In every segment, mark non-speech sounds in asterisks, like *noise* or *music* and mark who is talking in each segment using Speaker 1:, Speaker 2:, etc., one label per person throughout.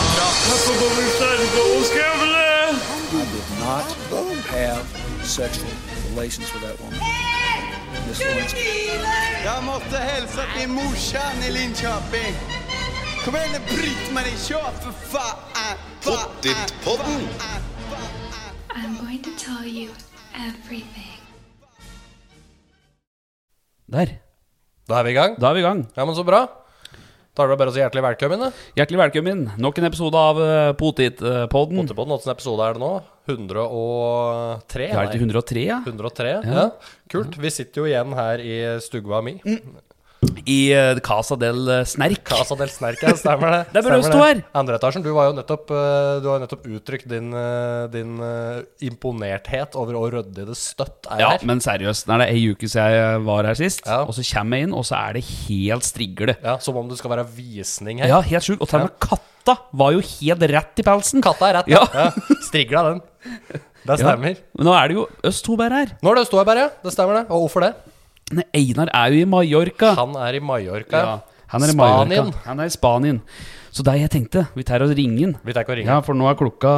Speaker 1: for på bursdagen på Oskavle!
Speaker 2: I did not have sexual relations with that woman. Miss Lewinsky.
Speaker 3: Jeg måtte hilse til morsan i Linköping. Kom igjen, Britt-Marie, kjør, for faen! Pottit-podden!
Speaker 4: I'm going to tell you everything.
Speaker 5: Der.
Speaker 6: Da er vi i gang.
Speaker 5: Da er vi i gang.
Speaker 6: Ja, men så bra. Da er det bare å si hjertelig velkommen. da.
Speaker 5: Hjertelig velkommen. Nok en episode av eh, Potetpodden.
Speaker 6: Potipodden, åssen episode er det nå? 103?
Speaker 5: Det er til
Speaker 6: nei.
Speaker 5: 103, ja. Mm.
Speaker 6: 103, ja. Kult. Vi sitter jo igjen her i stugva mi.
Speaker 5: I eh, Casa del Snerk.
Speaker 6: Casa del Snerk, ja. Stemmer det.
Speaker 5: Det er bare å
Speaker 6: Stemmer
Speaker 5: stå
Speaker 6: det.
Speaker 5: her.
Speaker 6: Andre etasjen. Du var jo nettopp, eh, du har jo nettopp uttrykt din, eh, din eh, imponerthet over å rydde i det støtt er
Speaker 5: Ja,
Speaker 6: her.
Speaker 5: men seriøst. Det er det ei uke siden jeg eh, var her sist,
Speaker 6: Ja.
Speaker 5: og så kommer jeg inn, og så er det helt strigle.
Speaker 6: Ja, som om det skal være visning her.
Speaker 5: Ja, helt sjukt. Og til og med katta var jo helt rett i pelsen.
Speaker 6: Katta er rett,
Speaker 5: Ja.
Speaker 6: ja. Strigla den.
Speaker 5: Ja.
Speaker 6: Det stemmer.
Speaker 5: Men nå er det jo oss to bare her.
Speaker 6: Nå er det Ståberg, ja. Det stemmer, det. Og hvorfor det?
Speaker 5: Nei, Einar er jo i Mallorca.
Speaker 6: Han er i Mallorca.
Speaker 5: Ja, han er i
Speaker 6: Spanien.
Speaker 5: Mallorca. Han er i Spanien. Så det er jeg tenkte. Vi tar og ringer han.
Speaker 6: Vi tar ikke å ringe.
Speaker 5: Ja, for nå er klokka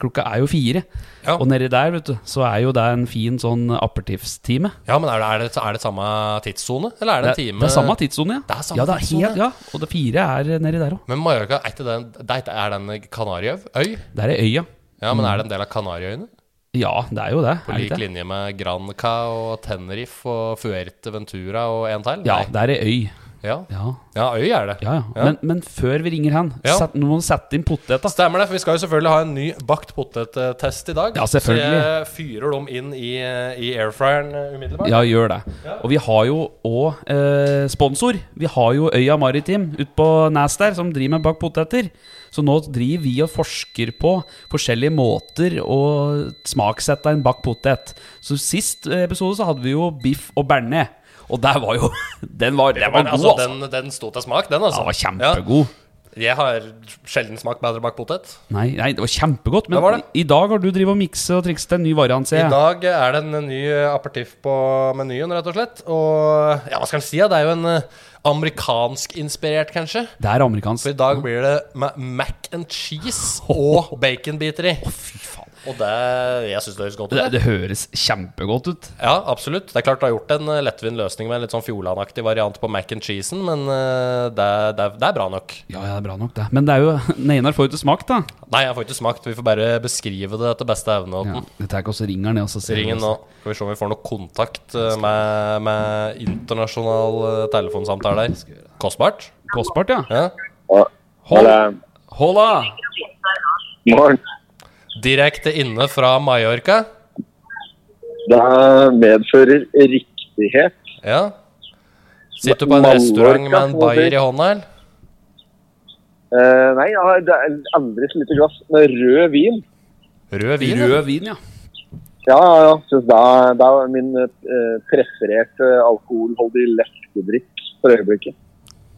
Speaker 5: Klokka er jo fire.
Speaker 6: Ja.
Speaker 5: Og nedi der, vet du, så er jo det en fin sånn aperitiffstime.
Speaker 6: Ja, men er det, er, det, er det samme tidssone, eller er det en
Speaker 5: det,
Speaker 6: time
Speaker 5: det er samme tidssone, ja.
Speaker 6: Det er samme
Speaker 5: ja, det er
Speaker 6: tidssone.
Speaker 5: helt, ja. Og det fire er nedi der òg.
Speaker 6: Men Mallorca, er ikke den, det er ikke- er den Kanariøy?
Speaker 5: Der er øya.
Speaker 6: Ja, men er det en del av Kanariøyene?
Speaker 5: Ja, det er jo det.
Speaker 6: På
Speaker 5: Mm. er det
Speaker 6: lik
Speaker 5: ikke det?
Speaker 6: linje med Granca og Tenerife og Fuerteventura og en til?
Speaker 5: Ja,
Speaker 6: Nei.
Speaker 5: det er ei øy.
Speaker 6: Ja.
Speaker 5: Ja,
Speaker 6: ja, øy er det.
Speaker 5: ja. ja. Men, men før vi ringer han,
Speaker 6: Ja.
Speaker 5: sett, nå må du sette inn poteta.
Speaker 6: Stemmer det, for vi skal jo selvfølgelig ha en ny bakt potet-test i dag.
Speaker 5: Ja, selvfølgelig.
Speaker 6: Så jeg fyrer dem inn i, i airfryeren eh, umiddelbart.
Speaker 5: Ja, gjør det. Og vi har jo òg eh, sponsor. Vi har jo Øya Maritim ute på Nes der, som driver med bakt poteter. Så nå driver vi og forsker på forskjellige måter å smaksette en bakt potet. Så sist eh, episode så hadde vi jo biff og bearnés. Og der var jo *laughs* Den var, den var
Speaker 6: Men,
Speaker 5: god,
Speaker 6: altså,
Speaker 5: altså.
Speaker 6: den, den sto til smak, den, altså.
Speaker 5: Den var kjempegod.
Speaker 6: Ja. Jeg har sjelden smakt bedre bakt potet.
Speaker 5: Nei, nei, det var kjempegodt. Men
Speaker 6: Det var det.
Speaker 5: i i dag har du drevet og mikset og trikset en ny variant, ser
Speaker 6: I
Speaker 5: jeg.
Speaker 6: dag er det en ny aperitiff på menyen, rett og slett. Og ja, hva skal en si? da? Det er jo en eh, amerikansk-inspirert, kanskje.
Speaker 5: Det er amerikansk.
Speaker 6: For i dag blir det med mac and cheese og baconbiter i.
Speaker 5: Fy faen.
Speaker 6: Og det Jeg syns det høres godt
Speaker 5: Det,
Speaker 6: ut.
Speaker 5: det høres kjempegodt ut.
Speaker 6: Ja, absolutt. Det er klart du har gjort en eh, lettvint løsning med en litt sånn Fjordland-aktig variant på mac and cheesen, men eh, det, det, det er bra nok.
Speaker 5: Ja, ja, det er bra nok, det. Men det er jo *laughs* den Einar får jo ikke smakt, da.
Speaker 6: Nei, jeg får ikke smakt. Vi får bare beskrive det etter beste evne.
Speaker 5: Ja,
Speaker 6: Otten.
Speaker 5: *laughs* dette er ikke også ringer ned, og så ser vi
Speaker 6: Ring inn nå.
Speaker 5: oss.
Speaker 6: Skal vi se om vi får noe kontakt eh, med, med internasjonal eh, telefonsamtale her. Kostbart?
Speaker 5: Kostbart, ja.
Speaker 6: Ja.
Speaker 7: Eller,
Speaker 5: Hola!
Speaker 7: morgen.
Speaker 6: Direkte inne fra Mallorca?
Speaker 7: Det medfører riktighet.
Speaker 6: Ja. Sitter du på en restaurant med en bayer i hånda, eller?
Speaker 7: Eh, nei, jeg har det er aldri så lite glass med rød vin.
Speaker 6: Rød vin? ja.
Speaker 5: Rød vin, ja.
Speaker 7: Ja, ja, ja. Så det, er, det er min eh, prefererte alkoholholdige lettedrikk for øyeblikket.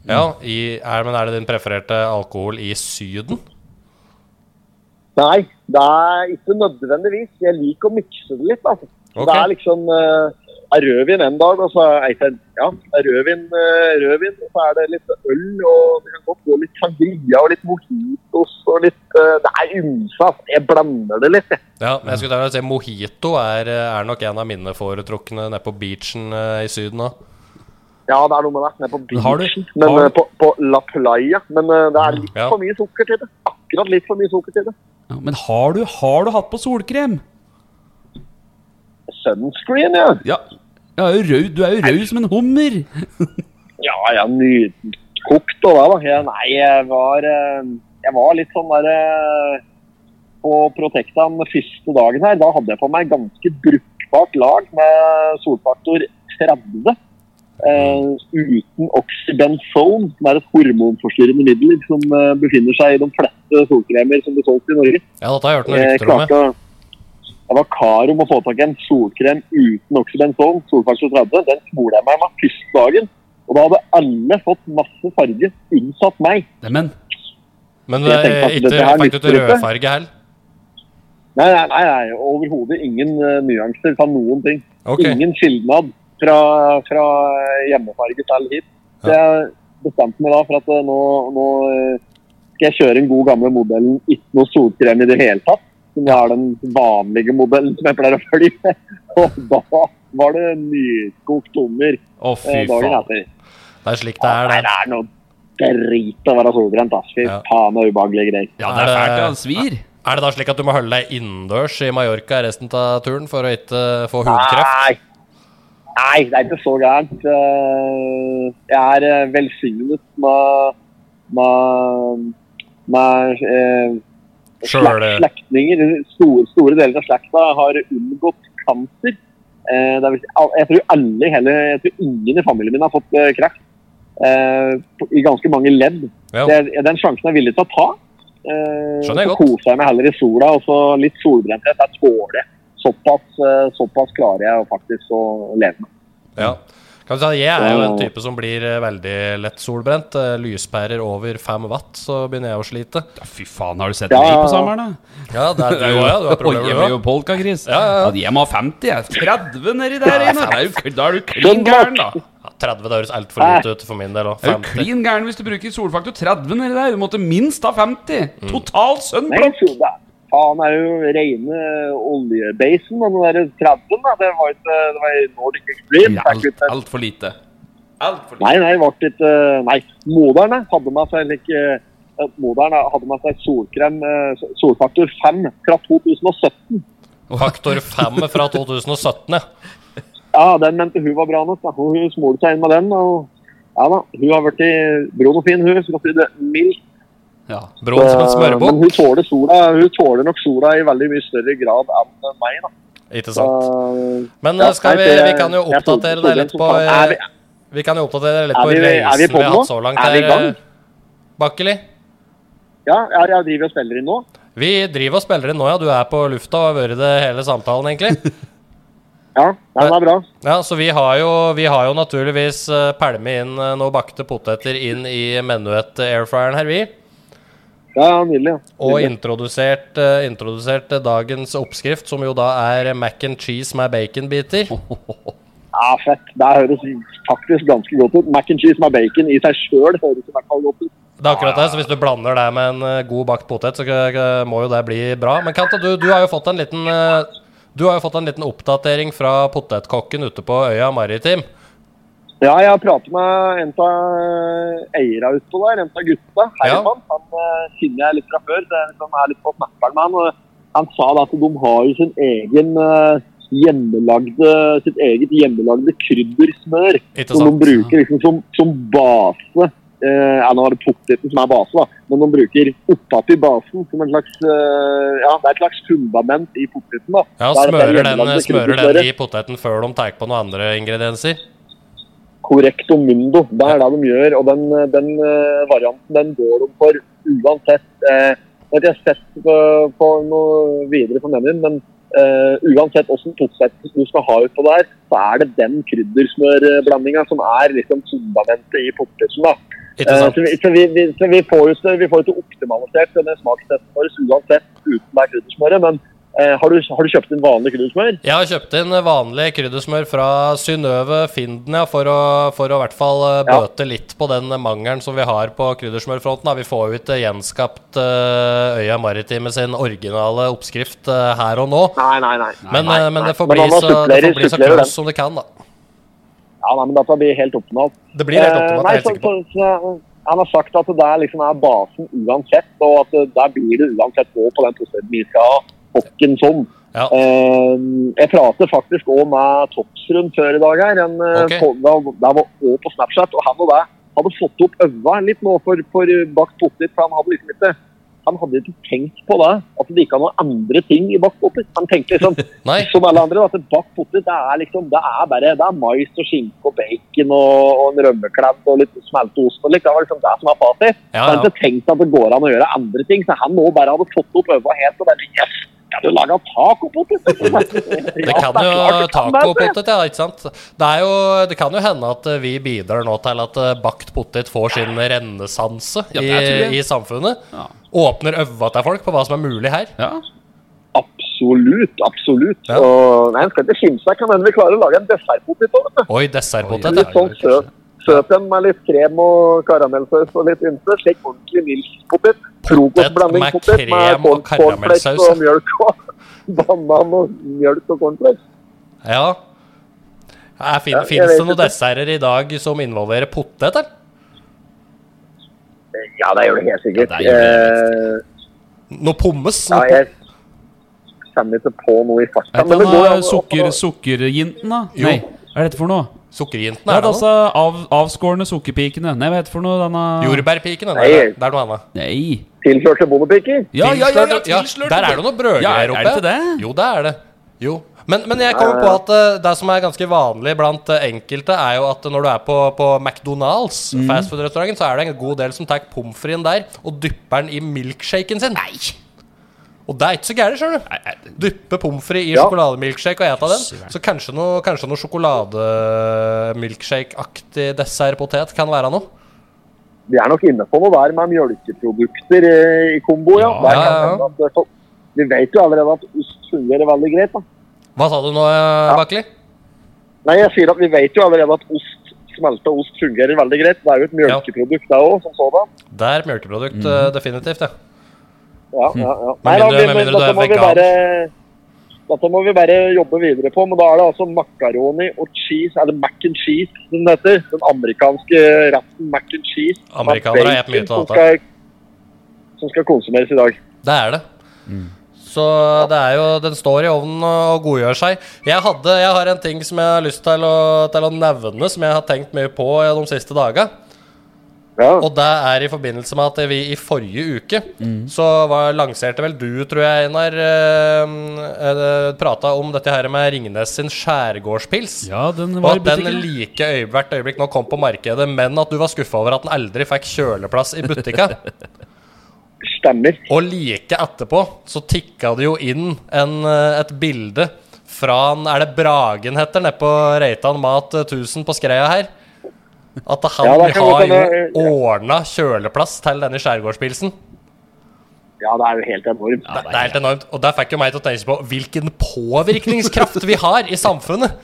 Speaker 6: Ja, i, er, men er det din prefererte alkohol i Syden?
Speaker 7: Nei, det er ikke nødvendigvis. Jeg liker å mikse det litt. Altså.
Speaker 6: Ok.
Speaker 7: Det er liksom eh, er rødvin en dag, og så er det ja, er rødvin, eh, rødvin, og så er det litt øl, og det kan godt gå litt sangria og litt mojitos og litt eh, Det er ymse, altså. Jeg blander det litt, jeg.
Speaker 6: Ja, men jeg skulle ta og si Mojito er, er nok en av mine foretrukne nede på beachen eh, i Syden òg.
Speaker 7: Ja, det er noe med det. Nede på
Speaker 5: Men har du-
Speaker 7: beachen, men
Speaker 5: har- Mm,
Speaker 7: eh, på, på La Playa. Men eh, det er litt
Speaker 6: Ja.
Speaker 7: for mye sukker til det. Akkurat litt for mye sukker til det.
Speaker 5: ja. Men har du, har du hatt på solkrem?
Speaker 7: Sunscreen, ja.
Speaker 5: Ja. ja er jo rød, du er jo rød som en hummer.
Speaker 7: Ja, jeg er nykokt og det, da. Jeg, nei, jeg var, eh, jeg var litt sånn der eh, På Protecta den første dagen her, da hadde jeg på meg ganske brukbart lag med solfaktor 30. Eh, uten oxybenzone, som er et hormonforstyrrende middel som eh, befinner seg i de fleste solkremer som blir solgt i Norge.
Speaker 6: Ja, dette har jeg hørt noen
Speaker 7: Jeg
Speaker 6: rykter om. ja.
Speaker 7: klarte å det var kar om å få tak i en solkrem uten oxybenzon, solfaktor 30. Den smolte jeg meg med første dagen. Og da hadde alle fått masse farge, unnsatt meg.
Speaker 5: Neimen,
Speaker 6: Men
Speaker 7: Jeg tenkte
Speaker 6: eh,
Speaker 7: at
Speaker 6: ikke
Speaker 7: dette her
Speaker 6: fikk du
Speaker 7: nytter
Speaker 6: til
Speaker 7: ikke.
Speaker 6: rødfarge heller?
Speaker 7: Nei, nei, nei, nei overhodet ingen eh, nyanser fra noen ting.
Speaker 6: Ok.
Speaker 7: Ingen skilnad fra, fra hjemmefarge til hit. Så jeg bestemte meg da for at eh, nå, nå eh, skal jeg kjøre den gode gamle modellen ikke noe solkrem i det hele tatt. Som jeg har den vanlige modellen som jeg pleier å følge. *laughs* Og da var det nykokt hummer
Speaker 5: Å, fy
Speaker 7: eh, dagen
Speaker 5: faen.
Speaker 7: etter.
Speaker 6: Det er slik det er,
Speaker 7: Nei,
Speaker 6: det.
Speaker 7: det er noe drit å være solbrent, ass. Fy
Speaker 6: Ja.
Speaker 7: faen, det er ubehagelige greier.
Speaker 5: Ja, det er fælt. ja. Det svir.
Speaker 6: Er det da slik at du må holde deg innendørs i Mallorca resten av turen for å ikke eh, få hudkreft?
Speaker 7: Nei. Nei, det er ikke så gærent. Eh, Jeg er eh, velsignet med med, med eh, slekt,
Speaker 6: Sjøl- eh,
Speaker 7: slektninger. Store, store deler av slekta har unngått kanser. Eh, Det vil si, al- jeg tror alle i hele, jeg tror ingen i familien min har fått eh, kreft. Eh, på- I ganske mange ledd.
Speaker 6: Ja.
Speaker 7: Det, er- den sjansen er jeg villig til å ta. Eh,
Speaker 6: Skjønner jeg
Speaker 7: så
Speaker 6: godt.
Speaker 7: koser jeg meg heller i sola, og så litt solbrenthet. Jeg tåler det. Såpass, eh, såpass klarer jeg faktisk å leve med.
Speaker 6: Ja. Kan du si, at jeg er jo en type som blir eh, veldig lett solbrent. Eh, Lyspærer over 5 watt, så begynner jeg å slite.
Speaker 5: Ja, fy faen, har du sett
Speaker 7: Ja,
Speaker 5: meg
Speaker 7: ja, ja.
Speaker 5: på sommeren, da?
Speaker 6: Ja, det er *laughs* du òg, ja.
Speaker 5: Oi, jeg
Speaker 6: Du har
Speaker 5: blir
Speaker 6: problemer,
Speaker 5: jo polkagris.
Speaker 6: Ja, ja, ja.
Speaker 5: Jeg må ha 50, jeg. 30 nedi der inne. Da er du kl- Da er du klin
Speaker 7: Skjønn
Speaker 5: gæren, da.
Speaker 6: Ja, 30 det høres altfor lite ut for min del òg.
Speaker 5: Er du
Speaker 6: 50.
Speaker 5: klin gæren hvis du bruker solfaktor 30 nedi der? Du måtte minst ha 50. Total
Speaker 7: Nei,
Speaker 5: sunblock.
Speaker 7: sola. Faen det er jo rene oljebasen, og den der 30-en, da. Det var ikke det var i Nordic Extreme.
Speaker 5: Ja,
Speaker 7: Det er ikke
Speaker 5: alt-
Speaker 7: ute.
Speaker 5: Altfor lite. Altfor lite.
Speaker 7: Nei, nei, det ble ikke Nei. Moderen eh, hadde med seg like, eh, Moderen eh, hadde med seg solkrem eh, solfaktor 5 fra 2017.
Speaker 6: Faktor 5
Speaker 5: *laughs*
Speaker 6: fra 2017, ja.
Speaker 7: Ja, den mente hun var bra nok. Da. Og Hun smolte seg inn med den. og ja da, Hun har blitt brun og fin, hun. Så godt si det mildt. Eh,
Speaker 5: Ja.
Speaker 6: Brun som en
Speaker 7: Men
Speaker 6: smørbukk.
Speaker 7: hun tåler, sola, hun tåler nok sola i veldig mye større grad enn meg. da.
Speaker 6: Ikke
Speaker 7: Så,
Speaker 6: sant. Men
Speaker 7: ja,
Speaker 6: eh, skal
Speaker 7: nei,
Speaker 6: vi,
Speaker 7: det-
Speaker 6: vi kan jo
Speaker 7: jeg tåler-
Speaker 6: oppdatere deg litt
Speaker 7: tåler
Speaker 6: på
Speaker 7: den som faen. Er
Speaker 6: eh,
Speaker 7: vi-
Speaker 6: Vi kan jo oppdatere deg litt
Speaker 7: Er
Speaker 6: på
Speaker 7: vi- er vi
Speaker 6: reisen
Speaker 7: på
Speaker 6: vi har
Speaker 7: nå?
Speaker 6: hatt så langt
Speaker 7: Er vi i
Speaker 6: her,
Speaker 7: gang?
Speaker 6: eh, Bakkeli.
Speaker 7: ja, jeg, jeg driver og spiller inn nå.
Speaker 6: Vi driver og spiller inn nå, ja. Du er på lufta og har vært det hele samtalen, egentlig.
Speaker 7: Ja, ja det er bra.
Speaker 6: Ja, så vi har jo, vi har jo naturligvis uh, pælmet inn uh, noen bakte poteter inn i menuett-airfryeren her, vi.
Speaker 7: Ja, ja, nydelig. ja.
Speaker 6: Og
Speaker 7: Nydelig.
Speaker 6: introdusert, eh, introdusert eh, dagens oppskrift, som jo da er mac and cheese med baconbiter.
Speaker 7: Ja, fett. Det høres faktisk ganske godt ut. Mac and cheese med bacon i seg sjøl høres i hvert fall godt ut.
Speaker 6: Det er akkurat det, så hvis du blander det med en eh, god bakt potet, så k- k- må jo det bli bra. Men Kanta, du, du har jo fått en liten eh, Du har jo fått en liten oppdatering fra potetkokken ute på øya Maritim.
Speaker 7: Ja, jeg har pratet med en av eierne utpå der, en av gutta. Herman. Han eh, kjenner jeg litt fra før. så jeg liksom er litt på snapperen med han. og Han sa da at de har jo sin egen eh, hjemmelagde, sitt eget hjemmelagde kryddersmør.
Speaker 6: Ikke
Speaker 7: Som de
Speaker 6: sant?
Speaker 7: bruker liksom som, som base. Eh, ja, nå er det poteten som er base, da. Men de bruker oppappi basen som en slags eh, Ja, det er et slags fundament i poteten. da.
Speaker 6: Ja,
Speaker 7: Det er- det er
Speaker 6: smører den,
Speaker 7: hjemmelagde
Speaker 6: smører den
Speaker 7: kryddersmøret.
Speaker 6: i poteten før de tar på noen andre ingredienser.
Speaker 7: Correcto mundo. Det er det de gjør. Og den, den eh, varianten den går de for uansett. Eh, vet jeg har sett på, på noe videre på menyen, men eh, uansett hvordan toppsett du skal ha utpå der, så er det den kryddersmørblandinga som er liksom fundamentet i poteten. da.
Speaker 6: Ikke
Speaker 7: Eh,
Speaker 6: sant?
Speaker 7: Så vi, så vi, vi, så vi får jo ikke- vi får jo ikke optimalisert denne smakstesten vår uansett uten det kryddersmøret. Men eh, har, du, har du kjøpt inn vanlig kryddersmør?
Speaker 6: Jeg har kjøpt inn vanlig kryddersmør fra Synnøve Finden, ja, for å, for å i hvert fall eh,
Speaker 7: Ja.
Speaker 6: bøte litt på den mangelen som vi har på kryddersmørfronten. Da. Vi får jo ikke gjenskapt eh, Øya Maritime sin originale oppskrift eh, her og nå.
Speaker 7: Nei, nei, nei.
Speaker 6: Men, eh, men det får
Speaker 7: Men
Speaker 6: bli
Speaker 7: han
Speaker 6: så, det
Speaker 7: supplerer-
Speaker 6: får bli så
Speaker 7: supplerer den.
Speaker 6: close som det kan, da.
Speaker 7: Ja, nei, men Dette blir helt optimalt.
Speaker 6: Det blir helt
Speaker 7: Eh,
Speaker 6: optimalt,
Speaker 7: nei,
Speaker 6: jeg er helt
Speaker 7: så-
Speaker 6: sikker på.
Speaker 7: så- så eh, Han har sagt at det der liksom er basen uansett, og at eh, der blir det uansett på på den prosessen vi skal ha. Hokken sånn.
Speaker 6: Ja.
Speaker 7: Eh, jeg prater faktisk òg med Topsrund før i dag her. En, eh,
Speaker 6: Ok.
Speaker 7: på- da- Der var òg på Snapchat, og han og det hadde fått opp øva litt nå for, for bakt potet. for Han hadde liksom ikke han hadde ikke tenkt på det, at det ikke er noen andre ting i bakt potet. Han tenkte liksom
Speaker 6: Nei,
Speaker 7: som alle andre, at bakt potet det er liksom, det er bare det er mais og skinke og bacon og, og en rømmeklebb og litt smelta ost og likt. Det var liksom det som var fasit.
Speaker 6: ja,
Speaker 7: Han
Speaker 6: ja.
Speaker 7: hadde ikke tenkt at det går an å gjøre andre ting, så han nå bare hadde fått opp øva helt og bare yes, kan du lage tacopotet?
Speaker 6: *laughs* Det
Speaker 7: det
Speaker 6: kan jo
Speaker 5: *laughs*
Speaker 6: tacopotet, ja, ikke sant? Det, er jo, det kan jo hende at eh, vi bidrar nå til at eh, bakt potet får sin renessanse
Speaker 5: Ja, det tror jeg.
Speaker 6: i, i samfunnet.
Speaker 5: Ja.
Speaker 6: Åpner øva til folk på hva som er mulig her.
Speaker 5: Ja.
Speaker 7: Absolutt, absolutt.
Speaker 6: Ja.
Speaker 7: Og, nei, en skal ikke skimse seg, kan hende vi klarer å lage en dessertpotet òg, vet du.
Speaker 6: Oi, dessertpotet. ja.
Speaker 7: Litt sånn søt. Søt en med litt krem og karamellsaus og litt ymse. Slik ordentlig milkspotet.
Speaker 6: potet
Speaker 7: frokostblanding
Speaker 6: med
Speaker 7: potet
Speaker 6: krem og
Speaker 7: corn- cornflakes
Speaker 6: karamellsaus.
Speaker 7: og *laughs* mjølk og banan og mjølk og cornflakes.
Speaker 6: Ja. Er, fin,
Speaker 7: Ja, jeg
Speaker 6: finnes det
Speaker 7: vet
Speaker 6: noen
Speaker 7: ikke.
Speaker 6: desserter i dag som involverer potet, eller?
Speaker 7: Ja, det gjør det helt sikkert.
Speaker 6: Ja, det gjør det
Speaker 7: Eh,
Speaker 6: Noe pommes?
Speaker 7: ja,
Speaker 6: noe
Speaker 7: jeg kommer ikke på noe i farta.
Speaker 5: Vet du
Speaker 7: går
Speaker 5: hva
Speaker 7: an å-
Speaker 5: sukker, sukkerjinten, da?
Speaker 6: Jo.
Speaker 5: Nei, hva er dette for noe?
Speaker 6: Sukkerjinten
Speaker 5: Det
Speaker 6: er
Speaker 5: er
Speaker 6: det
Speaker 5: altså av, avskårne sukkerpikene. Nei, hva heter det for noe? Denne
Speaker 6: noe? Jordbærpiken? er det-
Speaker 7: Nei.
Speaker 6: Det er noe annet.
Speaker 5: Nei.
Speaker 7: Tilførte bondepiker?
Speaker 5: Ja, ja, ja, ja,
Speaker 6: Tilslørt-
Speaker 5: tilslørt.
Speaker 6: Der er det noe brødgreier
Speaker 5: Ja, er det
Speaker 6: oppe.
Speaker 5: ikke det?
Speaker 6: Jo, det er det. Jo. Men, men jeg kommer på at eh, det som er ganske vanlig blant eh, enkelte, er jo at når du er på, på McDonald's,
Speaker 5: Mm.
Speaker 6: fastfood-restauranten, så er det en god del som tar pommes fritesen der og dypper den i milkshaken sin. Og det er ikke så gærent, skjønner du. Dyppe pommes frites i
Speaker 7: Ja.
Speaker 6: sjokolademilkshake og ete den. Så kanskje noe, kanskje noe sjokolademilkshake-aktig dessertpotet kan være noe.
Speaker 7: Vi er nok inne på noe der med mjølkeprodukter eh, i kombo, ja.
Speaker 5: Ja,
Speaker 7: Der kan
Speaker 6: ja, ja.
Speaker 7: hende at det er sånn. vi vet jo allerede at ost fungerer veldig greit. da.
Speaker 6: Hva sa du nå, ja. Bakli?
Speaker 7: Nei, jeg sier at vi vet jo allerede at ost, smelta ost fungerer veldig greit. Det er jo et
Speaker 6: Ja.
Speaker 7: mjølkeprodukt, det òg, som sådan.
Speaker 6: Det er melkeprodukt, eh, definitivt. ja.
Speaker 7: Ja, ja, ja.
Speaker 6: Med Hm. mindre- med
Speaker 7: vi-
Speaker 6: mindre du
Speaker 7: dette
Speaker 6: er
Speaker 7: må vi
Speaker 6: vegan.
Speaker 7: bare- Dette må vi bare jobbe videre på, men da er det altså makaroni og cheese, eller mac and cheese som den heter. Den amerikanske retten mac and cheese. med
Speaker 6: Amerikanere har
Speaker 7: bacon
Speaker 6: mye til
Speaker 7: som
Speaker 6: dette.
Speaker 7: skal- Som skal konsumeres i dag.
Speaker 6: Det er det. Så det er jo, den står i ovnen og godgjør seg. Jeg, hadde, jeg har en ting som jeg har lyst til å, til å nevne, som jeg har tenkt mye på de siste dagene.
Speaker 7: Ja.
Speaker 6: Og det er i forbindelse med at vi i forrige uke så var, lanserte vel du, tror jeg, Einar, eh, eh, prata om dette her med Ringnes sin skjærgårdspils.
Speaker 5: Ja, den
Speaker 6: Og
Speaker 5: var i
Speaker 6: at den
Speaker 5: butikken.
Speaker 6: like øye, hvert øyeblikk nå kom på markedet, men at du var skuffa over at den aldri fikk kjøleplass i
Speaker 5: *laughs*
Speaker 6: butikka.
Speaker 7: Stemmer.
Speaker 6: Og like etterpå så tikka det jo inn en, eh, et bilde fra en, Er det Bragen heter, nede på Reitan Mat eh, 1000 på Skreia her? At han
Speaker 7: Ja, det kan
Speaker 6: har jo
Speaker 7: godt hende, ja.
Speaker 6: ordna kjøleplass til denne skjærgårdspilsen.
Speaker 7: Ja, det er jo helt enormt.
Speaker 6: det, det er helt enormt. Og der fikk jo meg til å tenke på hvilken påvirkningskraft vi har i *laughs* samfunnet.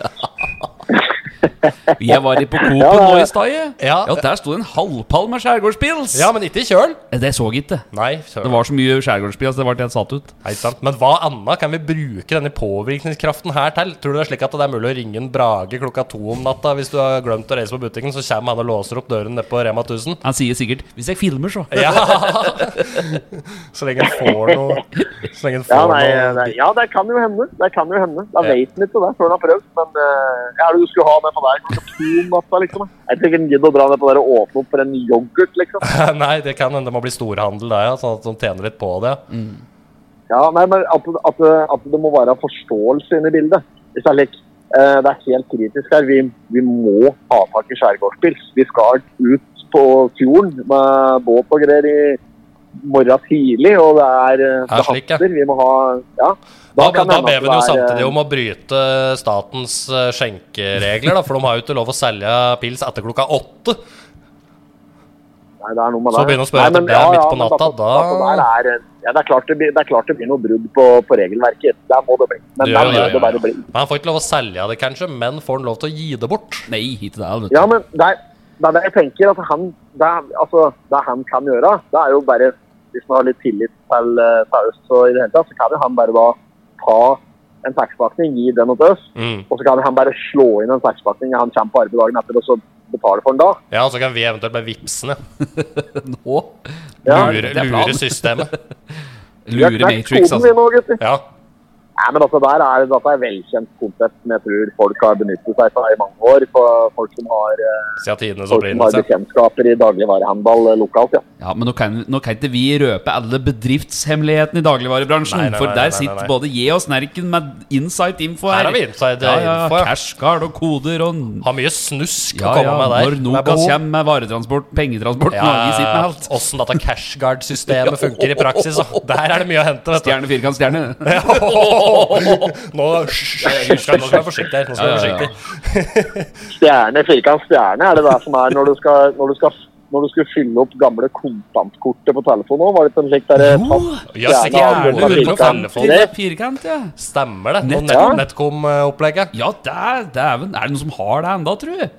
Speaker 5: Jeg var i på Coop
Speaker 7: Ja, ja,
Speaker 5: nå
Speaker 7: ja.
Speaker 5: i stad. jeg.
Speaker 6: Ja.
Speaker 5: Ja, der sto en halvpall med skjærgårdspils!
Speaker 6: Ja, men ikke i kjøl.
Speaker 5: Det så jeg ikke.
Speaker 6: Nei,
Speaker 5: Det
Speaker 6: søren.
Speaker 5: var så mye skjærgårdspils, det ble helt satt ut.
Speaker 6: Nei, ikke sant. Men hva annet kan vi bruke denne påvirkningskraften her til? Tror du det er slik at det er mulig å ringe en Brage klokka to om natta hvis du har glemt å reise på butikken, så kommer han og låser opp døren nede på Rema
Speaker 7: *laughs*
Speaker 6: 1000?
Speaker 5: Han sier sikkert 'hvis jeg filmer, så'.
Speaker 6: Ja! Så lenge en får noe Så lenge en får
Speaker 7: Ja, nei,
Speaker 6: noe
Speaker 7: det, ja, det kan jo hende. Det kan jo hende. Da vet han ikke det før han har prøvd. Men eh, hva er det du skulle ha med på deg klokka to om natta, liksom? da? Jeg tror ikke han gidder å dra ned på der og åpne opp for en yoghurt, liksom.
Speaker 6: *laughs* Nei, det kan hende det må bli storhandel der, ja. Sånn at de tjener litt på det. ja.
Speaker 7: Ja, nei, men at, at, at det må være forståelse inne i bildet. Hvis det er litt, eh, det er helt kritisk her. Vi, vi må ha tak i skjærgårdspils. Vi skal ut på fjorden med båt og greier i morgen tidlig, og det er eh,
Speaker 6: Ja,
Speaker 7: det
Speaker 6: slik, ja.
Speaker 7: haster. Vi må ha Ja.
Speaker 6: Da,
Speaker 7: kan det
Speaker 6: da
Speaker 7: hende
Speaker 6: ber
Speaker 7: at
Speaker 6: vi jo
Speaker 7: det er, eh,
Speaker 6: samtidig om å bryte statens eh, skjenkeregler, da, for de har jo ikke lov å selge pils etter klokka åtte.
Speaker 7: Nei, det er noe med
Speaker 6: Så
Speaker 7: det.
Speaker 6: begynner å spørre
Speaker 7: Nei, men
Speaker 6: etter det midt på
Speaker 7: men
Speaker 6: natta,
Speaker 7: altså-
Speaker 6: da-
Speaker 7: altså, der er, ja, det, er klart det, blir, det er klart det blir noe brudd på, på regelverket. Der må det bli. Men
Speaker 6: Det
Speaker 7: der
Speaker 6: gjør
Speaker 7: må
Speaker 6: det, ja,
Speaker 7: det bare
Speaker 6: ja.
Speaker 7: bli.
Speaker 6: Men han får ikke lov å selge det, kanskje, men får han lov til å gi det bort?
Speaker 5: Nei, ikke det. Vet du.
Speaker 7: Ja, men det er- det er det jeg tenker at han, det, er, altså, det han kan gjøre, det er jo bare Hvis man har litt tillit til, eh, til oss, så, i det hele tatt, så kan jo han bare da ta en taxipakning, gi den til oss,
Speaker 6: Mm.
Speaker 7: og så kan han bare slå inn en taxipakning når han kommer på arbeid dagen etter, og så betale for den da.
Speaker 6: Ja, så kan vi eventuelt bare vipse den.
Speaker 5: Nå
Speaker 7: Ja.
Speaker 6: Lure,
Speaker 5: Det er planen.
Speaker 6: lure systemet.
Speaker 7: Vi har
Speaker 5: lurer
Speaker 7: knekt
Speaker 5: Matrix,
Speaker 7: koden vi
Speaker 5: altså.
Speaker 7: nå, gutter.
Speaker 6: Ja.
Speaker 7: Nei, men altså, der er, dette er velkjent konsept som jeg tror folk har benyttet seg av i mange år. For folk som har, eh,
Speaker 6: Siden tidenes
Speaker 7: folk som har
Speaker 6: opprinnelse.
Speaker 7: bekjentskaper i dagligvarehandel eh, lokalt. ja.
Speaker 5: Ja, Men nå kan, nå kan ikke vi røpe alle bedriftshemmeligheten i dagligvarebransjen.
Speaker 6: Nei, nei,
Speaker 5: for
Speaker 6: nei,
Speaker 5: der
Speaker 6: nei, nei,
Speaker 5: sitter
Speaker 6: nei.
Speaker 5: både jeg og Snerken med inside-info her.
Speaker 6: Her har vi inside
Speaker 5: ja, ja,
Speaker 6: info, ja.
Speaker 5: Cash card og koder og
Speaker 6: Har mye snusk
Speaker 5: ja,
Speaker 6: å
Speaker 5: ja,
Speaker 6: komme med der.
Speaker 5: Når Nokas
Speaker 6: behov.
Speaker 5: kommer med varetransport, pengetransport
Speaker 6: Ja,
Speaker 5: Norge sitter med alt.
Speaker 6: Åssen dette cashguard-systemet funker i praksis. Da. Der er det mye å hente. Vet du.
Speaker 5: Stjerne, firkant,
Speaker 6: *laughs*
Speaker 5: stjerne.
Speaker 6: Nå, hysj, nå skal nå skal vi være forsiktig her. Nå skal vi
Speaker 5: Ja,
Speaker 6: være
Speaker 5: ja, ja.
Speaker 6: forsiktig.
Speaker 7: Stjerne, firkant, stjerne er det det som er når du skal, når du skal, når du skal fylle opp gamle kontantkortet på telefonen òg. Var det ikke en slik derre fast
Speaker 6: ja, sikkert.
Speaker 7: stjerne,
Speaker 6: Gjerne,
Speaker 7: firkant,
Speaker 6: hundre og femti.
Speaker 7: det?
Speaker 5: Firkant, ja.
Speaker 6: Stemmer det. Og
Speaker 5: Nett-
Speaker 6: nett,
Speaker 7: Ja.
Speaker 6: Netcom-opplegget.
Speaker 5: Ja, dæ- dæven. Er det noen som har det enda, tror jeg?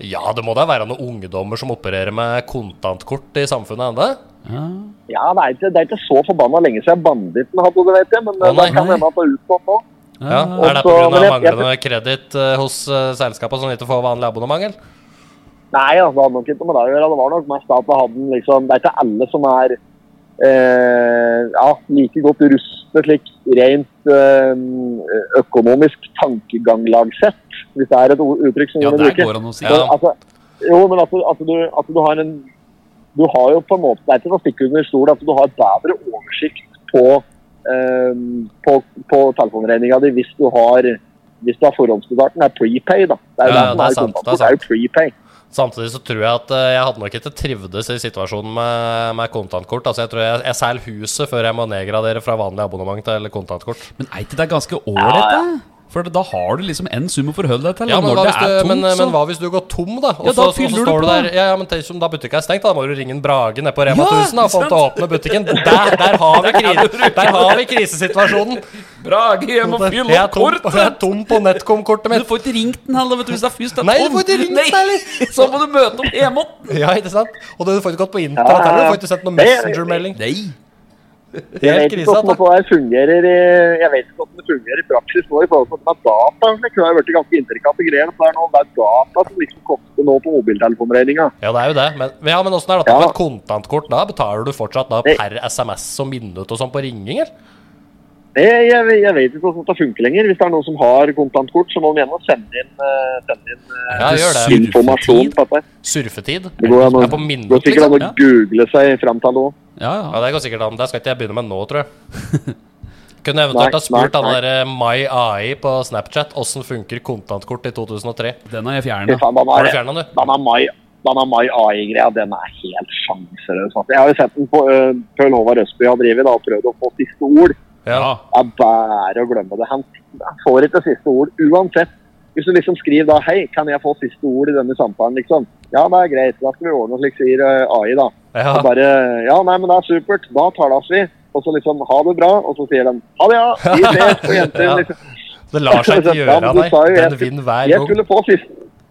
Speaker 6: Ja, det må da være noen ungdommer som opererer med kontantkort i samfunnet ennå?
Speaker 5: Ja.
Speaker 7: Ja, det er ikke, det er ikke så forbanna lenge siden Banditten hadde det, vet jeg. Men eh,
Speaker 6: Å,
Speaker 7: det
Speaker 6: nei,
Speaker 7: kan
Speaker 5: nei.
Speaker 7: hende at det er utgått nå.
Speaker 6: Ja,
Speaker 5: Ja.
Speaker 6: Er det
Speaker 7: Også- men
Speaker 6: pga.
Speaker 7: jeg- jeg-
Speaker 6: manglende kreditt eh, hos uh, selskapet som ikke får vanlig abonnement? eller?
Speaker 7: Nei, altså, det hadde nok ikke med det å gjøre. Det var nok mest at det hadde den liksom Det er ikke alle som er eh, ja, like godt rustet slik rent eh, økonomisk tankeganglag sett, hvis det er et o- uttrykk som
Speaker 5: ja,
Speaker 7: vi må
Speaker 5: der
Speaker 7: bruke.
Speaker 5: går an å si.
Speaker 6: Ja.
Speaker 7: Men Altså, jo, men altså, altså, du, altså du har en Du har jo på en måte Det er ikke noe stikk under stol at du har bedre oversikt på, um, på, på telefonregninga di hvis du har hvis du har forhåndsbetalt den, er prepay, da. Det er jo
Speaker 6: Ja,
Speaker 7: det som
Speaker 6: det er
Speaker 7: er
Speaker 6: sant, det er
Speaker 7: kontantkort, det er jo prepay.
Speaker 6: Samtidig så tror jeg at eh, jeg hadde nok ikke trivdes i situasjonen med, med kontantkort. Altså Jeg tror jeg, jeg selger huset før jeg må nedgradere fra vanlig abonnement til kontantkort.
Speaker 5: Men er ikke det ganske ålreit, da? For da har du liksom en sum å forholde deg til.
Speaker 6: Ja,
Speaker 5: og
Speaker 6: men
Speaker 5: når det
Speaker 6: hva, hvis
Speaker 5: er
Speaker 6: du,
Speaker 5: tomt,
Speaker 6: men, eh,
Speaker 5: så
Speaker 6: men hva hvis du går tom, da? Og
Speaker 5: Ja,
Speaker 6: så,
Speaker 5: da
Speaker 6: og så
Speaker 5: fyller du
Speaker 6: står du
Speaker 5: på,
Speaker 6: der
Speaker 5: da.
Speaker 6: Ja, ja, men tenk om da butikken er stengt, da. Da må du ringe en Brage ned på Rema
Speaker 5: Ja,
Speaker 6: 1000 da, for
Speaker 5: sant.
Speaker 6: å åpne butikken. Der, der, har vi
Speaker 5: *laughs*
Speaker 6: kri der har vi krisesituasjonen!
Speaker 5: Brage hjem og fyll
Speaker 6: Jeg er
Speaker 5: opp
Speaker 6: tom, *laughs*
Speaker 5: kortet!
Speaker 6: jeg er tom på NetCom-kortet
Speaker 5: Men du
Speaker 6: mitt.
Speaker 5: får ikke ringt den heller, vet du, hvis det er først det er
Speaker 6: Nei, du får ikke ringt den,
Speaker 5: Nei, *laughs* Så må du møte opp hjemme igjen!
Speaker 6: Ja, ikke sant? Og du får ikke gått på internett
Speaker 7: Ja, ja, ja.
Speaker 6: heller. Du får ikke sendt noen
Speaker 7: Det-
Speaker 6: Messenger-melding.
Speaker 5: Nei.
Speaker 6: Helt
Speaker 7: Jeg vet ikke
Speaker 6: krise.
Speaker 7: hvordan
Speaker 6: dette.
Speaker 7: det der fungerer i, jeg vet ikke hvordan det fungerer i praksis nå i forhold til at det er data. Det kunne ha vært ganske intrikate greier. for Det er, noe, det er data som liksom koster nå på mobiltelefonregninga.
Speaker 6: Ja, det er jo det. Men, men ja, men åssen er dette
Speaker 7: Ja.
Speaker 6: med et kontantkort? Da betaler du fortsatt da
Speaker 7: Det-
Speaker 6: per SMS og minutt og sånn på ringing, eller?
Speaker 7: Det, jeg, jeg vet ikke hvordan det funker lenger. Hvis det er noen som har kontantkort, så må de gjerne sende inn, eh, sende inn eh,
Speaker 6: Ja, gjør det.
Speaker 5: Surfetid.
Speaker 7: informasjon på dette.
Speaker 6: Surfetid.
Speaker 7: Det går, an å-
Speaker 6: er på
Speaker 7: det går
Speaker 6: minutt,
Speaker 7: sikkert
Speaker 6: liksom.
Speaker 7: an å google seg fram til noe.
Speaker 5: Ja,
Speaker 6: Ja,
Speaker 5: ja.
Speaker 6: det går sikkert an. Det skal ikke jeg begynne med nå, tror jeg.
Speaker 7: *laughs*
Speaker 6: Kunne eventuelt ha
Speaker 7: Nei,
Speaker 6: spurt
Speaker 7: nei,
Speaker 6: han eh, derre MyAI på Snapchat åssen funker kontantkort i 2003.
Speaker 5: Den har jeg
Speaker 7: Fy
Speaker 5: fjerna.
Speaker 7: faen, den
Speaker 6: Har du
Speaker 7: er-
Speaker 6: fjerna den, du?
Speaker 7: den er mai. Den er mai AI-greia, den er helt sjanseløs. altså. Jeg har jo sett den på uh, Pøl Håvard Østby har drevet da, og prøvd å få siste ord.
Speaker 6: Ja.
Speaker 5: Ja.
Speaker 7: Det er bare å glemme det. Han han får ikke siste ord uansett. Hvis du liksom skriver da 'Hei, kan jeg få siste ord i denne samtalen?' liksom. Ja, det er greit. Da skal vi ordne oss, liksom, sier eh, AI, da.
Speaker 6: ja.
Speaker 7: Og bare Ja, nei, men det er supert. Da tales vi. Og så liksom ha det bra. Og så sier de ha det, ja.
Speaker 6: *laughs*
Speaker 7: Vi ses. Og jenter
Speaker 6: Ja.
Speaker 7: liksom.
Speaker 6: Det lar seg ikke
Speaker 7: *laughs* Ja, men
Speaker 6: gjøre,
Speaker 7: du
Speaker 6: nei.
Speaker 7: sa jo
Speaker 6: Den
Speaker 7: jeg-
Speaker 6: vinner hver
Speaker 7: Jeg
Speaker 6: gang.
Speaker 7: skulle få siste,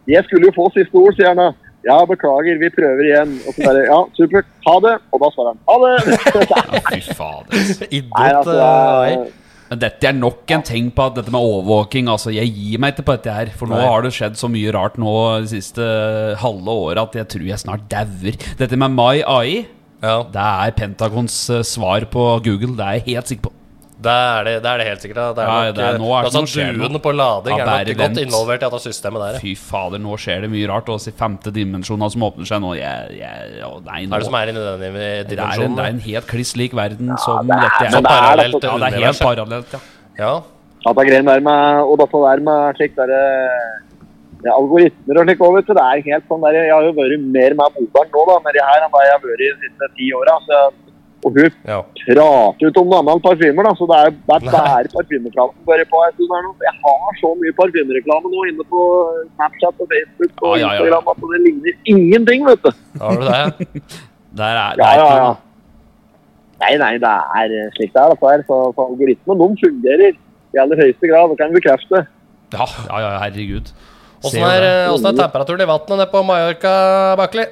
Speaker 7: jeg skulle jo få siste ord, sier han da. Ja, beklager, vi prøver igjen. Og så bare ja, supert. Ha det. Og da svarer han ha det.
Speaker 6: *laughs*
Speaker 7: *laughs*
Speaker 5: Ja, fy fader.
Speaker 7: Nei,
Speaker 6: Idiot.
Speaker 7: altså,
Speaker 6: eh,
Speaker 7: det er-
Speaker 6: AI.
Speaker 5: Men dette er nok en ting på at dette med overvåking. Altså, jeg gir meg ikke på dette her. For nå
Speaker 6: Nei.
Speaker 5: har det skjedd så mye rart nå det siste eh, halve året at jeg tror jeg snart dauer. Dette med My AI,
Speaker 6: Ja.
Speaker 5: det er Pentagons eh, svar på Google. Det er jeg helt sikker på.
Speaker 6: Det er det, det er det helt sikkert. da. Det er
Speaker 5: Ja,
Speaker 6: nok,
Speaker 5: det er- nå er det
Speaker 6: altså,
Speaker 5: noe skjer nå.
Speaker 6: duen på
Speaker 5: Ja,
Speaker 6: lading er nok
Speaker 5: bare
Speaker 6: godt
Speaker 5: vent.
Speaker 6: involvert i dette systemet der. ja.
Speaker 5: Fy fader, nå skjer det mye rart. Og så femte dimensjoner som åpner seg nå. Jeg, jeg, å, nei, nå.
Speaker 6: Hva er det som er inni den
Speaker 5: Det er en, det er
Speaker 6: dimensjonen?
Speaker 5: en helt kliss lik verden som dette er.
Speaker 6: Så
Speaker 7: men det er
Speaker 6: parallelt
Speaker 7: altså-
Speaker 6: til
Speaker 5: Ja, det er helt
Speaker 6: universet.
Speaker 5: parallelt, ja.
Speaker 6: Ja.
Speaker 7: Ja, det er greien der med, og dette der med slik der, ja, algoritmer og slik over, så det er helt sånn der, jeg har jo vært mer med moderen nå da, med det her enn det jeg har vært i de siste ti årene, så, og hun
Speaker 6: ja.
Speaker 7: prater ut om noen annen parfymer da, så det er, det er bare parfymerklamen som bare på en stund her nå. Jeg har så mye parfymerreklame nå inne på Snapchat og Facebook og
Speaker 5: Ja, ja, ja.
Speaker 7: Instagram, at det ligner ingenting, vet du.
Speaker 6: Har
Speaker 5: *laughs*
Speaker 6: du det?
Speaker 5: Der er, det
Speaker 7: Ja,
Speaker 5: er
Speaker 7: ja,
Speaker 5: ikke
Speaker 7: ja.
Speaker 5: noe-
Speaker 7: Nei, nei, det er slik det er, dette her, så, så algoritmen, de fungerer i aller høyeste grad, det kan jeg bekrefte.
Speaker 5: Ja, ja, ja, herregud.
Speaker 6: Åssen
Speaker 5: Ser jo
Speaker 6: er,
Speaker 5: det.
Speaker 6: eh, åssen er temperaturen i vannet nede på Mallorca, Bakli?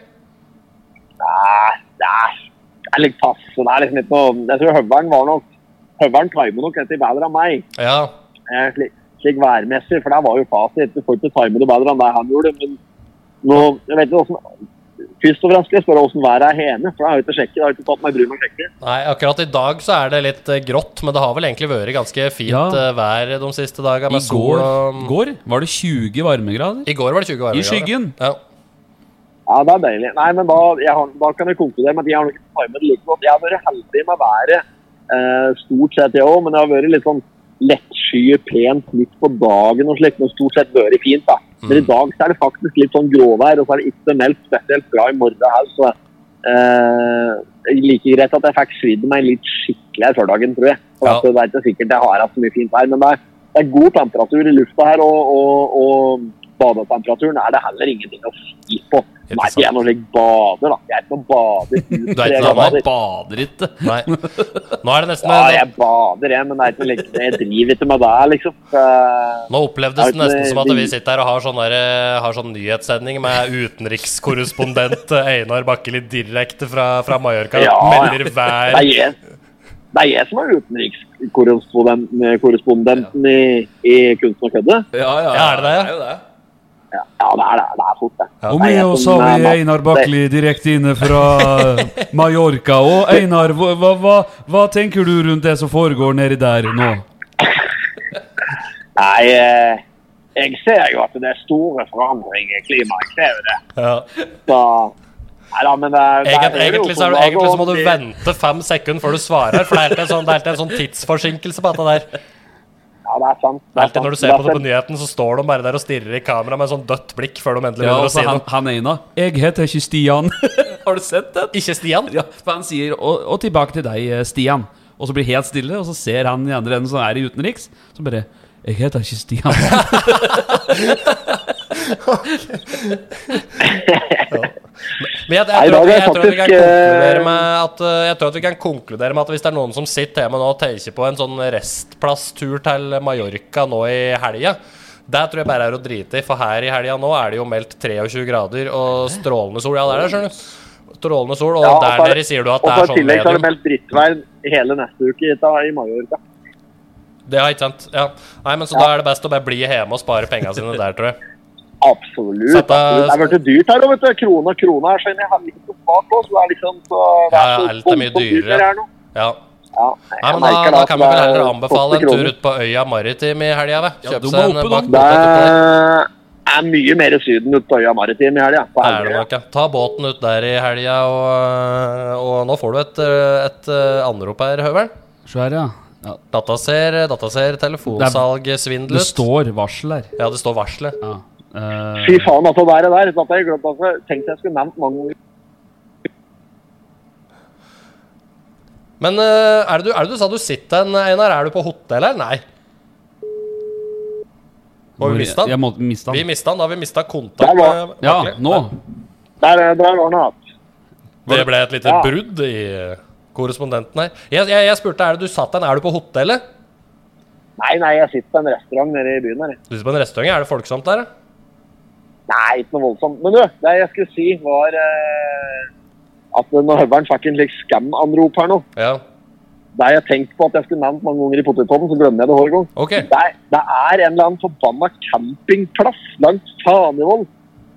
Speaker 7: Nei, det er, det er litt pass. så Det er liksom ikke noe Jeg tror høveren var nok Høveren timer nok dette bedre enn meg,
Speaker 6: Ja.
Speaker 7: eh, slik, slik værmessig. For der var jo fasit. Du får ikke time det bedre enn det han gjorde. Men nå Jeg vet ikke åssen Først og fremst skal jeg spørre åssen været er hjemme, for det har jeg jo ikke sjekket. Jeg har ikke tatt meg bryet med å sjekke.
Speaker 6: Nei, akkurat i dag så er det litt eh, grått, men det har vel egentlig vært ganske fint
Speaker 5: Ja.
Speaker 6: eh, vær de siste dagene.
Speaker 5: I
Speaker 6: med sol
Speaker 5: går,
Speaker 6: og-
Speaker 5: går var det 20 varmegrader.
Speaker 6: I går var det 20 varmegrader.
Speaker 5: I skyggen.
Speaker 6: Ja.
Speaker 7: Ja, det er deilig. Nei, men da, jeg har, da kan jeg konkludere med at jeg har nok ikke timet det like godt. Jeg har vært heldig med været eh, stort sett, jeg òg, men det har vært litt sånn lettskyet, pent midt på dagen og slikt, men stort sett vært fint. da. Men i dag så er det faktisk litt sånn gråvær, og så er det ikke meldt spesielt bra i morgen her, så eh, like greit at jeg fikk svidd meg litt skikkelig her før dagen, tror jeg. For
Speaker 6: Ja.
Speaker 7: at det er ikke sikkert jeg har hatt så mye fint vær, men det er, det er god temperatur i lufta her, og, og, og badetemperaturen er det heller ingenting å si på.
Speaker 6: Helt
Speaker 7: Nei, jeg er noe slik bader, da. Jeg er ikke noe
Speaker 6: *laughs*
Speaker 7: bader.
Speaker 6: Du er ikke noe
Speaker 5: Han bader ikke. *laughs*
Speaker 6: Nei. Nå er det nesten
Speaker 7: Ja, jeg bader, jeg, men det er ikke like, jeg driver ikke med det, liksom. Eh,
Speaker 6: Nå opplevdes
Speaker 7: Er
Speaker 6: det
Speaker 7: det
Speaker 6: nesten som at
Speaker 7: de-
Speaker 6: vi sitter her og har sånn, der, har sånn nyhetssending med utenrikskorrespondent *laughs* Einar Bakkeli direkte fra, fra Mallorca.
Speaker 7: Ja, ja.
Speaker 6: melder
Speaker 7: Det
Speaker 6: hver
Speaker 7: er jeg, det er jeg som er utenrikskorrespondenten i, i Kunsten og kødde.
Speaker 5: Ja, ja,
Speaker 6: Ja, er det det?
Speaker 5: jo det.
Speaker 7: Ja, ja, det er det. Det er fort, det.
Speaker 5: Og
Speaker 7: Det er
Speaker 5: med
Speaker 7: jeg
Speaker 5: oss
Speaker 7: som,
Speaker 5: har vi
Speaker 7: eh,
Speaker 5: Einar
Speaker 7: det-
Speaker 5: Bakli direkte inne
Speaker 7: *laughs*
Speaker 5: fra Mallorca. Og Einar, hva, hva, hva, hva tenker du rundt det som foregår nedi der nå?
Speaker 7: Nei, eh, jeg ser jo at det er store forandringer i klimaet. Jeg ser jo det.
Speaker 6: ja.
Speaker 7: Så, nei da, men det, er- det er
Speaker 6: Egent,
Speaker 7: jo
Speaker 6: egentlig, så
Speaker 7: som
Speaker 6: er, du-
Speaker 7: det-
Speaker 6: egentlig så må du vente fem sekunder før du svarer, for det er alltid en sånn, det er alltid en sånn tidsforsinkelse på dette der.
Speaker 7: Ja, det er sant.
Speaker 6: Det er alltid når du ser på det på
Speaker 7: nytt.
Speaker 6: nyheten, så står de bare der og stirrer i kamera med en sånn dødt blikk før de endelig
Speaker 5: Ja,
Speaker 6: begynner å
Speaker 5: altså,
Speaker 6: si
Speaker 5: han,
Speaker 6: noe.
Speaker 5: han ene. Jeg heter ikke Stian. *laughs* har du sett den?
Speaker 6: Ikke Stian?
Speaker 5: *laughs* Ja, for han sier og, og tilbake til deg, eh, Stian. Og så blir det helt stille, og så ser han i andre enden som er i utenriks, så bare Jeg heter ikke Stian.
Speaker 6: Men jeg, jeg,
Speaker 7: Nei, i
Speaker 6: tror at,
Speaker 7: dag
Speaker 6: vi-
Speaker 7: er
Speaker 6: jeg, tror at vi kan
Speaker 7: faktisk,
Speaker 6: konkludere
Speaker 7: eh,
Speaker 6: med at eh, Jeg tror at vi kan konkludere med at hvis det er noen som sitter hjemme nå og tenker på en sånn restplasstur til Mallorca nå i helga det tror jeg bare er å drite i, for her i helga nå er det jo meldt 23 grader og strålende sol. Ja, det er det, skjønner du. Strålende sol, og
Speaker 7: Ja, og så
Speaker 6: der
Speaker 7: er det-
Speaker 6: nede sier du at
Speaker 7: Og
Speaker 6: det
Speaker 7: så
Speaker 6: er
Speaker 7: I
Speaker 6: sånn
Speaker 7: tillegg så er det
Speaker 6: medium.
Speaker 7: meldt drittvær hele neste uke i ta- i Mallorca.
Speaker 6: Det er ikke sant. Ja. Nei, men så da er det best å bare bli hjemme og spare pengene sine der, tror jeg. Så
Speaker 7: Absolutt.
Speaker 6: at eh, det-
Speaker 7: absolutt. Det er blitt dyrt her, vet du. Krone og krone her, skjønner jeg. Har litt opp bak oss. Det er liksom så det
Speaker 6: Ja,
Speaker 7: så
Speaker 6: ja, alt er mye
Speaker 7: voldsomt dyrt
Speaker 6: dyrere.
Speaker 7: her nå.
Speaker 6: Ja.
Speaker 7: Ja,
Speaker 6: Nei,
Speaker 7: jeg
Speaker 6: men da,
Speaker 7: merker
Speaker 6: da
Speaker 7: at
Speaker 6: kan man
Speaker 7: det
Speaker 6: vel
Speaker 7: er
Speaker 6: heller anbefale
Speaker 7: 8
Speaker 6: en tur
Speaker 7: kroner.
Speaker 6: ut på øya Maritim i helga, vel?
Speaker 5: Ja, du
Speaker 6: Kjøpe
Speaker 5: må
Speaker 6: seg en
Speaker 5: opp og
Speaker 6: bak
Speaker 5: da.
Speaker 7: Det
Speaker 6: der.
Speaker 7: er mye mer i Syden utpå øya Maritim i helga. på
Speaker 6: Er det
Speaker 7: helger, ja.
Speaker 6: nok, ja. Ta båten ut der i helga, og, og nå får du et, et eh, anrop her, Høveren.
Speaker 5: Så er det, ja. ja.
Speaker 6: Dataser, dataser, telefonsalg, svindel.
Speaker 5: Det står varsel her.
Speaker 6: Ja, det står varselet.
Speaker 5: Ja. Eh,
Speaker 7: Fy faen, altså. Der og der. Da hadde jeg glemt, altså. Tenkte jeg skulle nevnt mange ganger.
Speaker 6: Men eh, er det, du, er det du sa du sitter en, Einar? Er du på hotell her? Nei. Må vi miste
Speaker 5: Jeg
Speaker 6: han?
Speaker 5: må miste
Speaker 6: Vi
Speaker 5: han.
Speaker 6: mista han, da har vi mista kontakt.
Speaker 7: Der var-
Speaker 6: med
Speaker 5: Ja,
Speaker 6: Bakle.
Speaker 5: nå.
Speaker 7: Der, eh, der var han hatt.
Speaker 6: Det ble et lite
Speaker 7: Ja.
Speaker 6: brudd i korrespondenten her. Jeg, jeg, jeg spurte er det du satt en, er du på hotellet?
Speaker 7: Nei, nei, jeg sitter på en restaurant nede i byen her. jeg.
Speaker 6: Du sitter på en restaurant, er det folksomt der? da?
Speaker 7: Nei, ikke noe voldsomt. Men du, det jeg skulle si var eh, at når Høveren fikk en slik skam-anrop her nå,
Speaker 6: Ja.
Speaker 7: det jeg tenkte på at jeg skulle nevnt mange ganger i potetpodden, så glemmer jeg det hver gang.
Speaker 6: Ok.
Speaker 7: Det er, det er en eller annen forbanna campingplass langs Fanevold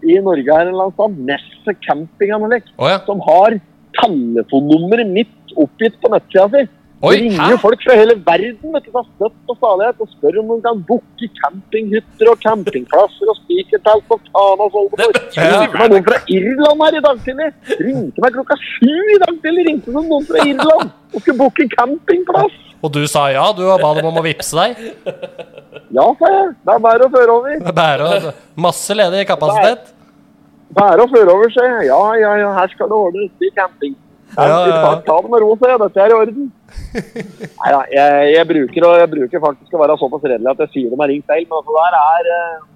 Speaker 7: i Norge her en eller annen sted, Nesset campinganlegg,
Speaker 6: Å ja.
Speaker 7: som har telefonnummeret mitt oppgitt på nettsida si.
Speaker 6: Oi,
Speaker 7: det ringer
Speaker 6: hæ?
Speaker 7: jo folk fra hele verden vet du, fra støtt og stadighet og spør om de kan booke campinghytter og campingplasser og spikertelt og faen og sånt. Det ringte meg noen fra Irland her i dag tidlig. Ringte meg klokka sju i dag tidlig. Ringte meg noen fra Irland og skulle booke campingplass.
Speaker 6: Og du sa ja, du og ba dem om å vippse deg.
Speaker 7: Ja, sa jeg. Det er bare å føre over.
Speaker 6: Det er Bare å- masse ledig kapasitet.
Speaker 7: Bære og føre over seg. Ja, ja, ja, her skal det ordnes i camping. Ja,
Speaker 6: Ja, ja, ja.
Speaker 7: Ta det med ro, sier jeg. Dette er i
Speaker 6: *laughs*
Speaker 7: orden. Nei da, jeg, jeg, bruker, å- jeg bruker faktisk å være såpass redelig at jeg sier de har ringt feil, men altså, der er eh,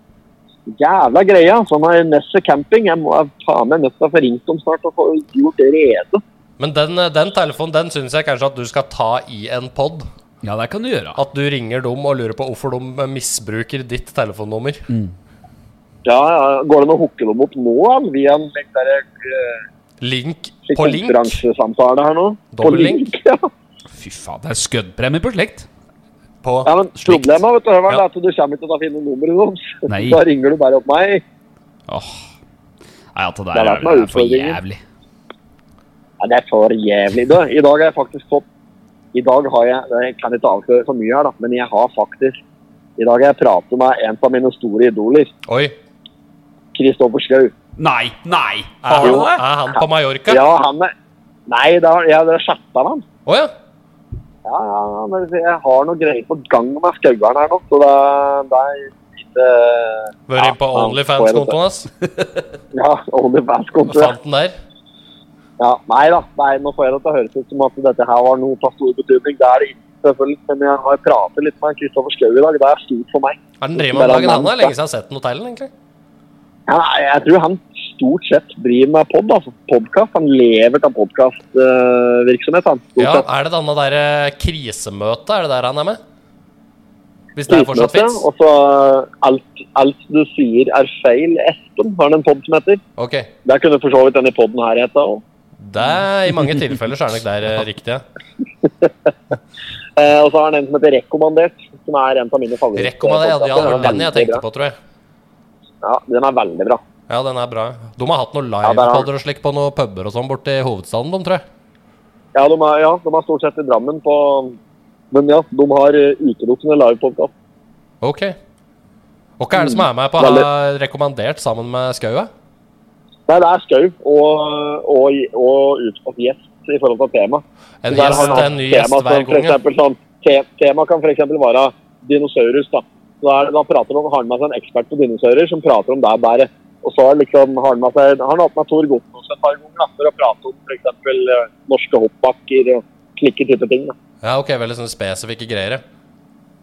Speaker 7: jævla greia. Sånn er Nesset camping. Jeg må jeg faen meg nødt til å få ringt dem snart og få gjort det rede.
Speaker 6: Men den, eh, den telefonen den syns jeg kanskje at du skal ta i en pod.
Speaker 5: Ja, det kan du gjøre.
Speaker 6: At du ringer dem og lurer på hvorfor de misbruker ditt telefonnummer.
Speaker 7: Ja, ja. Går det an å hooke dem opp nå, da? Via en slik der, eh,
Speaker 6: Link
Speaker 7: slik
Speaker 6: på link.
Speaker 7: konferansesamtale her nå? På
Speaker 6: Dobbel link?
Speaker 7: Ja.
Speaker 5: Fy faen, det er skuddpremie på slikt.
Speaker 6: På
Speaker 7: Ja, men
Speaker 6: slikt.
Speaker 7: Problemet vet du, Høveren,
Speaker 6: Ja.
Speaker 7: er at du kommer ikke til å finne nummeret deres.
Speaker 5: Nei.
Speaker 7: Da ringer du bare opp meg.
Speaker 5: Åh. Nei, at det
Speaker 7: Det
Speaker 5: der
Speaker 7: er
Speaker 5: er,
Speaker 7: det som er
Speaker 5: det er for
Speaker 7: utfordringen.
Speaker 5: jævlig.
Speaker 7: Ja, det er for jævlig. Du, I dag har jeg faktisk fått I dag har jeg Jeg kan ikke avsløre for mye her, da, men jeg har faktisk I dag har jeg pratet med en av mine store idoler,
Speaker 6: Oi.
Speaker 7: Kristoffer Schou.
Speaker 5: Nei, nei!
Speaker 6: Er,
Speaker 7: du
Speaker 6: er han på Mallorca? Å ja.
Speaker 7: Ja, han er Nei, det har, jeg har chatta med han. Ja, ja, men jeg har noe greier på gang med skaueren her nå, så det, det er ikke
Speaker 6: Vært inn på
Speaker 7: Ja, han-
Speaker 6: Onlyfans-kontoen hans?
Speaker 7: Ja, OnlyFans-kontoen.
Speaker 6: Fant den der?
Speaker 7: Ja, nei da, nei, nå får jeg det til å høres ut som at dette her var noe av stor betydning. Det er det ikke, selvfølgelig. Men jeg har pratet litt med Kristoffer Schou i dag. Det er stort for meg.
Speaker 6: Er den driver med om dagen? Han har lenge siden jeg har sett den hotellen, egentlig.
Speaker 7: Ja, nei, jeg tror han stort sett driver med pod, altså. Podcast. Han lever av podkastvirksomhet, han. Stort
Speaker 6: Ja,
Speaker 7: sett.
Speaker 6: er det denne derre krisemøtet? Er det der han er med? Hvis det er fortsatt
Speaker 7: Utmøte,
Speaker 6: fins?
Speaker 7: Og så alt, alt du sier er feil. Espen har han en pod som heter.
Speaker 6: Ok.
Speaker 7: Der kunne for så vidt denne poden her heta òg.
Speaker 6: Det er, I mange tilfeller så er det nok der
Speaker 7: *laughs*
Speaker 6: eh, riktig. ja.
Speaker 7: Eh, og så har han en som heter Rekommandert, som er en av mine favoritter.
Speaker 6: Rekommander. Ja, det var den jeg tenkte på, tror jeg.
Speaker 7: Ja, den er veldig bra.
Speaker 6: Ja, den er bra. De har hatt noen
Speaker 7: Ja, der er
Speaker 6: livepoder og slik på noen puber og sånn borti hovedstaden, de, tror jeg.
Speaker 7: Ja, de er, ja, de er stort sett i Drammen på Men ja, de har eh, utelukkende livepodkast.
Speaker 6: Ok. Og hva er det som er med på å ha
Speaker 7: Mm.
Speaker 6: rekommandert sammen med Skaua?
Speaker 7: Nei, det er Skau og, og, og utsatt gjest i forhold til tema.
Speaker 6: En,
Speaker 7: Så der har
Speaker 6: gjest,
Speaker 7: han hatt
Speaker 6: en ny gjest
Speaker 7: tema
Speaker 6: hver
Speaker 7: som for
Speaker 6: gang. ja.
Speaker 7: eksempel Sånn, te, tema kan f.eks. være dinosaurus. Da, så da, er, da prater han, har han med seg en ekspert på dinosaurer som prater om det bæret. Og så er liksom, har han med seg, har han hatt med Tor Gottmos et par ganger da, for eh, å prate om f.eks. norske hoppbakker og slike type ting. Da.
Speaker 6: Ja, ok, veldig sånne spesifikke greier. ja.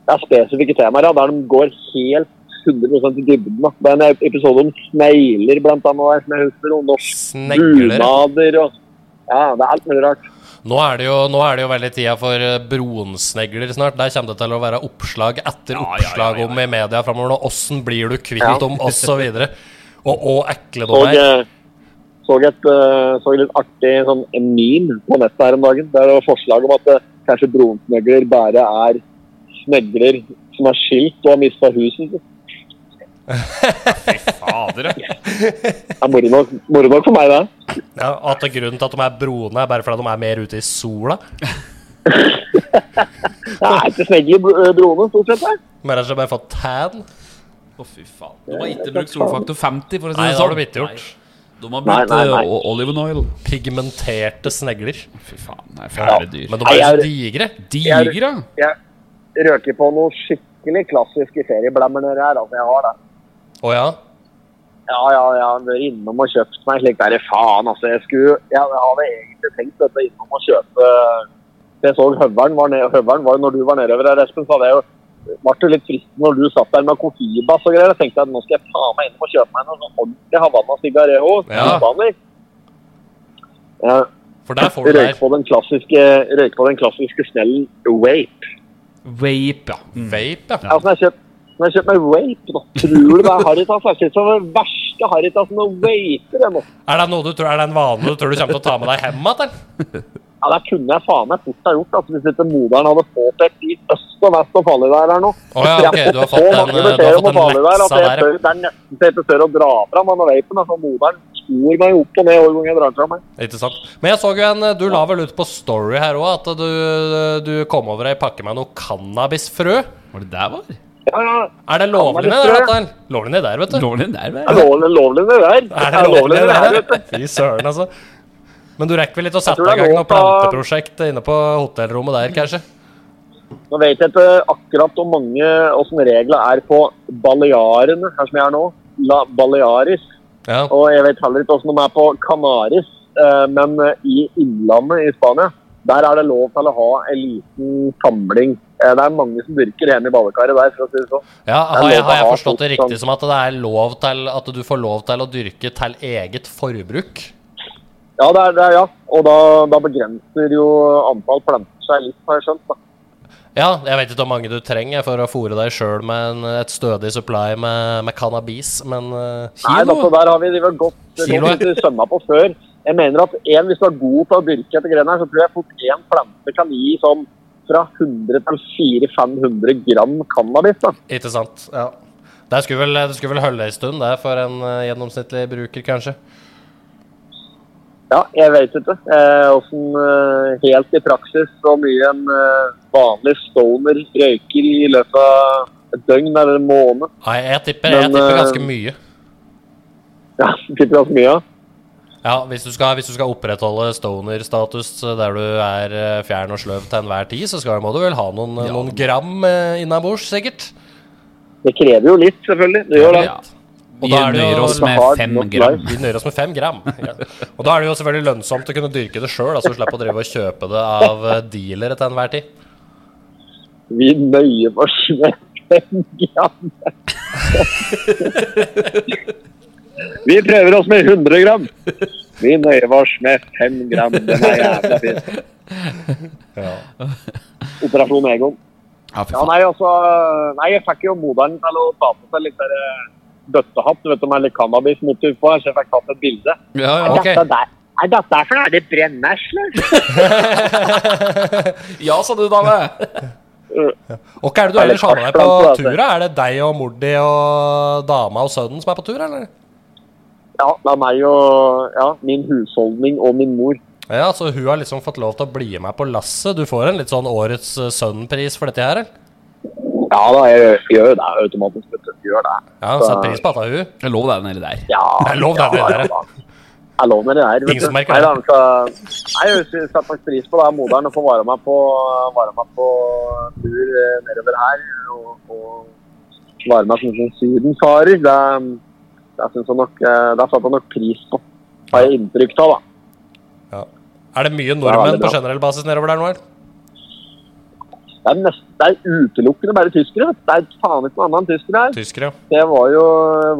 Speaker 7: Det er spesifikke temaer ja, der de går helt 100 i dybden. Da. Det er en episode om snegler, blant annet, som jeg husker. Og norsk
Speaker 6: Snegler. ja.
Speaker 7: bunader og Ja, det er alt mulig rart.
Speaker 6: Nå er, det jo, nå er det jo veldig tida for eh, bronsnegler snart. Der kommer det til å være oppslag etter oppslag om i media framover. Åssen blir du kvitt
Speaker 7: Ja.
Speaker 6: dem, osv. Og hvor ekle de
Speaker 7: Og
Speaker 6: er.
Speaker 7: eh, så et eh, så litt artig sånn en meme på nettet her om dagen. Der det var forslag om at eh, kanskje bronsnegler bare er snegler som er skilt og har mista huset sitt.
Speaker 5: Fader, ja.
Speaker 7: Det er moro nok, moro nok for meg, det.
Speaker 6: Ja, at det er grunnen til at de er broene, er bare fordi de er mer ute i sola.
Speaker 7: Det er ikke snegler i bro- eh, broene, stort sett. det.
Speaker 6: Men ellers har de bare fått tan.
Speaker 5: Å, fy faen. De har ikke brukt solfaktor 50, for å si
Speaker 6: Nei,
Speaker 5: det
Speaker 6: det har
Speaker 5: sånn.
Speaker 6: de ikke gjort.
Speaker 5: Nei, De har
Speaker 7: Nei,
Speaker 5: brukt
Speaker 7: nei, nei.
Speaker 5: eh, o- olive oil.
Speaker 6: Pigmenterte snegler.
Speaker 5: Fy faen, det er fæle dyr.
Speaker 6: Men de
Speaker 7: Nei,
Speaker 6: er
Speaker 7: jeg-
Speaker 6: jo så digre.
Speaker 5: Digre, ja.
Speaker 7: Jeg røker på noe skikkelig klassiske ferieblemmer nede her. Altså, jeg har det.
Speaker 6: Å ja.
Speaker 7: Ja, ja, jeg har vært innom og kjøpt meg slik der, faen altså. Jeg skulle, jeg hadde egentlig tenkt dette innom å kjøpe Jeg så høveren var nede, høveren var jo når du var nedover her, Espen, så hadde jeg jo ble det litt fristende når du satt der med Kofibass og greier. Jeg tenkte at nå skal jeg faen meg innom og kjøpe meg noe sånn ordentlig Havanna Cigareo.
Speaker 6: Ja.
Speaker 7: Cubaner. Ja.
Speaker 6: For der får du
Speaker 7: Røyk
Speaker 6: der
Speaker 7: på den klassiske, røyk på den klassiske snellen Wape.
Speaker 5: Vape, ja. Mm.
Speaker 6: vape, ja.
Speaker 7: Ja, som Altså, jeg har kjøpt som jeg har kjøpt meg Wape, da. Tror du det er Haritas? Jeg synes det er den verste Haritasen å wape det nå.
Speaker 6: Er det noe du tror er det en vane du tror du kommer til å ta med deg hjem igjen?
Speaker 7: Ja, Det kunne jeg faen meg fort ha gjort altså, hvis ikke moderen hadde påpekt i øst og vest og farlig der her nå.
Speaker 6: Å ja, ok, du har
Speaker 7: Så
Speaker 6: fått en,
Speaker 7: mange
Speaker 6: du har
Speaker 7: beskjeder
Speaker 6: fått
Speaker 7: om
Speaker 6: en
Speaker 7: farlig der at
Speaker 6: leksa
Speaker 7: jeg
Speaker 6: der. ja.
Speaker 7: tør, det er nesten så jeg ikke tør å dra fram denne vapen. Altså, moderen skor meg opp og ned hver gang jeg drar fram. her.
Speaker 6: Ikke sant. Men jeg så jo en Du la vel ut på Story her òg at du, du kom over ei pakke med noe cannabisfrø.
Speaker 5: Var det der var?
Speaker 7: Ja, ja.
Speaker 6: Er det lovlig ned der? Atle? Lovlig ned der, vet du.
Speaker 5: Lå den der,
Speaker 7: Det
Speaker 5: vel?
Speaker 7: er lovlig, lovlig det der.
Speaker 6: Er det lovlig
Speaker 7: det der,
Speaker 6: ned
Speaker 7: vet du.
Speaker 6: der? Fy søren, altså. Men du rekker vel litt å sette
Speaker 7: tror
Speaker 6: i
Speaker 7: det er
Speaker 6: gang noe
Speaker 7: lov å-
Speaker 6: planteprosjekt inne på hotellrommet der, kanskje?
Speaker 7: Nå vet jeg ikke akkurat hvor mange åssen reglene er på Balearene, her som jeg er nå. La Balearis.
Speaker 6: Ja.
Speaker 7: Og jeg vet heller ikke hvordan de er på Canaris, eh, men eh, i Innlandet i Spania, der er det lov til å ha en liten samling. Eh, Det er mange som dyrker hjemme i badekaret der, for å si det sånn.
Speaker 6: Ja,
Speaker 7: er
Speaker 6: har jeg, har jeg
Speaker 7: lov å ha sånn-
Speaker 6: forstått det
Speaker 7: folk
Speaker 6: riktig
Speaker 7: som-
Speaker 6: som at det er lov til at du får lov til å dyrke til eget forbruk?
Speaker 7: Ja, det er, det er, ja. og da, da begrenser jo antall planter seg litt, har jeg skjønt. Da.
Speaker 6: Ja, jeg vet ikke hvor mange du trenger for å fôre deg sjøl med en, et stødig supply med, med cannabis, men eh,
Speaker 7: Nei, da, så der har vi, vi har gått,
Speaker 6: Kilo, ja.
Speaker 7: gått litt sømma på før. Jeg mener at en, hvis du er god til å dyrke etter greiene her, så tror jeg fort én plante kan gi sånn fra 100 til 400-500 gram cannabis. da.
Speaker 6: ikke sant? Ja. Det skulle vel, det skulle vel holde ei stund, det, for en eh, gjennomsnittlig bruker, kanskje?
Speaker 7: Ja, jeg vet ikke. Eh, hvordan, eh, helt i praksis så mye en eh, vanlig stoner røyker i løpet av et døgn eller en måned. *laughs*
Speaker 6: Nei, jeg tipper, jeg
Speaker 7: Men,
Speaker 6: tipper
Speaker 7: eh,
Speaker 6: ganske mye.
Speaker 7: Ja, tipper ganske mye av.
Speaker 6: Ja, hvis du skal, hvis du skal opprettholde stoner-status eh, der du er eh, fjern og sløv til enhver tid, så skal, må du vel ha noen, eh, noen gram eh, innabords, sikkert?
Speaker 7: Det krever jo litt, selvfølgelig. Det gjør det.
Speaker 5: Ja.
Speaker 6: Og
Speaker 5: Vi
Speaker 6: da er det jo-
Speaker 5: nøyer oss med
Speaker 7: Hard
Speaker 5: fem
Speaker 7: knock
Speaker 5: gram.
Speaker 6: Vi nøyer oss med fem gram. Ja. Og da er det jo selvfølgelig lønnsomt å kunne dyrke det sjøl, så du slipper å drive og kjøpe det av eh, dealere til enhver tid.
Speaker 7: Vi nøyer oss med fem gram. *laughs* Vi prøver oss med 100 gram. Vi nøyer oss med 5 gram. Den er jævla fin. Operasjon Egon.
Speaker 5: Ja, fy
Speaker 7: Ja,
Speaker 5: faen.
Speaker 7: nei, altså Nei, jeg fikk jo moderen til å ta på seg litt der eh, bøttehatt, du vet om det er litt cannabis mot utpå her, så jeg fikk tatt et bilde.
Speaker 6: Ja, ja,
Speaker 7: Er *laughs*
Speaker 6: ok.
Speaker 7: dette der? Er dette der for noe? Er det brennesle?
Speaker 5: ja, sa du, dame.
Speaker 6: Og hva er det du
Speaker 7: Det er
Speaker 6: ellers har med
Speaker 7: litt
Speaker 6: deg på
Speaker 7: hardt, altså.
Speaker 6: tur? da? Er det deg og Mordi og dama og sønnen som er på tur, eller?
Speaker 7: Ja, det er meg og ja, min husholdning og min mor.
Speaker 6: Ja, så hun har liksom fått lov til å bli med på lasset. Du får en litt sånn Årets eh, sønn-pris for dette her, eller?
Speaker 7: Ja da, jeg gjør jo det automatisk. vet du. Jeg Gjør det.
Speaker 6: Ja, hun setter pris på at det er hun.
Speaker 5: Jeg lover deg den hele der.
Speaker 7: Ja,
Speaker 6: Det er lov, det er det der.
Speaker 7: Jeg lover det der. vet
Speaker 6: Ingen som
Speaker 7: du.
Speaker 6: merker
Speaker 7: Nei,
Speaker 6: det.
Speaker 7: da, men så, nei, jeg setter faktisk pris på det. Moderen å få være med på, være med på tur eh, nedover her. Og, og være med som en sydenfarer. Det, det syns jeg nok eh, Det setter jeg nok pris på. Har jeg inntrykk av, da.
Speaker 6: Ja. Er det mye
Speaker 7: Ja,
Speaker 6: nordmenn
Speaker 7: det er
Speaker 6: på
Speaker 7: bra.
Speaker 6: generell basis nedover der nå? eller?
Speaker 7: Det er, nest, det er utelukkende bare tyskere. vet du. Det er faen ikke noe annet enn tyskere her.
Speaker 6: Tyskere, ja.
Speaker 7: Det var jo,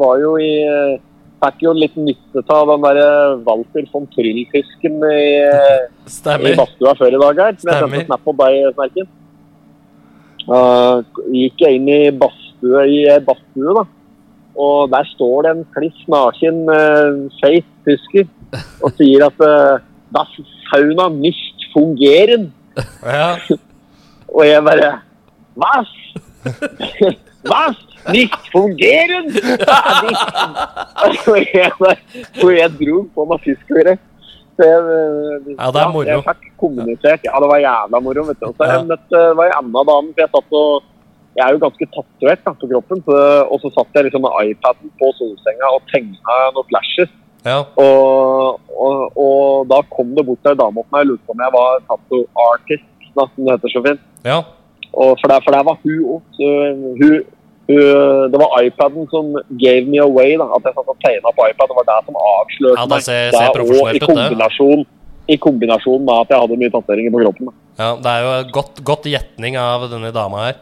Speaker 7: var jo i eh, Fikk jo litt nytte av den der eh, Walter von Trill-fisken i, eh, i
Speaker 6: Stemmer.
Speaker 7: badstua før i dag her. Som jeg
Speaker 6: Stemmer.
Speaker 7: sendte snap på deg, Snerken. Uh, gikk jeg inn i badstue i eh, badstue, da. Og der står det en kliss naken, eh, feit tysker og sier at eh, Das Sauna nicht fungerer.
Speaker 6: Ja.
Speaker 7: Og jeg bare *laughs* Was? Was? Nicht fungerer? *laughs* og, jeg bare- og jeg dro på meg fiskeøret. Så jeg, eh,
Speaker 6: Ja, det er moro.
Speaker 7: Jeg fikk kommunisert. Ja, det var jævla moro. vet du. Og så har jeg
Speaker 6: Ja.
Speaker 7: møtt eh, det var en annen dame, for jeg satt og jeg er jo ganske tatovert da, på kroppen, så, og så satt jeg liksom med iPaden på solsenga og tegna noen flashes.
Speaker 6: ja.
Speaker 7: Og, og, og da kom det bort ei dame opp meg og lurte på om jeg var tattoo artist, da, som det heter så fint.
Speaker 6: Ja.
Speaker 7: Og for, der, for der var hun òg. Det var iPaden som gave me away. da, At jeg satt og tegna på iPad. Det var det som avslørte
Speaker 6: Ja, det ser- ser
Speaker 7: Da,
Speaker 6: profesjonelt
Speaker 7: og i
Speaker 6: ut, det.
Speaker 7: kombinasjon, I kombinasjon med at jeg hadde mye tatoveringer på kroppen. da.
Speaker 6: ja. Det er jo et godt, godt gjetning av denne dama her.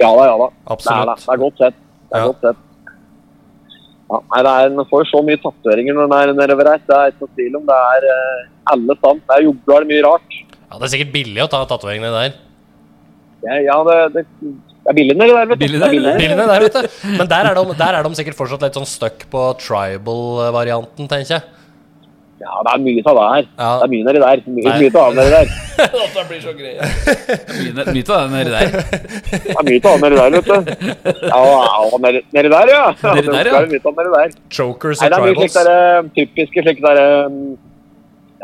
Speaker 7: Ja da, ja da. Det er, det.
Speaker 6: Absolutt.
Speaker 7: det er godt sett. Det er
Speaker 6: Ja.
Speaker 7: godt sett. Ja, nei, det er, en får jo så mye tatoveringer når en er nedover her. Det er ikke noe tvil om. Det er eh, alle sammen. Det er jogla mye rart.
Speaker 6: Ja, det er sikkert billig å ta tatoveringene der.
Speaker 7: Ja, ja det, det, det er billig nedi der, vet du.
Speaker 5: Billig
Speaker 7: Det er
Speaker 5: nedi der.
Speaker 6: Bilene der, vet du. Men der er, de, der er de sikkert fortsatt litt sånn stuck på tribal-varianten, tenker jeg.
Speaker 7: Ja, det er mye av det her.
Speaker 6: Ja.
Speaker 7: Det er mye nedi der. Mye,
Speaker 6: Nei.
Speaker 7: mye av det nedi der.
Speaker 5: Mye mye av den nedi der.
Speaker 7: Det er mye av det nedi der, vet du. Ja, ja nedi, nedi der, ja.
Speaker 5: Nedi der, ja.
Speaker 7: Det er mye av det nedi der.
Speaker 6: Chokers
Speaker 7: Nei,
Speaker 6: og
Speaker 7: det er mye
Speaker 6: tribals.
Speaker 7: slik der, eh, typiske slik der eh,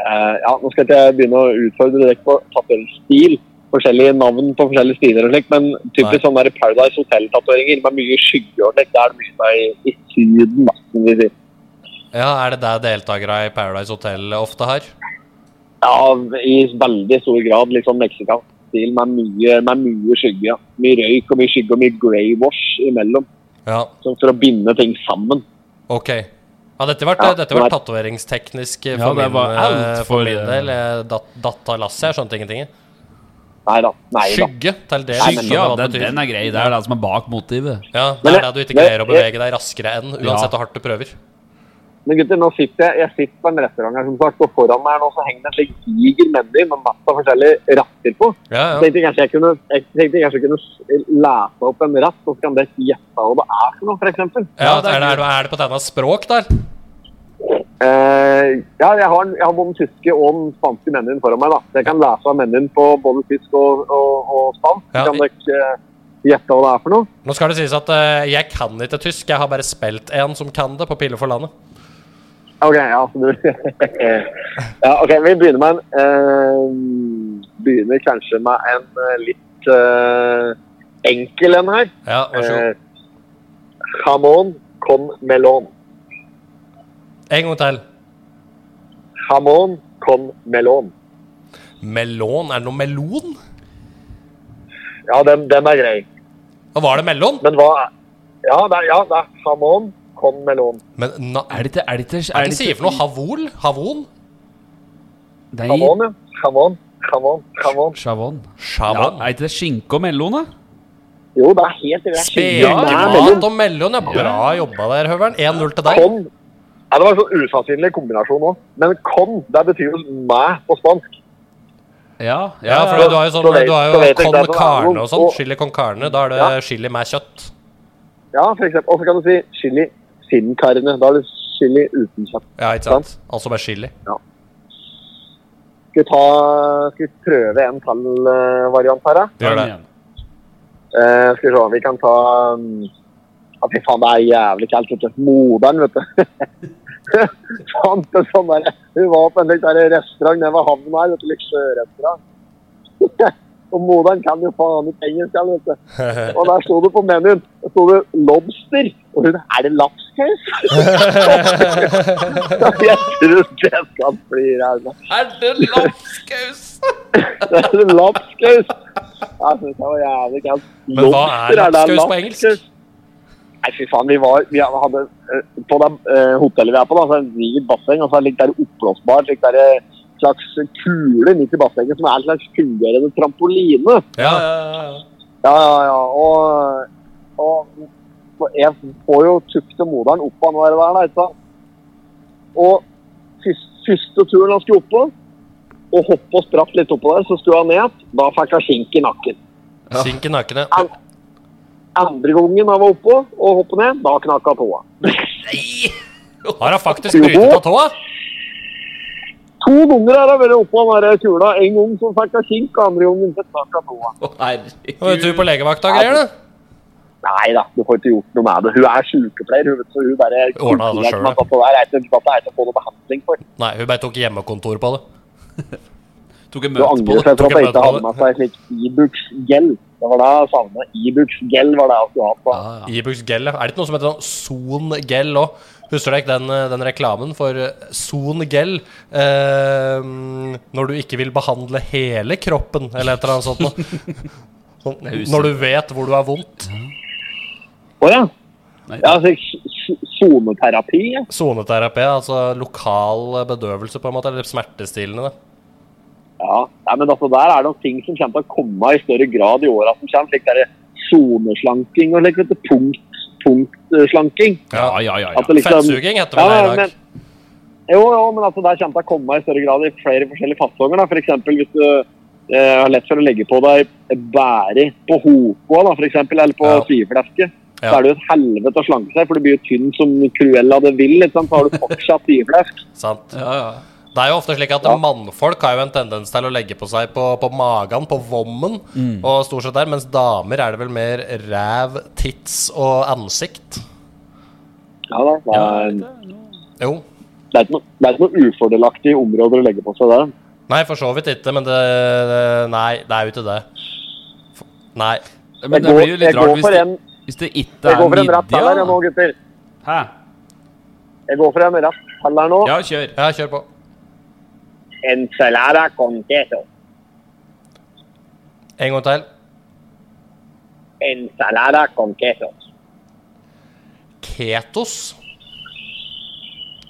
Speaker 7: eh, Ja, nå skal ikke jeg begynne å utfordre dere på tatoveringsstil. Forskjellige navn på forskjellige stiler og slik, men typisk sånne der Paradise Hotel-tatoveringer med mye skygge og slik. Det er det mye av i, i Syden, da, som vi sier.
Speaker 6: Ja, er det det deltakere i Paradise Hotel ofte har?
Speaker 7: Ja, i veldig stor grad liksom meksikansk stil med mye, med mye skygge. Ja. Mye røyk og mye skygge og mye greywash imellom.
Speaker 6: Ja,
Speaker 7: Sånn for å binde ting sammen.
Speaker 6: ok. Ja, dette ble,
Speaker 7: Ja,
Speaker 6: dette var
Speaker 7: det var-
Speaker 6: tatoveringsteknisk eh,
Speaker 5: Ja,
Speaker 6: for,
Speaker 5: det
Speaker 6: min,
Speaker 5: var
Speaker 6: eh,
Speaker 5: alt for-
Speaker 6: for min del. Jeg datt, datt av lasset, jeg skjønte ingenting. jeg.
Speaker 7: Nei da. Nei da.
Speaker 6: Skygge til det.
Speaker 7: Skygge,
Speaker 5: Ja, den, den er grei. Det er det som er bak motivet.
Speaker 6: Ja, det
Speaker 7: Men
Speaker 6: er
Speaker 7: jeg-
Speaker 6: det du ikke
Speaker 7: men
Speaker 6: greier å
Speaker 7: jeg-
Speaker 6: bevege deg raskere enn, uansett hvor hardt du prøver.
Speaker 7: Men gutter, nå sitter jeg, jeg sitter på en restaurant her, som sagt, og foran meg nå så henger det en slik diger meny med masse forskjellige retter på.
Speaker 6: Ja, ja.
Speaker 7: Jeg tenkte kanskje jeg kunne, jeg tenkte kanskje jeg kunne s- lese opp en rett, så kan dere gjette hva det er for noe, for eksempel.
Speaker 6: ja
Speaker 5: Ja, det er
Speaker 6: er, det, er, det- er det på tegna språk der?
Speaker 7: Eh, ja, jeg har, jeg har både den tyske og den spanske menyen foran meg, da. Så jeg kan lese av menyen på både tysk og, og, og spansk.
Speaker 6: Ja.
Speaker 7: Så kan dere eh, gjette hva det er for noe.
Speaker 6: Nå skal det sies at eh, jeg kan ikke tysk, jeg har bare spilt en som kan det, på Pille for landet.
Speaker 7: Ok, ja, så du... *laughs* ja, ok, vi begynner med en... eh, begynner kanskje med en eh, litt eh, enkel en her.
Speaker 6: Ja, vær så god.
Speaker 7: Eh, jamon con melon. Eh.
Speaker 6: En gang til.
Speaker 7: Jamon con melon.
Speaker 6: Melon? Er det noe melon?
Speaker 7: Ja, den, den er grei.
Speaker 6: Og var det melon?
Speaker 7: Men hva... er- Ja, det er, ja, det er jamon con melon.
Speaker 6: Men na,
Speaker 5: Er det ikke er det ikke- er
Speaker 6: Hva er
Speaker 5: det
Speaker 6: det den sier
Speaker 5: ikke-
Speaker 6: for noe? Havol? Havon?
Speaker 5: Nei,
Speaker 7: Jamon, ja. Jamon, jamon, jamon.
Speaker 5: Chavon. Ja,
Speaker 6: Shavon?
Speaker 5: er ikke det skinke og melon, da?
Speaker 7: Jo, det er helt rett.
Speaker 6: Spekemat og melon, ja. Bra jobba der, Høveren. 1-0 til deg.
Speaker 7: Con. Ja, det var en sånn usannsynlig kombinasjon òg. Men con, det betyr jo meg på spansk.
Speaker 5: Ja,
Speaker 6: Ja, for du har jo sånn
Speaker 7: Så vet-
Speaker 6: Du har
Speaker 7: så
Speaker 6: jo
Speaker 7: vet jeg ikke
Speaker 6: con
Speaker 7: at det er
Speaker 6: carne
Speaker 7: noe-
Speaker 6: og sånn.
Speaker 7: og-
Speaker 6: Chili con carne. Da er det
Speaker 7: Ja.
Speaker 6: chili med kjøtt.
Speaker 7: Ja, for eksempel. Og så kan du si chili sin carne. Da er det chili uten kjøtt.
Speaker 6: Ja, ikke sant? Altså med chili.
Speaker 7: Skal vi, ta, skal vi prøve en tall-variant her, da?
Speaker 6: Gjør det.
Speaker 7: Eh, skal vi se, vi kan ta um, ja, Fy faen, det er jævlig kaldt, vet du. Moderen, vet du. *laughs* Fant en sånn der, Hun var på en litt der restaurant nede ved havna her, vet du. Litt sjørestaurant. *laughs* og moderen kan jo faen ikke engelsk, han, vet du. Og der sto det på menyen der sto det 'lobster'. Og hun 'er det lapskaus?' *laughs* jeg tror det skal bli ræva.
Speaker 6: Er det lapskaus?
Speaker 7: Det er lapskaus. Jeg synes det var jævlig kaldt.
Speaker 6: Men hva er
Speaker 7: Lobster, det
Speaker 6: lapskaus på engelsk?
Speaker 7: Nei, fy faen, vi var vi hadde, eh, På det eh, hotellet vi er på, da, så er det et digert basseng, og så er det litt der oppblåsbar slik der, eh, slags kule midt i bassenget som er en slags fungerende trampoline.
Speaker 6: Ja.
Speaker 7: Ja, ja, ja. Og, og, og jeg får jo tukte moderen opp av noe der, da, ikke sant? Og fys- første turen han skulle oppå, og hoppe og spratt litt oppå der, så skulle han ned. Da fikk han skink i nakken.
Speaker 6: Sink i nakkene.
Speaker 7: Andre gangen han var oppå og hoppet ned, da knakk han tåa.
Speaker 6: Har han faktisk brytet på tåa?
Speaker 7: To ganger har han vært oppå den der kula. En gang så fikk han skink, og andre gangen så knakk han tåa.
Speaker 6: Var du tur på legevakta og greier, du?
Speaker 7: Nei da, du får ikke gjort noe med det. Hun er sykepleier, hun vet så hun bare
Speaker 6: Ordna det selv,
Speaker 7: At det der er ikke at det er ikke å få noe behandling for.
Speaker 6: Nei, hun bare tok hjemmekontor på det.
Speaker 5: Tok en
Speaker 7: Du
Speaker 5: møte på
Speaker 7: angrer
Speaker 5: det.
Speaker 7: seg for
Speaker 6: tok
Speaker 7: at jeg
Speaker 6: jeg
Speaker 7: ikke
Speaker 6: på
Speaker 7: hadde med seg slik Ibux-gel. Det var det jeg savnet. Ibux-gel var det jeg skulle ha på.
Speaker 6: Ibux gel, ja. Er det ikke noe som heter sånn Son gel òg? Husker du ikke den, eh, den reklamen for eh, Son gel? Eh, når du ikke vil behandle hele kroppen, eller et eller annet sånt noe. Sånn, når du vet hvor du har vondt.
Speaker 7: Å ja. Ja, slik s- soneterapi. ja.
Speaker 6: Soneterapi, altså lokal bedøvelse, på en måte. Eller smertestillende. da.
Speaker 7: Ja. Nei, men altså, der er det noen ting som kommer til å komme i større grad i åra som kommer. Slik der soneslanking og slik, vet du. Punkt, eh, punktslanking.
Speaker 5: Ja, ja, ja. ja.
Speaker 7: At det liksom-
Speaker 6: Fettsuging heter vel det i dag.
Speaker 7: men- jo, jo, men altså, der kommer det å komme i større grad i flere forskjellige fasonger. da. For eksempel hvis du eh, har lett for å legge på deg bære på hoka, da, for eksempel, eller på
Speaker 6: Ja.
Speaker 7: syfleske,
Speaker 6: Ja.
Speaker 7: så er det jo et helvete å slanke seg, for du blir jo tynn som Cruella det vil. Ikke sant? Så har du fortsatt syflesk.
Speaker 6: Sant.
Speaker 5: ja, ja.
Speaker 6: Det er jo ofte slik at mannfolk har jo en tendens til å legge på seg på, på magen, på vommen, og stort sett der, mens damer er det vel mer ræv, tits og ansikt.
Speaker 7: Ja, da, det, er,
Speaker 6: Jo.
Speaker 7: det, er ikke noe, det er ikke noe ufordelaktig områder å legge på seg der.
Speaker 6: Nei, for så vidt ikke, men det Nei, det er jo ikke det. F- Nei.
Speaker 5: Men
Speaker 7: Jeg
Speaker 5: det
Speaker 7: går,
Speaker 5: blir jo litt
Speaker 7: jeg går
Speaker 5: rart hvis
Speaker 7: for
Speaker 5: det,
Speaker 7: en,
Speaker 5: hvis det ikke
Speaker 7: jeg
Speaker 5: er
Speaker 7: går for en rett
Speaker 5: midja.
Speaker 7: tall her jeg nå, gutter.
Speaker 5: Hæ?
Speaker 7: Jeg går for en rett tall her nå.
Speaker 5: Ja, kjør.
Speaker 6: Ja, kjør på.
Speaker 7: Ensalada con queso.
Speaker 6: En gang til.
Speaker 7: Ensalada con queso.
Speaker 6: Ketos.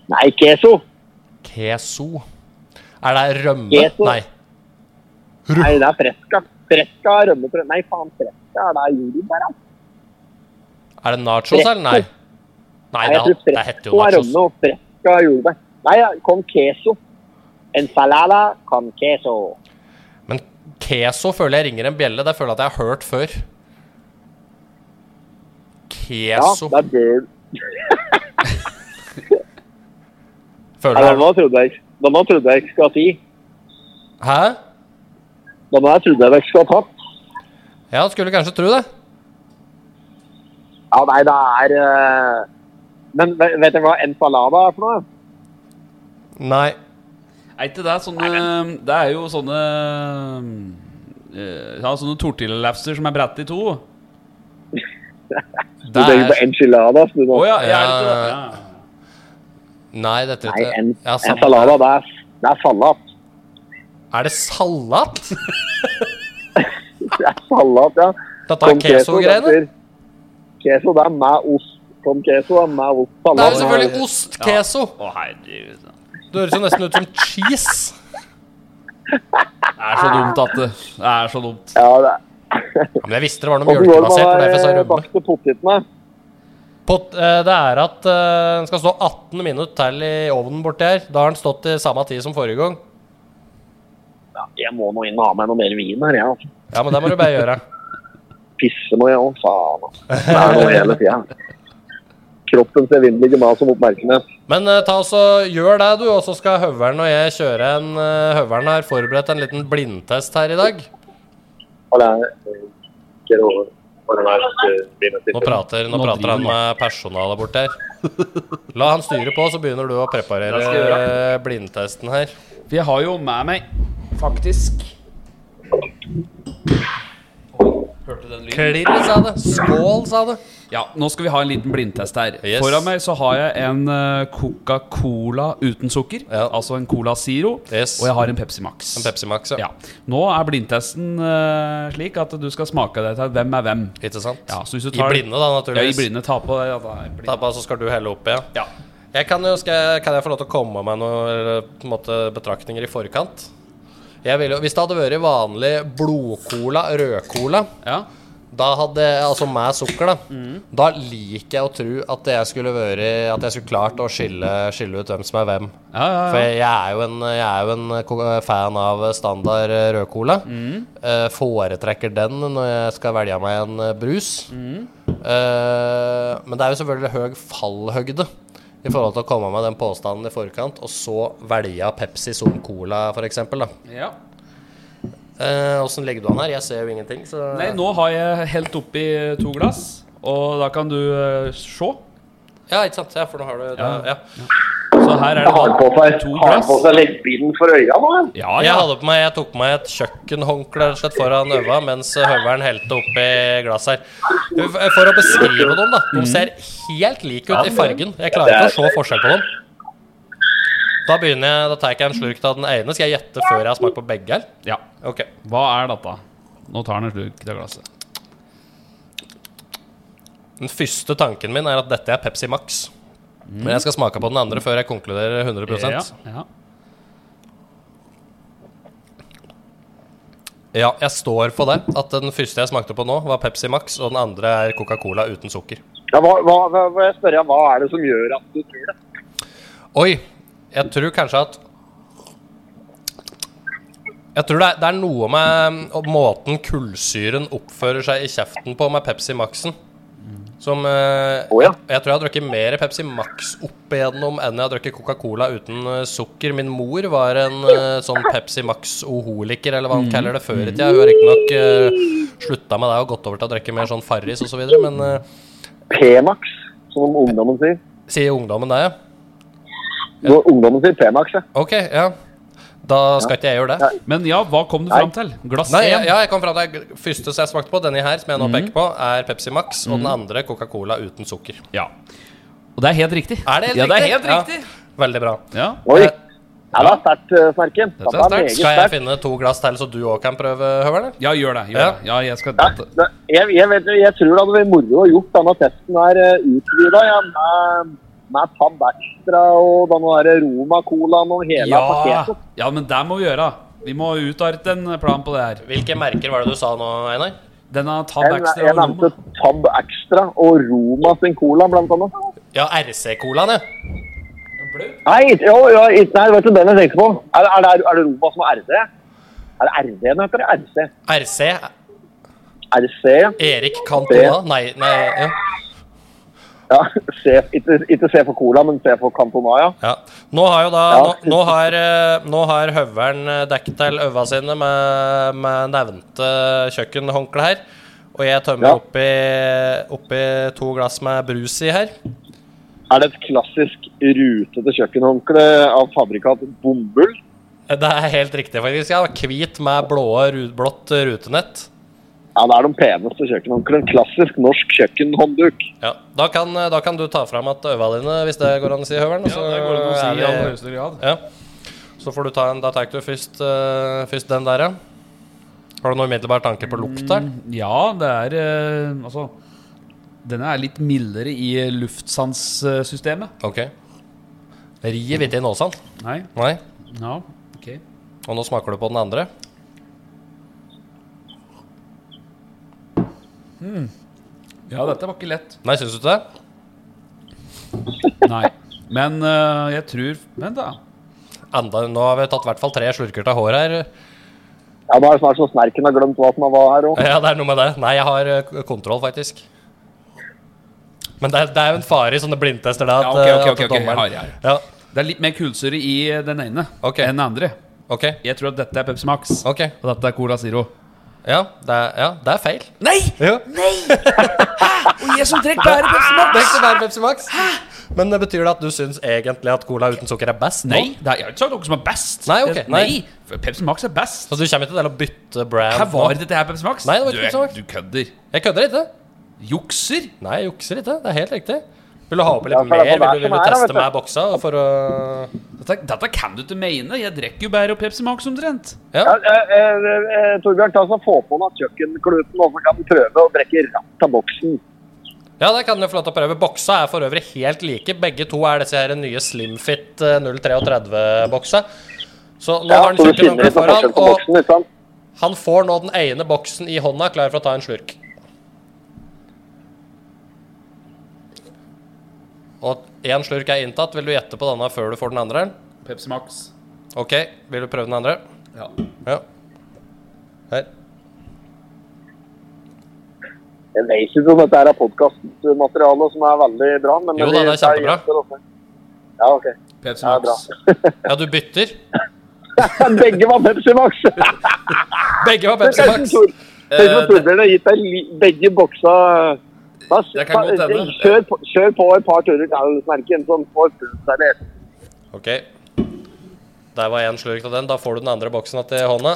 Speaker 7: Nei, queso.
Speaker 6: Keso. Er det rømme?
Speaker 7: Keto.
Speaker 6: Nei.
Speaker 7: Nei, det er freska. Freska rømmebrød. Nei, faen, freska er altså. det jordbær. da.
Speaker 6: Er det nachos, eller? Nei. Nei,
Speaker 7: Nei,
Speaker 6: det,
Speaker 7: jeg tror
Speaker 6: det heter jo
Speaker 7: fresko er
Speaker 6: nachos.
Speaker 7: rømme, og freska er jordbær. Nei, ja, con queso. Ensalada con queso.
Speaker 6: Men keso føler jeg ringer en bjelle. Det føler jeg at jeg har hørt før.
Speaker 7: Ja,
Speaker 6: Keso
Speaker 7: det er bøl.
Speaker 6: føler
Speaker 7: Nei,
Speaker 6: jeg
Speaker 7: denne trodde jeg Denne trodde jeg ikke skulle ha si.
Speaker 6: Hæ?
Speaker 7: Denne her trodde jeg dere skulle ha tatt.
Speaker 6: Ja, skulle kanskje tro det.
Speaker 7: Ja, nei, det er eh, Men ve- vet dere hva ensalada er for noe?
Speaker 6: Nei.
Speaker 5: Er ikke det sånne Det er jo sånne eh, Ja, sånne tortillalapser som er brett i to. Å
Speaker 7: Du tenker på enchiladas, du nå.
Speaker 5: ja, jeg er
Speaker 6: Ja,
Speaker 5: ikke det.
Speaker 6: ja, Nei, dette
Speaker 7: Nei, en,
Speaker 6: Ja, samme
Speaker 7: ensalada,
Speaker 6: det.
Speaker 7: det er, det er salat.
Speaker 6: Er det
Speaker 7: *laughs*
Speaker 6: salat?
Speaker 7: Det er salat, ja.
Speaker 6: Dette er
Speaker 7: Con queso,
Speaker 6: keso-greiene?
Speaker 7: gutter. Queso, det er med ost. Con queso er med ost.
Speaker 6: Det er
Speaker 7: Salat.
Speaker 6: jo selvfølgelig ost-keso.
Speaker 5: Å, herregud.
Speaker 6: Det høres jo nesten ut som cheese.
Speaker 5: Det er så dumt, Atte. Det er så dumt.
Speaker 7: Ja, det er.
Speaker 6: Ja, men jeg visste det var noe
Speaker 7: Åssen går det
Speaker 6: mjølkebasert. det var
Speaker 7: med
Speaker 6: derfor jeg sa
Speaker 7: de
Speaker 6: rømme.
Speaker 7: bakte potetene?
Speaker 6: Pot, eh, det er at eh, den skal stå 18 minutter til i ovnen borti her. Da har den stått i samme tid som forrige gang.
Speaker 7: Ja, jeg må nå inn og ha meg noe mer vin her, jeg. altså.
Speaker 6: Ja, men det må du bare gjøre.
Speaker 7: Pisse må jeg òg,
Speaker 6: *laughs*
Speaker 7: faen. altså. Det er noe hele tida. Kroppens evinnelige mas om oppmerksomhet.
Speaker 6: Men eh, ta også, gjør det, du, og så skal Høveren og jeg kjøre en eh, Høveren har forberedt en liten blindtest her i dag.
Speaker 7: Og det er eh, ikke lov for den her, eh, vinen
Speaker 6: Nå
Speaker 7: sitter.
Speaker 6: prater, nå
Speaker 5: Nå
Speaker 6: prater han
Speaker 5: driver
Speaker 6: med personalet borti her. La han styre på, så begynner du å preparere
Speaker 5: Det skal jeg gjøre.
Speaker 6: eh, blindtesten her.
Speaker 5: For jeg har jo med meg Faktisk
Speaker 6: Klirr, sa det. Skål, sa det.
Speaker 5: Ja, nå skal vi ha en liten blindtest her.
Speaker 6: Yes.
Speaker 5: Foran meg så har jeg en eh, Coca-Cola uten sukker.
Speaker 6: Ja.
Speaker 5: Altså en Cola Zero.
Speaker 6: Yes.
Speaker 5: Og jeg har en Pepsi Max.
Speaker 6: En Pepsi Max, ja.
Speaker 5: Ja. Nå er blindtesten eh, slik at du skal smake deg til hvem er hvem.
Speaker 6: Ikke sant?
Speaker 5: Ja, så hvis du
Speaker 6: I
Speaker 5: tar-
Speaker 6: blinde, da,
Speaker 5: Ja, I
Speaker 6: naturligvis.
Speaker 5: blinde ta på deg. Ja, da, er jeg blind.
Speaker 6: Tappa, så skal du helle oppi, ja.
Speaker 5: ja.
Speaker 6: Jeg kan, jo, skal, jeg- kan jeg få lov til å komme med noen eller, på en måte, betraktninger i forkant? Jeg vil jo, hvis det hadde vært vanlig blodcola, rødcola,
Speaker 5: ja.
Speaker 6: da hadde jeg, altså med sukker, da,
Speaker 5: Mm.
Speaker 6: da liker jeg å tro at jeg skulle vært At jeg skulle klart å skille, skille ut hvem som er hvem.
Speaker 5: Ja, ja,
Speaker 6: For
Speaker 5: ja.
Speaker 6: jeg er jo en, jeg er jo en eh, ko- fan av standard rødcola.
Speaker 5: Mm.
Speaker 6: Eh, foretrekker den når jeg skal velge meg en eh, brus.
Speaker 5: Mm.
Speaker 6: Eh, men det er jo selvfølgelig høy fallhøgde i forhold til å komme med den påstanden i forkant, og så velge Pepsi som cola, f.eks.
Speaker 5: ja.
Speaker 6: Åssen ligger Eh, du an her? Jeg ser jo ingenting, så
Speaker 5: Nei, nå har jeg helt oppi to glass, og da kan du eh, se.
Speaker 6: Ja, ikke sant? Ja, for nå har du da- ja.
Speaker 5: Så her er det
Speaker 7: Har på seg,
Speaker 5: to
Speaker 7: har på
Speaker 5: glass.
Speaker 7: seg leggbilen for øya nå? eller?
Speaker 5: Ja,
Speaker 6: Jeg
Speaker 5: ja.
Speaker 6: hadde på meg, jeg tok på meg et kjøkkenhåndkle rett og slett foran øva mens høveren helte oppi glass her. For å beskrive dem, da.
Speaker 5: Mm.
Speaker 6: De ser helt like ut i fargen. Jeg klarer ikke å se forskjell på dem. Da begynner jeg, da tar jeg ikke en slurk av den ene. Skal jeg gjette før jeg har smakt på begge? her?
Speaker 5: ja.
Speaker 6: Ok.
Speaker 5: Hva er dette? Nå tar han en slurk av glasset.
Speaker 6: Den første tanken min er at dette er Pepsi Max. Men jeg skal smake på den andre før jeg konkluderer 100
Speaker 5: Mm. Ja, ja.
Speaker 6: Ja, jeg står på det. At den første jeg smakte på nå, var Pepsi Max, og den andre er Coca-Cola uten sukker.
Speaker 7: Ja, hva, hva, hva, hva- jeg spør, ja, hva er det som gjør at du tror det?
Speaker 6: Oi, jeg tror kanskje at Jeg tror det er, det er noe med mm, måten kullsyren oppfører seg i kjeften på med Pepsi Maxen. Som eh,
Speaker 7: Å, ja.
Speaker 6: jeg, jeg tror jeg har drukket mer Pepsi Max opp igjennom enn jeg har drukket Coca-Cola uten eh, sukker. Min mor var en eh, sånn Pepsi Max-oholiker, eller hva han kaller det, før i tida. Hun har riktignok eh, slutta med det og gått over til å drikke mer sånn Farris osv., så videre, men eh,
Speaker 7: P-max, som ungdommen sier.
Speaker 6: sier ungdommen det, ja.
Speaker 7: Når ungdommen sier P-max, ja.
Speaker 6: Ok, ja. Da skal ikke jeg gjøre det.
Speaker 5: Men ja, hva kom du fram til? Glass
Speaker 6: Nei, ja,
Speaker 5: én?
Speaker 6: ja, jeg kom fram til at første som jeg smakte på, denne her, som
Speaker 5: Mhm.
Speaker 6: jeg nå peker på, er Pepsi Max, og den andre Coca-Cola uten sukker.
Speaker 5: Ja. Og det er helt riktig.
Speaker 6: Er det helt
Speaker 5: ja,
Speaker 6: riktig?
Speaker 5: Det er helt riktig.
Speaker 6: Ja, veldig bra.
Speaker 5: Ja.
Speaker 7: Oi!
Speaker 6: Eh,
Speaker 7: Ja, det er sterkt, eh, Sverken.
Speaker 5: Dette er
Speaker 7: Det er
Speaker 5: sterkt.
Speaker 7: meget
Speaker 6: Skal jeg
Speaker 7: sterkt.
Speaker 6: finne to glass til, så du òg kan prøve, Høveren?
Speaker 5: ja, gjør det. Gjør
Speaker 6: Ja.
Speaker 5: det. Ja, jeg skal
Speaker 7: Ja, det- Jeg, jeg, vet, jeg tror det hadde vært moro å gjort denne testen her utvida ja, med, med Tab Extra og den der Roma-colaen og hele
Speaker 5: ja.
Speaker 7: pakketet.
Speaker 5: ja, men det må vi gjøre. Vi må utarte en plan på det her.
Speaker 6: Hvilke merker var det du sa nå, Einar?
Speaker 5: Denne Tab
Speaker 7: Jeg,
Speaker 5: Extra
Speaker 7: jeg
Speaker 5: og
Speaker 7: nevnte
Speaker 5: Roma.
Speaker 7: Tab Extra og Roma sin cola, blant annet.
Speaker 6: Ja, RC-colaen, ja.
Speaker 7: Nei, jo, jo, ikke- nei, det var ikke den jeg tenkte på. Er, det- er, det, er det Roma som er RD? Er det RD den heter? RC?
Speaker 6: RC.
Speaker 7: RC, ja.
Speaker 6: Erik Cantona. Nei, nei ja.
Speaker 7: ja *laughs* C, ikke, ikke C for cola, men C for Cantona, ja.
Speaker 6: ja. Nå har jo da
Speaker 7: Ja.
Speaker 6: Nå, nå har, eh, nå har Høveren eh, dekket til øva sine med, med nevnte kjøkkenhåndkle her. Og jeg tømmer
Speaker 7: Ja.
Speaker 6: oppi, oppi to glass med brus i her.
Speaker 7: Er det et klassisk rutete kjøkkenhåndkle av fabrikat bomull?
Speaker 6: Eh, Det er helt riktig, faktisk. Ja. Hvit med blå, ru- blått rutenett.
Speaker 7: Ja, det er de peneste kjøkkenhåndklærne. Klassisk norsk kjøkkenhåndduk.
Speaker 6: Ja. Da, kan, eh, da kan du ta fram at øva dine, hvis det går an å si, Høveren. og
Speaker 5: Ja,
Speaker 6: så
Speaker 5: Øh, det går an å si
Speaker 6: er
Speaker 5: i
Speaker 6: vi-
Speaker 5: aller høyeste grad.
Speaker 6: ja. Så får du ta en Da tar du først, eh, først den der, ja. Har du noen umiddelbar tanke på lukt der?
Speaker 5: Ja, det er eh, Altså, denne er litt mildere i luftsanssystemet.
Speaker 6: Ok. Riv ikke i nåsan.
Speaker 5: Nei.
Speaker 6: Nei.
Speaker 5: Ja, ok.
Speaker 6: Og nå smaker du på den andre.
Speaker 5: Ja, dette var ikke lett.
Speaker 6: Nei, syns du ikke det?
Speaker 5: Nei. Men eh, jeg tror Vent, da.
Speaker 6: Enda, nå har vi tatt i hvert fall tre slurker til hår her.
Speaker 7: Ja, nå er det snart så snerken har glemt hva som var her òg.
Speaker 6: Ja, det er noe med det. Nei, jeg har eh, k- kontroll, faktisk. Men det er, det er jo en fare i sånne blindtester, da.
Speaker 5: Ja, ok,
Speaker 6: at,
Speaker 5: ok,
Speaker 6: eh, at
Speaker 5: ok, ok, jeg
Speaker 6: dommeren-
Speaker 5: har, jeg Det er litt mer kullsyre i den ene
Speaker 6: Ok.
Speaker 5: enn den andre.
Speaker 6: Ja, ok.
Speaker 5: Jeg tror at dette er Pepsi Max,
Speaker 6: Ok.
Speaker 5: og dette er Cola Zero.
Speaker 6: Ja, det er, ja, det er feil.
Speaker 5: Nei!
Speaker 6: Jo. *laughs*
Speaker 5: Og jeg som trekk bare Pepsi Max!
Speaker 6: Det er ikke bare Pepsi Max. Men det betyr det at du syns egentlig at cola uten sukker er best? nå?
Speaker 5: Nei, det er, jeg har ikke sagt noe som er best.
Speaker 6: Nei, ok,
Speaker 5: nei. Pepsi Max er best.
Speaker 6: Så du kommer ikke til å bytte brand?
Speaker 5: Her var
Speaker 6: nå?
Speaker 5: dette her Pepsi Max?
Speaker 6: Nei, det var ikke
Speaker 5: Du er-
Speaker 6: Pepsi Max.
Speaker 5: Du kødder.
Speaker 6: Jeg kødder ikke.
Speaker 5: Jukser?
Speaker 6: Nei, jeg jukser ikke. Det er helt riktig. Vil du ha oppi
Speaker 7: Ja,
Speaker 6: litt
Speaker 7: for det
Speaker 6: mer?
Speaker 7: er på hver
Speaker 6: Vil du, vil
Speaker 7: som
Speaker 6: du
Speaker 7: er, da,
Speaker 6: teste
Speaker 7: vet du.
Speaker 6: meg boksa for å
Speaker 5: Dette, dette kan du ikke mene. Jeg drikker jo bare og Pepsi Max omtrent.
Speaker 7: Ja, eh, eh, eh, Torbjørn, ta så få på deg kjøkkenkluten, og så kan du prøve å brekke rett av boksen.
Speaker 6: Ja, det kan du få lov til å prøve. Boksa er for øvrig helt like. Begge to er disse her nye Slimfit eh, 033-boksa. Så nå
Speaker 7: Ja,
Speaker 6: har han
Speaker 7: så du
Speaker 6: tjukken onkel
Speaker 7: kjenner litt på
Speaker 6: foran,
Speaker 7: forskjell på
Speaker 6: og
Speaker 7: boksen, ikke sant?
Speaker 6: han får nå den ene boksen i hånda, klar for å ta en slurk. Og én slurk er inntatt. Vil du gjette på denne før du får den andre?
Speaker 5: Pepsi Max.
Speaker 6: OK, vil du prøve den andre?
Speaker 5: Ja.
Speaker 6: Ja. Her.
Speaker 7: Jeg vet ikke om dette her er podkastmateriale som er veldig bra, men
Speaker 6: Jo da,
Speaker 7: vi-
Speaker 6: det er kjempebra.
Speaker 7: jeg gjør det også. Ja, OK.
Speaker 5: Pepsi
Speaker 7: Ja,
Speaker 5: Max.
Speaker 6: Ja, du bytter?
Speaker 7: *laughs* Begge var Pepsi Max!
Speaker 6: *laughs* Begge var Pepsi Max.
Speaker 7: Tenk om
Speaker 5: Eh,
Speaker 7: Torbjørn har gitt deg li- begge boksa Da s-
Speaker 5: Det kan godt
Speaker 7: ta-
Speaker 5: hende.
Speaker 7: Kjør, på- kjør på et par turer til, Snerken, som får prøvd seg litt.
Speaker 6: OK. Der var én slurk av den. Da får du den andre boksen til hånda.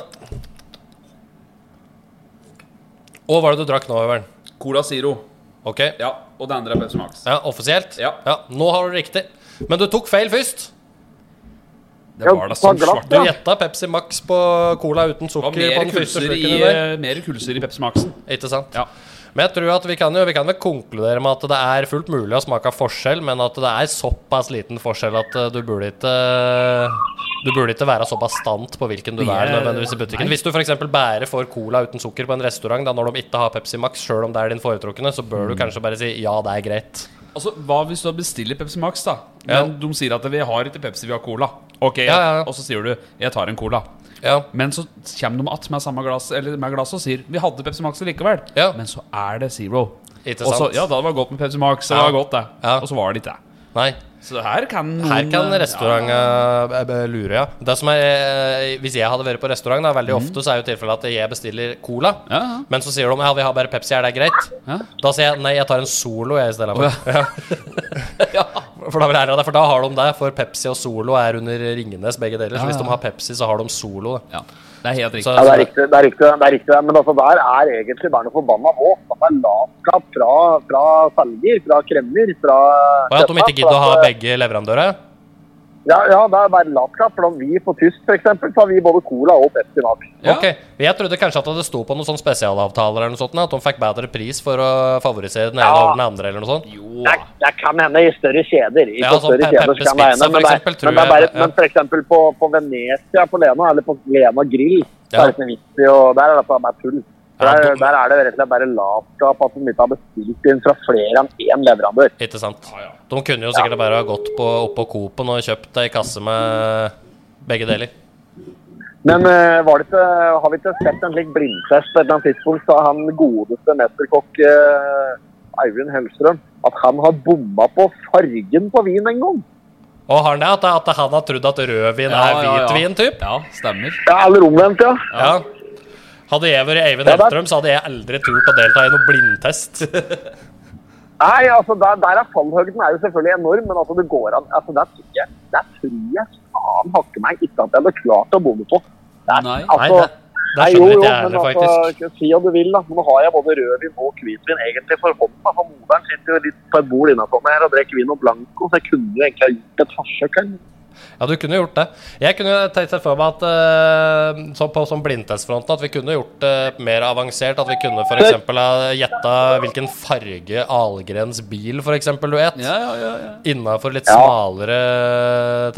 Speaker 6: Og hva var det du drakk nå, Øveren?
Speaker 5: Cola Zero.
Speaker 6: OK.
Speaker 5: Ja, og det andre er Pepsi Max.
Speaker 6: Ja, offisielt?
Speaker 5: Ja.
Speaker 6: Nå har du riktig. Men du tok feil først.
Speaker 5: Det var da som
Speaker 7: ta glass,
Speaker 5: svarte.
Speaker 6: Du
Speaker 7: Ja.
Speaker 6: gjetta Pepsi Max på cola uten
Speaker 5: Det var
Speaker 6: sukker på
Speaker 5: mer
Speaker 6: den første
Speaker 5: kulser i,
Speaker 6: slurken. der.
Speaker 5: eh, mer kulser i Pepsi Maxen.
Speaker 6: Ikke sant?
Speaker 5: Ja.
Speaker 6: Men jeg tror at vi kan jo Vi kan vel konkludere med at det er fullt mulig å smake forskjell, men at det er såpass liten forskjell at eh, du burde ikke eh, Du burde ikke være såpass stant på hvilken du
Speaker 5: Vi
Speaker 6: er
Speaker 5: er-
Speaker 6: nødvendigvis i butikken.
Speaker 5: nei.
Speaker 6: Hvis du f.eks. bare får cola uten sukker på en restaurant da når de ikke har Pepsi Max, sjøl om det er din foretrukne, så
Speaker 5: Mm.
Speaker 6: bør du kanskje bare si ja, det er greit.
Speaker 5: Altså, Hva hvis du bestiller Pepsi Max, da? Men
Speaker 6: Ja.
Speaker 5: de sier at vi har ikke Pepsi, vi har Cola. Ok,
Speaker 6: Ja, ja, ja.
Speaker 5: Og så sier du 'jeg tar en Cola'.
Speaker 6: Ja.
Speaker 5: Men så kommer de att med samme glass Eller med glass og sier 'vi hadde Pepsi Max likevel'.
Speaker 6: Ja.
Speaker 5: Men så er det Zero.
Speaker 6: Ikke
Speaker 5: Og så,
Speaker 6: sant?
Speaker 5: ja, da det var godt med Pepsi Max. så Det
Speaker 6: Ja.
Speaker 5: var godt, det.
Speaker 6: Ja.
Speaker 5: Og så var det ikke det.
Speaker 6: Nei.
Speaker 5: Så her kan noen
Speaker 6: Her kan
Speaker 5: eh,
Speaker 6: restauranten eh, b- lure, ja. Det som er, eh, hvis jeg hadde vært på restaurant, da, veldig ofte så er jo tilfellet at jeg bestiller cola.
Speaker 5: Mhm. Ja, ja.
Speaker 6: Men så sier de ja, vi har bare Pepsi, er det greit?
Speaker 5: Ja.
Speaker 6: Da sier jeg nei, jeg tar en Solo jeg i
Speaker 5: Å,
Speaker 6: stedet. For. *laughs* Ja. for, da vil jeg, ha det, for da har de det, for Pepsi og Solo er under Ringenes begge deler. Så
Speaker 5: Ja,
Speaker 6: hvis
Speaker 5: ja.
Speaker 6: de har Pepsi, så har de Solo. da.
Speaker 5: ja. Det er helt riktig.
Speaker 6: Så,
Speaker 7: Ja, det er riktig. det er riktig, det er riktig. Men altså, der er egentlig bare noe forbanna våt. Altså, Det er latskap fra, fra selger, fra kremmer, fra
Speaker 6: og at de ikke gidder å ha
Speaker 7: For at,
Speaker 6: begge leverandører?
Speaker 7: Ja, ja, det er bare latskap. For om vi på tysk, f.eks., så har vi både Cola og Pepsi Max.
Speaker 5: Ja.
Speaker 6: Ok, Jeg trodde kanskje at det sto på noen sånne spesialavtaler, eller noe sånt, at de fikk bedre pris for å favorisere den ene
Speaker 7: Ja.
Speaker 6: over den andre. eller noe sånt.
Speaker 5: Jo.
Speaker 7: Det, det kan hende i større kjeder. I
Speaker 6: Ja,
Speaker 7: på
Speaker 6: altså,
Speaker 7: større
Speaker 6: Pe-
Speaker 7: kjeder så kan det
Speaker 6: Peppers Pizza,
Speaker 7: hende, men,
Speaker 6: for
Speaker 7: det,
Speaker 6: eksempel, tror
Speaker 7: men, det er
Speaker 6: jeg-
Speaker 7: bare,
Speaker 6: ja.
Speaker 7: men for eksempel på, på Venezia på Lena, eller på Lena Grill, så
Speaker 6: Ja.
Speaker 7: er det ikke noe vits i å Der er det faen meg tull.
Speaker 6: Ja,
Speaker 7: Der,
Speaker 6: dumt.
Speaker 7: der er det rett og slett bare latskap at de ikke har bestilt inn fra flere enn én leverandør.
Speaker 6: Ikke sant. De kunne jo sikkert bare ha gått på, opp på Coop-en og kjøpt ei kasse med begge deler.
Speaker 7: Men
Speaker 6: Mm.
Speaker 7: eh, var det ikke, har vi ikke sett en slik blindtest på et eller annet tidspunkt sa han godeste mesterkokk eh, Eivind Hellstrøm at han har bomma på fargen på vin en gang?
Speaker 6: Og har han det? At, at han har trodd at rødvin
Speaker 5: Ja, ja,
Speaker 6: er
Speaker 5: ja.
Speaker 6: hvitvin, typ?
Speaker 5: Ja, stemmer.
Speaker 7: Ja, eller omvendt, ja.
Speaker 6: Ja. Hadde jeg vært Eivind
Speaker 7: Ja, da-
Speaker 6: Hellstrøm, så hadde jeg aldri turt å delta i noen blindtest.
Speaker 7: Nei, altså, der, der er fallhøgden er jo selvfølgelig enorm, men altså, det går an. Altså, der tror jeg, der tror jeg faen hakke meg ikke at jeg hadde klart å bomme på. Der,
Speaker 5: Nei.
Speaker 6: Nei,
Speaker 7: *laughs* altså,
Speaker 6: det, det skjønner ikke jeg heller,
Speaker 7: men
Speaker 6: faktisk.
Speaker 7: altså, si om du vil, da. Men nå har jeg både rødvin og hvitvin egentlig for hånda. For moderen sitter jo litt på et bord innenfor meg her og drikker vin og blanco, så jeg kunne jo egentlig ha gjort et forsøk her.
Speaker 6: Ja, du kunne gjort det. Jeg kunne tenkt meg for meg at eh, så på sånn blindtestfronten at vi kunne gjort det mer avansert. At vi kunne f.eks. ha gjetta hvilken farge Algrens bil f.eks. du et.
Speaker 5: Ja, ja, ja, ja.
Speaker 6: Innafor litt
Speaker 7: Ja.
Speaker 6: smalere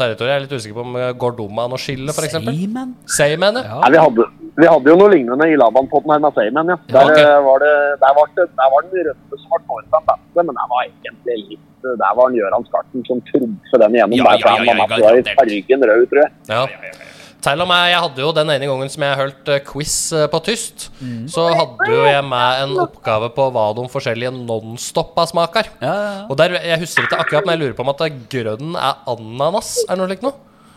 Speaker 6: territorier. Jeg er litt usikker på om eh, Gordoma er noe skille, f.eks.
Speaker 5: Seaman?
Speaker 6: Seimen, ja.
Speaker 7: Nei, vi hadde, Vi hadde jo noe lignende i Laban på Nærmaseimen, ja.
Speaker 6: Ja,
Speaker 7: Der,
Speaker 6: ok.
Speaker 7: eh, var det, der, var det, der var den røde som var Torstein Basse, men der var egentlig litt eh, Der var en Gøran Skarten som trumfet den igjennom.
Speaker 5: Ja,
Speaker 7: der, for
Speaker 5: ja, ja,
Speaker 7: han var
Speaker 5: ja,
Speaker 7: masse- var i
Speaker 5: garantert.
Speaker 7: fargen rød, tror jeg.
Speaker 6: Ja. Til og med jeg hadde jo den ene gangen som jeg holdt eh, quiz eh, på tyst, så hadde jo jeg med en oppgave på hva de forskjellige Nonstoppa smaker.
Speaker 5: Ja, ja, ja.
Speaker 6: Og der, jeg husker ikke akkurat, men jeg lurer på om at eh, grønn er ananas, er det noe slikt noe?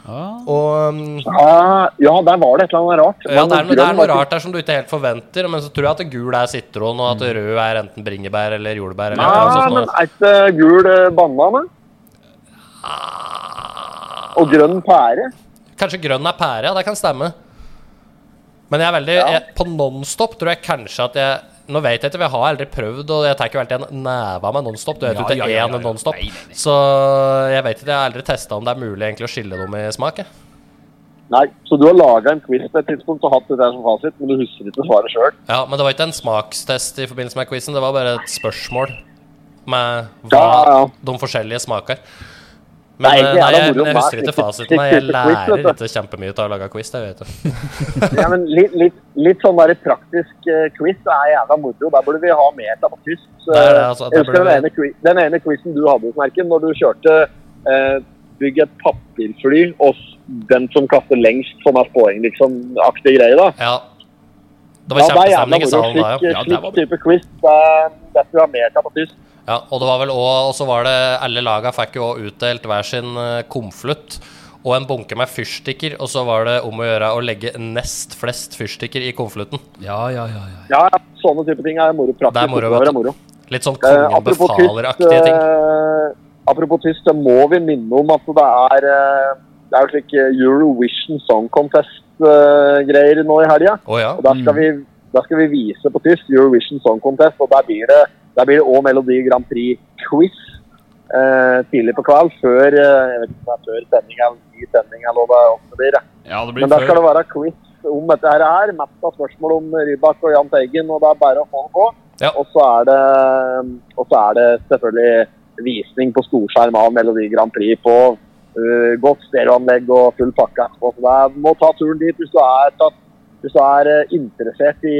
Speaker 6: Og um,
Speaker 7: Ja, ja, der var det et eller annet rart.
Speaker 6: ja, det er, noe- det er noe
Speaker 7: grønn var ikke-
Speaker 6: rart der som du ikke helt forventer, men så tror jeg at gul er sitron, og at rød er enten bringebær eller jordbær. Eller et eller annet sånt sånn
Speaker 7: Ja, men
Speaker 6: noe.
Speaker 7: er ikke gul eh, banan, da?
Speaker 6: Ah.
Speaker 7: Og grønn pære?
Speaker 6: Kanskje grønn er pære, ja, det kan stemme. Men jeg er veldig jeg, På Nonstop tror jeg kanskje at jeg Nå vet jeg ikke, vi har aldri prøvd, og jeg tar ikke alltid en neve med Nonstop. Du vet jo
Speaker 5: Ja,
Speaker 6: ikke
Speaker 5: ja, ja, ja,
Speaker 6: én
Speaker 5: ja.
Speaker 6: Nonstop.
Speaker 5: Nei, nei, nei.
Speaker 6: Så jeg vet ikke, jeg har aldri testa om det er mulig egentlig å skille dem i smak. jeg.
Speaker 7: Nei, så du har laga en quiz på et tidspunkt og hatt det der som fasit, men du husker ikke svaret sjøl.
Speaker 6: Ja, Men det var ikke en smakstest i forbindelse med quizen, det var bare et spørsmål med hva
Speaker 7: Ja, ja.
Speaker 6: de forskjellige smaker.
Speaker 7: Nei,
Speaker 6: Men eh,
Speaker 7: det er
Speaker 6: nei,
Speaker 7: da
Speaker 6: jeg,
Speaker 7: moro,
Speaker 6: jeg husker
Speaker 7: nei.
Speaker 6: ikke fasiten. nei, Jeg
Speaker 7: Quiz, vet
Speaker 6: lærer
Speaker 7: du.
Speaker 6: ikke kjempemye av å lage quiz. Det vet du.
Speaker 7: Ja, men litt, litt, litt sånn der praktisk eh, quiz er jævla moro. Der burde vi ha mer av på quiz. Så,
Speaker 6: Det er det, altså,
Speaker 7: jeg
Speaker 6: det
Speaker 7: husker
Speaker 6: burde
Speaker 7: den ene, qui- den ene quizen du hadde, Snerken, når du kjørte eh, bygg et papirfly, og s- den som kaster lengst, sånn er poeng, liksom, aktig greie, da.
Speaker 6: Ja. Det var
Speaker 7: Ja, det er jævla
Speaker 6: kjempestemning i
Speaker 7: moro.
Speaker 6: salen da, ja.
Speaker 7: Slik,
Speaker 5: Ja, det
Speaker 7: slik
Speaker 5: var-
Speaker 7: type quiz eh, det skulle vi ha mer av på quiz.
Speaker 6: Ja, og det var vel også, og så var det alle laga fikk jo også utdelt hver sin eh, konvolutt og en bunke med fyrstikker, og så var det om å gjøre å legge nest flest fyrstikker i konvolutten.
Speaker 5: Ja, ja, ja, ja.
Speaker 7: Ja, ja, sånne type ting er moro. Praktisk
Speaker 6: Det er moro,
Speaker 7: oppgaver
Speaker 6: vet du.
Speaker 7: moro.
Speaker 6: Litt sånn
Speaker 7: Eh,
Speaker 6: kongen
Speaker 7: apropos
Speaker 6: befaler-aktige ting.
Speaker 7: eh, apropos tyst, så må vi minne om at det er eh, Det er jo slik eh, Eurovision Song Contest-greier nå i helga.
Speaker 6: Å ja.
Speaker 7: Og der skal, vi, der skal vi vise på tyst Eurovision Song Contest, og der blir det der blir det òg Melodi Grand Prix-quiz eh, tidlig på kveld. Før eh, jeg vet ikke om det er før sending eller i sending eller hva det ofte blir. ja.
Speaker 5: Ja, det blir
Speaker 7: Men der skal
Speaker 5: før.
Speaker 7: det være quiz om dette her. her. Mest av spørsmål om Rybak og Jahn Teigen, og det er bare å få den på.
Speaker 6: Ja.
Speaker 7: Og, så er det, og så er det selvfølgelig visning på storskjerm av Melodi Grand Prix på øh, godt stereoanlegg og full pakke. etterpå. Så det er- må ta turen dit hvis du er, tatt, hvis du er eh, interessert i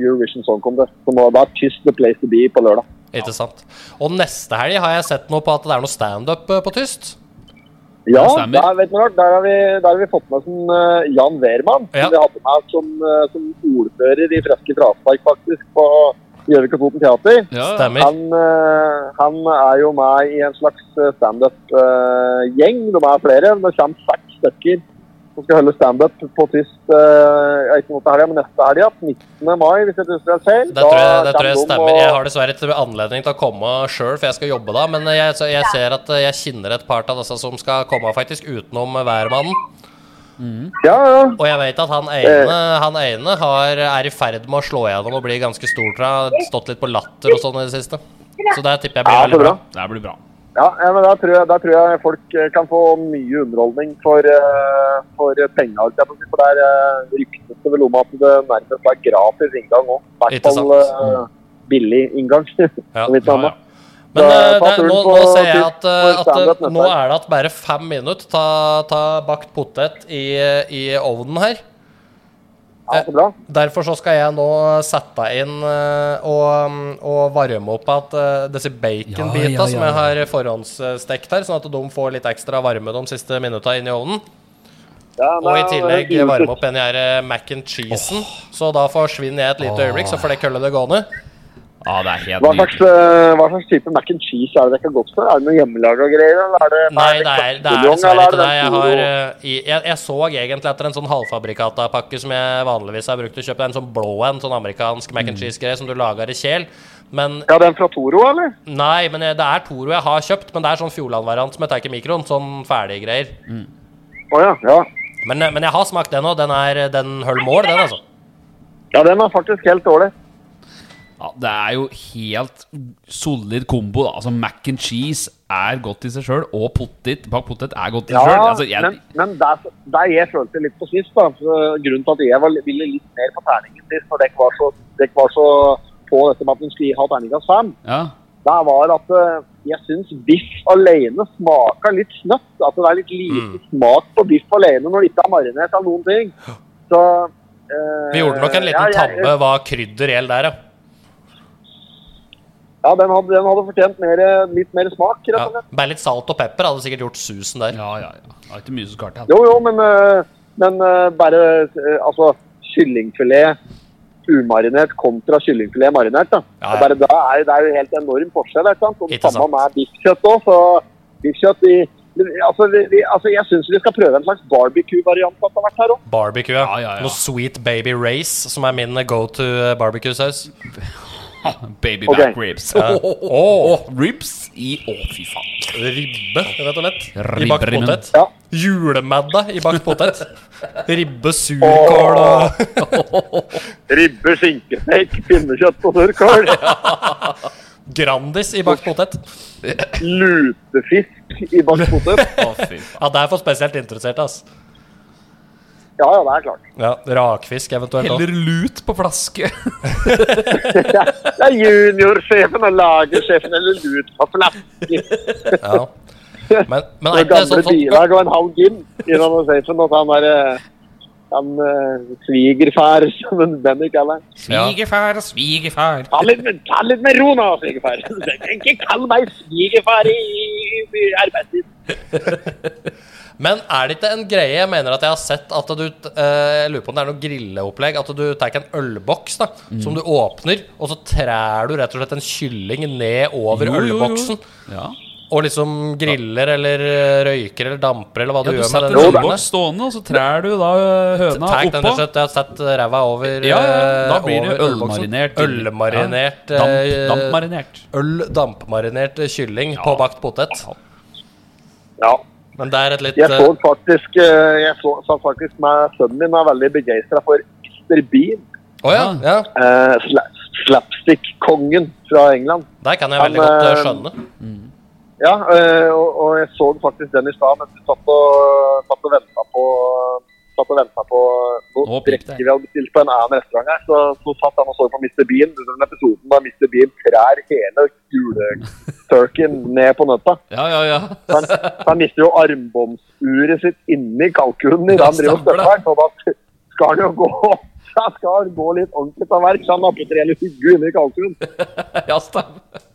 Speaker 7: Eurovision Song Contest. Så må da tyst the place to be på lørdag.
Speaker 6: Ikke sant. Og neste helg har jeg sett noe på at det er noe standup eh, på tyst.
Speaker 7: Ja,
Speaker 5: Det stemmer.
Speaker 7: der, vet du, hva, der, har vi, der har vi fått med oss en, eh, Jan Wehrmann,
Speaker 6: Ja.
Speaker 7: som vi hadde med som, eh, som ordfører i Freske Fraspark, faktisk, på Gjøvik og Toten Teater.
Speaker 5: Ja, ja.
Speaker 6: Stemmer.
Speaker 7: Han, eh, han er jo med i en slags eh, standup-gjeng. De er flere. Det kommer seks stykker som skal holde standup på tyst eh, ikke nå til helga, men neste helg. ja. 19. mai, hvis jeg ikke husker helt feil.
Speaker 6: Det
Speaker 7: Da
Speaker 6: tror jeg, det tror
Speaker 7: kommer
Speaker 6: jeg
Speaker 7: de
Speaker 6: stemmer.
Speaker 7: og-
Speaker 6: Jeg har dessverre ikke anledning til å komme sjøl, for jeg skal jobbe da. Men eh, jeg, så jeg ser at eh, jeg kjenner et par av disse som skal komme, faktisk, utenom eh, værmannen.
Speaker 7: Ja, ja.
Speaker 6: Og jeg vet at han
Speaker 7: Eh.
Speaker 6: ene, han ene har, er i ferd med å slå gjennom og bli ganske stor. tror jeg. Har Stått litt på latter og sånn i det siste. Så det tipper jeg blir
Speaker 7: Ja, så
Speaker 6: veldig bra.
Speaker 7: bra.
Speaker 5: Det blir bra.
Speaker 7: Ja, ja, men da tror, jeg, da tror jeg folk eh, kan få mye underholdning for, uh, for penga. holdt jeg på å si, For der eh, ryktes det vel om at det nærmest er gratis inngang òg. I hvert
Speaker 6: Ikke
Speaker 7: fall eh, billig inngang. *laughs*
Speaker 6: Ja,
Speaker 7: om ikke
Speaker 5: Ja, ja.
Speaker 7: annet.
Speaker 6: Men eh,
Speaker 7: Ta
Speaker 6: det,
Speaker 7: turen
Speaker 6: nå,
Speaker 7: på
Speaker 6: nå ser jeg
Speaker 7: Tysk
Speaker 6: at, eh,
Speaker 7: for
Speaker 6: at eh,
Speaker 7: standup neste
Speaker 6: nå
Speaker 7: helg.
Speaker 6: er det at bare fem minutter ta, ta bakt potet i, i ovnen her.
Speaker 7: Ja, så bra.
Speaker 6: Derfor så skal jeg nå sette inn eh, og, og varme opp at eh, disse baconbita
Speaker 5: Ja, ja, ja,
Speaker 6: som jeg har forhåndsstekt her, sånn at de får litt ekstra varme de siste minuttene inn i ovnen.
Speaker 7: Ja,
Speaker 6: Og i
Speaker 7: men-
Speaker 6: tillegg varme opp den her eh, mac and cheesen. Så da forsvinner jeg et lite øyeblikk, så får det kølle det gående.
Speaker 5: Ja, det er helt
Speaker 7: Hva
Speaker 5: nydelig.
Speaker 7: slags, eh, hva slags type mac and cheese er det dere har gått for? Er det noe hjemmelaga greier? Eller er det,
Speaker 6: Nei, det er, det er
Speaker 7: kartbulliong,
Speaker 6: dessverre
Speaker 7: eller
Speaker 6: ikke det.
Speaker 7: den
Speaker 6: Jeg,
Speaker 7: store-
Speaker 6: har, eh, i- jeg, jeg så egentlig etter en sånn halvfabrikatapakke som jeg vanligvis har brukt å kjøpe. En sånn blå en, sånn amerikansk mac and cheese-greie som du lager i kjel. Men
Speaker 7: Ja, den fra Toro, eller?
Speaker 6: Nei, men jeg, det er Toro jeg har kjøpt, men det er sånn Fjordland-variant som jeg tar ikke i mikroen. Sånn ferdige greier.
Speaker 7: Å ja. ja.
Speaker 6: Men, eh, men jeg har smakt den òg. Den er eh, den holder mål, den, altså.
Speaker 7: Ja, den var faktisk helt dårlig.
Speaker 5: Ja, det er jo helt solid kombo. da Altså Mac and cheese er godt i seg sjøl, og potet bakt potet er godt i seg sjøl. Altså, jeg-
Speaker 7: men, men der, der jeg følte litt på sist, da, så grunnen til at jeg var, ville litt mer på terningen sist, når dere var, så- dere var så på dette med at en skulle ha terningkast fem,
Speaker 5: ja.
Speaker 7: det var at eh, jeg syns biff alene smaker litt snøtt.
Speaker 6: Mm.
Speaker 7: At det er litt lite smak på biff alene når det ikke er marinert av noen ting. Så Eh,
Speaker 6: Vi gjorde nok en liten
Speaker 7: ja, jeg-
Speaker 6: tabbe hva krydder gjelder der, ja.
Speaker 7: Ja, den hadde, den hadde fortjent mer- litt mer smak, rett
Speaker 6: ja.
Speaker 7: og slett.
Speaker 6: Bare litt salt og pepper hadde sikkert gjort susen der.
Speaker 5: Ja, ja, ja. Det er ikke mye som skal til.
Speaker 7: Jo, jo, men, eh, men eh, bare eh, Altså, kyllingfilet umarinert kontra kyllingfilet marinert, da.
Speaker 6: Ja, ja.
Speaker 7: Bare da er det er jo helt enorm forskjell, ikke sant? Og det
Speaker 6: Ikke
Speaker 7: samme
Speaker 6: sant.
Speaker 7: med biffkjøtt òg, så biffkjøtt i Altså, vi, vi, altså jeg syns vi skal prøve en slags barbecue-variant som har vært her òg.
Speaker 6: Barbecue, ja.
Speaker 5: Ja, ja, ja.
Speaker 6: Noe Sweet Baby Race, som er min eh, go to barbecue-saus.
Speaker 5: Baby
Speaker 7: Ok.
Speaker 5: back
Speaker 7: *laughs*
Speaker 5: ribs.
Speaker 6: Ja.
Speaker 5: Åh, åh, åh, åh, ribs i Å, fy faen.
Speaker 6: Ribbe, rett og slett. I
Speaker 5: Ribber
Speaker 6: bakt
Speaker 5: i munnen.
Speaker 6: potet.
Speaker 7: Ja.
Speaker 6: Julemadda i bakt
Speaker 5: *laughs*
Speaker 6: potet. Ribbe, surkål og *laughs*
Speaker 7: Ribbe, skinkesteik, pinnekjøtt
Speaker 6: *laughs*
Speaker 7: og surkål.
Speaker 6: Grandis i bakt potet.
Speaker 7: Lutefisk i bakt potet.
Speaker 5: Å,
Speaker 6: *laughs*
Speaker 5: fy faen.
Speaker 6: Ja, det er for spesielt interesserte, ass.
Speaker 7: Ja, ja, det er klart.
Speaker 6: Ja, Rakfisk eventuelt òg.
Speaker 5: Heller lut på flaske.
Speaker 7: Det er juniorsjefen og lagersjefen eller lut på flasker.
Speaker 6: Ja. Men, men er ikke
Speaker 7: Og
Speaker 6: det
Speaker 7: gamle
Speaker 6: sånn, sånn
Speaker 7: bilag og en halv gin innan safen. Og sånn han derre han eh, svigerfar, som en Benny kaller han.
Speaker 5: Svigerfar og *laughs* svigerfar.
Speaker 7: Ta litt, med- ta litt med ro nå, svigerfar. *laughs* Ikke kall meg svigerfar i, i, i arbeidstid.
Speaker 6: Men er det ikke en greie jeg mener at jeg har sett at du eh, Jeg lurer på om det er noe grilleopplegg. At du tar en ølboks da
Speaker 5: Mm.
Speaker 6: som du åpner, og så trær du rett og slett en kylling ned over
Speaker 5: Jo, jo, jo.
Speaker 6: ølboksen.
Speaker 5: Ja.
Speaker 6: Og liksom griller eller eh, røyker eller damper eller hva
Speaker 5: Ja,
Speaker 6: du
Speaker 5: du
Speaker 6: gjør med
Speaker 5: setter
Speaker 6: den
Speaker 5: en
Speaker 6: kyllinga.
Speaker 5: ølboks stående, og så trær du da ø, høna
Speaker 6: Tar den rett
Speaker 5: oppå.
Speaker 6: og slett, jeg har sett eh, ræva over
Speaker 5: Ja, ja, da
Speaker 6: eh,
Speaker 5: blir det
Speaker 6: over ølboksen.
Speaker 5: ølmarinert.
Speaker 6: Ølmarinert
Speaker 5: Ja. Damp,
Speaker 6: eh,
Speaker 5: dampmarinert.
Speaker 6: Øl dampmarinert kylling på bakt potet.
Speaker 7: Ja.
Speaker 6: Men det er et litt
Speaker 7: Jeg
Speaker 6: eh,
Speaker 7: så faktisk eh, Jeg så, satt faktisk med sønnen min og er veldig begeistra for Mr. Bean.
Speaker 6: Å ja, ja.
Speaker 7: eh, sla, Slapstick-kongen fra England.
Speaker 6: Der kan jeg
Speaker 7: Han,
Speaker 6: veldig godt eh,
Speaker 7: eh,
Speaker 6: skjønne.
Speaker 7: Ja, eh, og, og jeg så faktisk den i stad mens vi satt og, satt og venta på satt og ventet på noe
Speaker 5: Nå pipte
Speaker 7: drikke
Speaker 5: jeg.
Speaker 7: vi hadde bestilt på en annen restaurant her. Så, så satt han og så på Mr. Bean under den episoden da Mr. Bean trær hele juleturkeyen ned på nøtta.
Speaker 5: Ja, ja, ja.
Speaker 7: Så han, så han mister jo armbåndsuret sitt inni kalkunen i det
Speaker 5: Ja,
Speaker 7: han driver og
Speaker 5: stemmer det.
Speaker 7: støtter her, så da skal han jo gå da skal han gå litt ordentlig til verks. Han napper tre hugger inni kalkunen.
Speaker 5: *laughs* ja stemmer.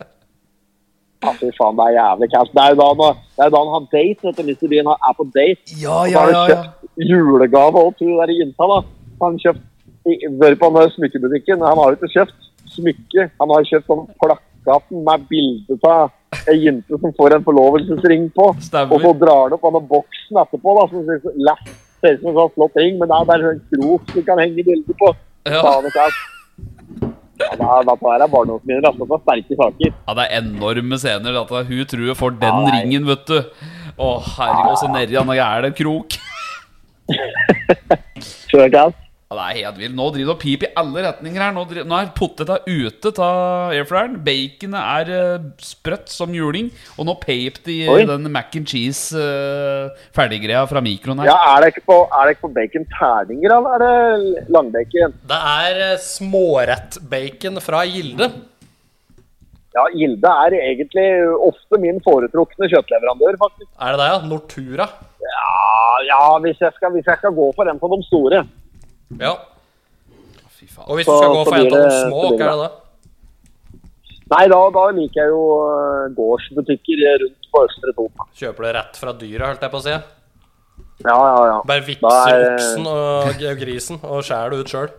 Speaker 7: Ja, Fy faen, det er jævlig kaldt. Det er jo da han, det er jo da han har date, vet du. Mr. Bean er på date.
Speaker 5: Ja,
Speaker 7: Og
Speaker 5: ja,
Speaker 7: da
Speaker 5: ja,
Speaker 7: har du
Speaker 5: ja.
Speaker 7: kjøpt julegave og to der i Innta, da. Han kjøpt i- Hør på han der smykkebutikken. Han har jo ikke kjøpt smykke. Han har kjøpt sånn plakaten med bilde av ei jente som får en forlovelsesring på.
Speaker 5: Stemmer.
Speaker 7: Og så drar han opp denne boksen etterpå, da, som ser så- lett- ser ut som en sånn flott ring, men det er bare en krok du kan henge bilder på.
Speaker 5: Ja.
Speaker 7: Faen, det er- Ja, det er- Dette her er barndomsminner. altså. Det er sterke saker.
Speaker 5: Ja, det er enorme scener. At hun tror hun får den ringen, vet du. Å, herregud, så nedi han er det en krok.
Speaker 7: Sure, Cass.
Speaker 5: Ja, det er helt vilt. Nå driver det og piper i alle retninger her. Nå, driver, nå er poteta ute av airfryeren. Baconet er eh, sprøtt som juling. Og nå peip det i
Speaker 7: Oi.
Speaker 5: den mac and cheese eh, ferdiggreia fra mikroen her.
Speaker 7: Ja, er det ikke på, er det ikke på bacon terninger, eller er det langbacon?
Speaker 6: Det er eh, smårettbacon fra Gilde.
Speaker 7: Ja, Gilde er egentlig ofte min foretrukne kjøttleverandør, faktisk.
Speaker 6: Er det det, ja? Nortura.
Speaker 7: Ja, ja hvis, jeg skal, hvis jeg skal gå for en av de store.
Speaker 6: Ja.
Speaker 5: Fy faen.
Speaker 6: Og hvis du
Speaker 7: Så-
Speaker 6: skal gå
Speaker 7: så
Speaker 6: for en
Speaker 7: blir
Speaker 6: av de
Speaker 7: det-
Speaker 6: små,
Speaker 7: så blir
Speaker 6: hva er det da?
Speaker 7: Nei, da, da liker jeg jo eh, gårdsbutikker rundt på Østre Toten.
Speaker 6: Kjøper det rett fra dyra, holdt jeg på å si.
Speaker 7: Ja, ja, ja.
Speaker 6: Bare
Speaker 7: Da
Speaker 6: vipser
Speaker 7: er-
Speaker 6: oksen og og grisen og skjærer det ut sjøl.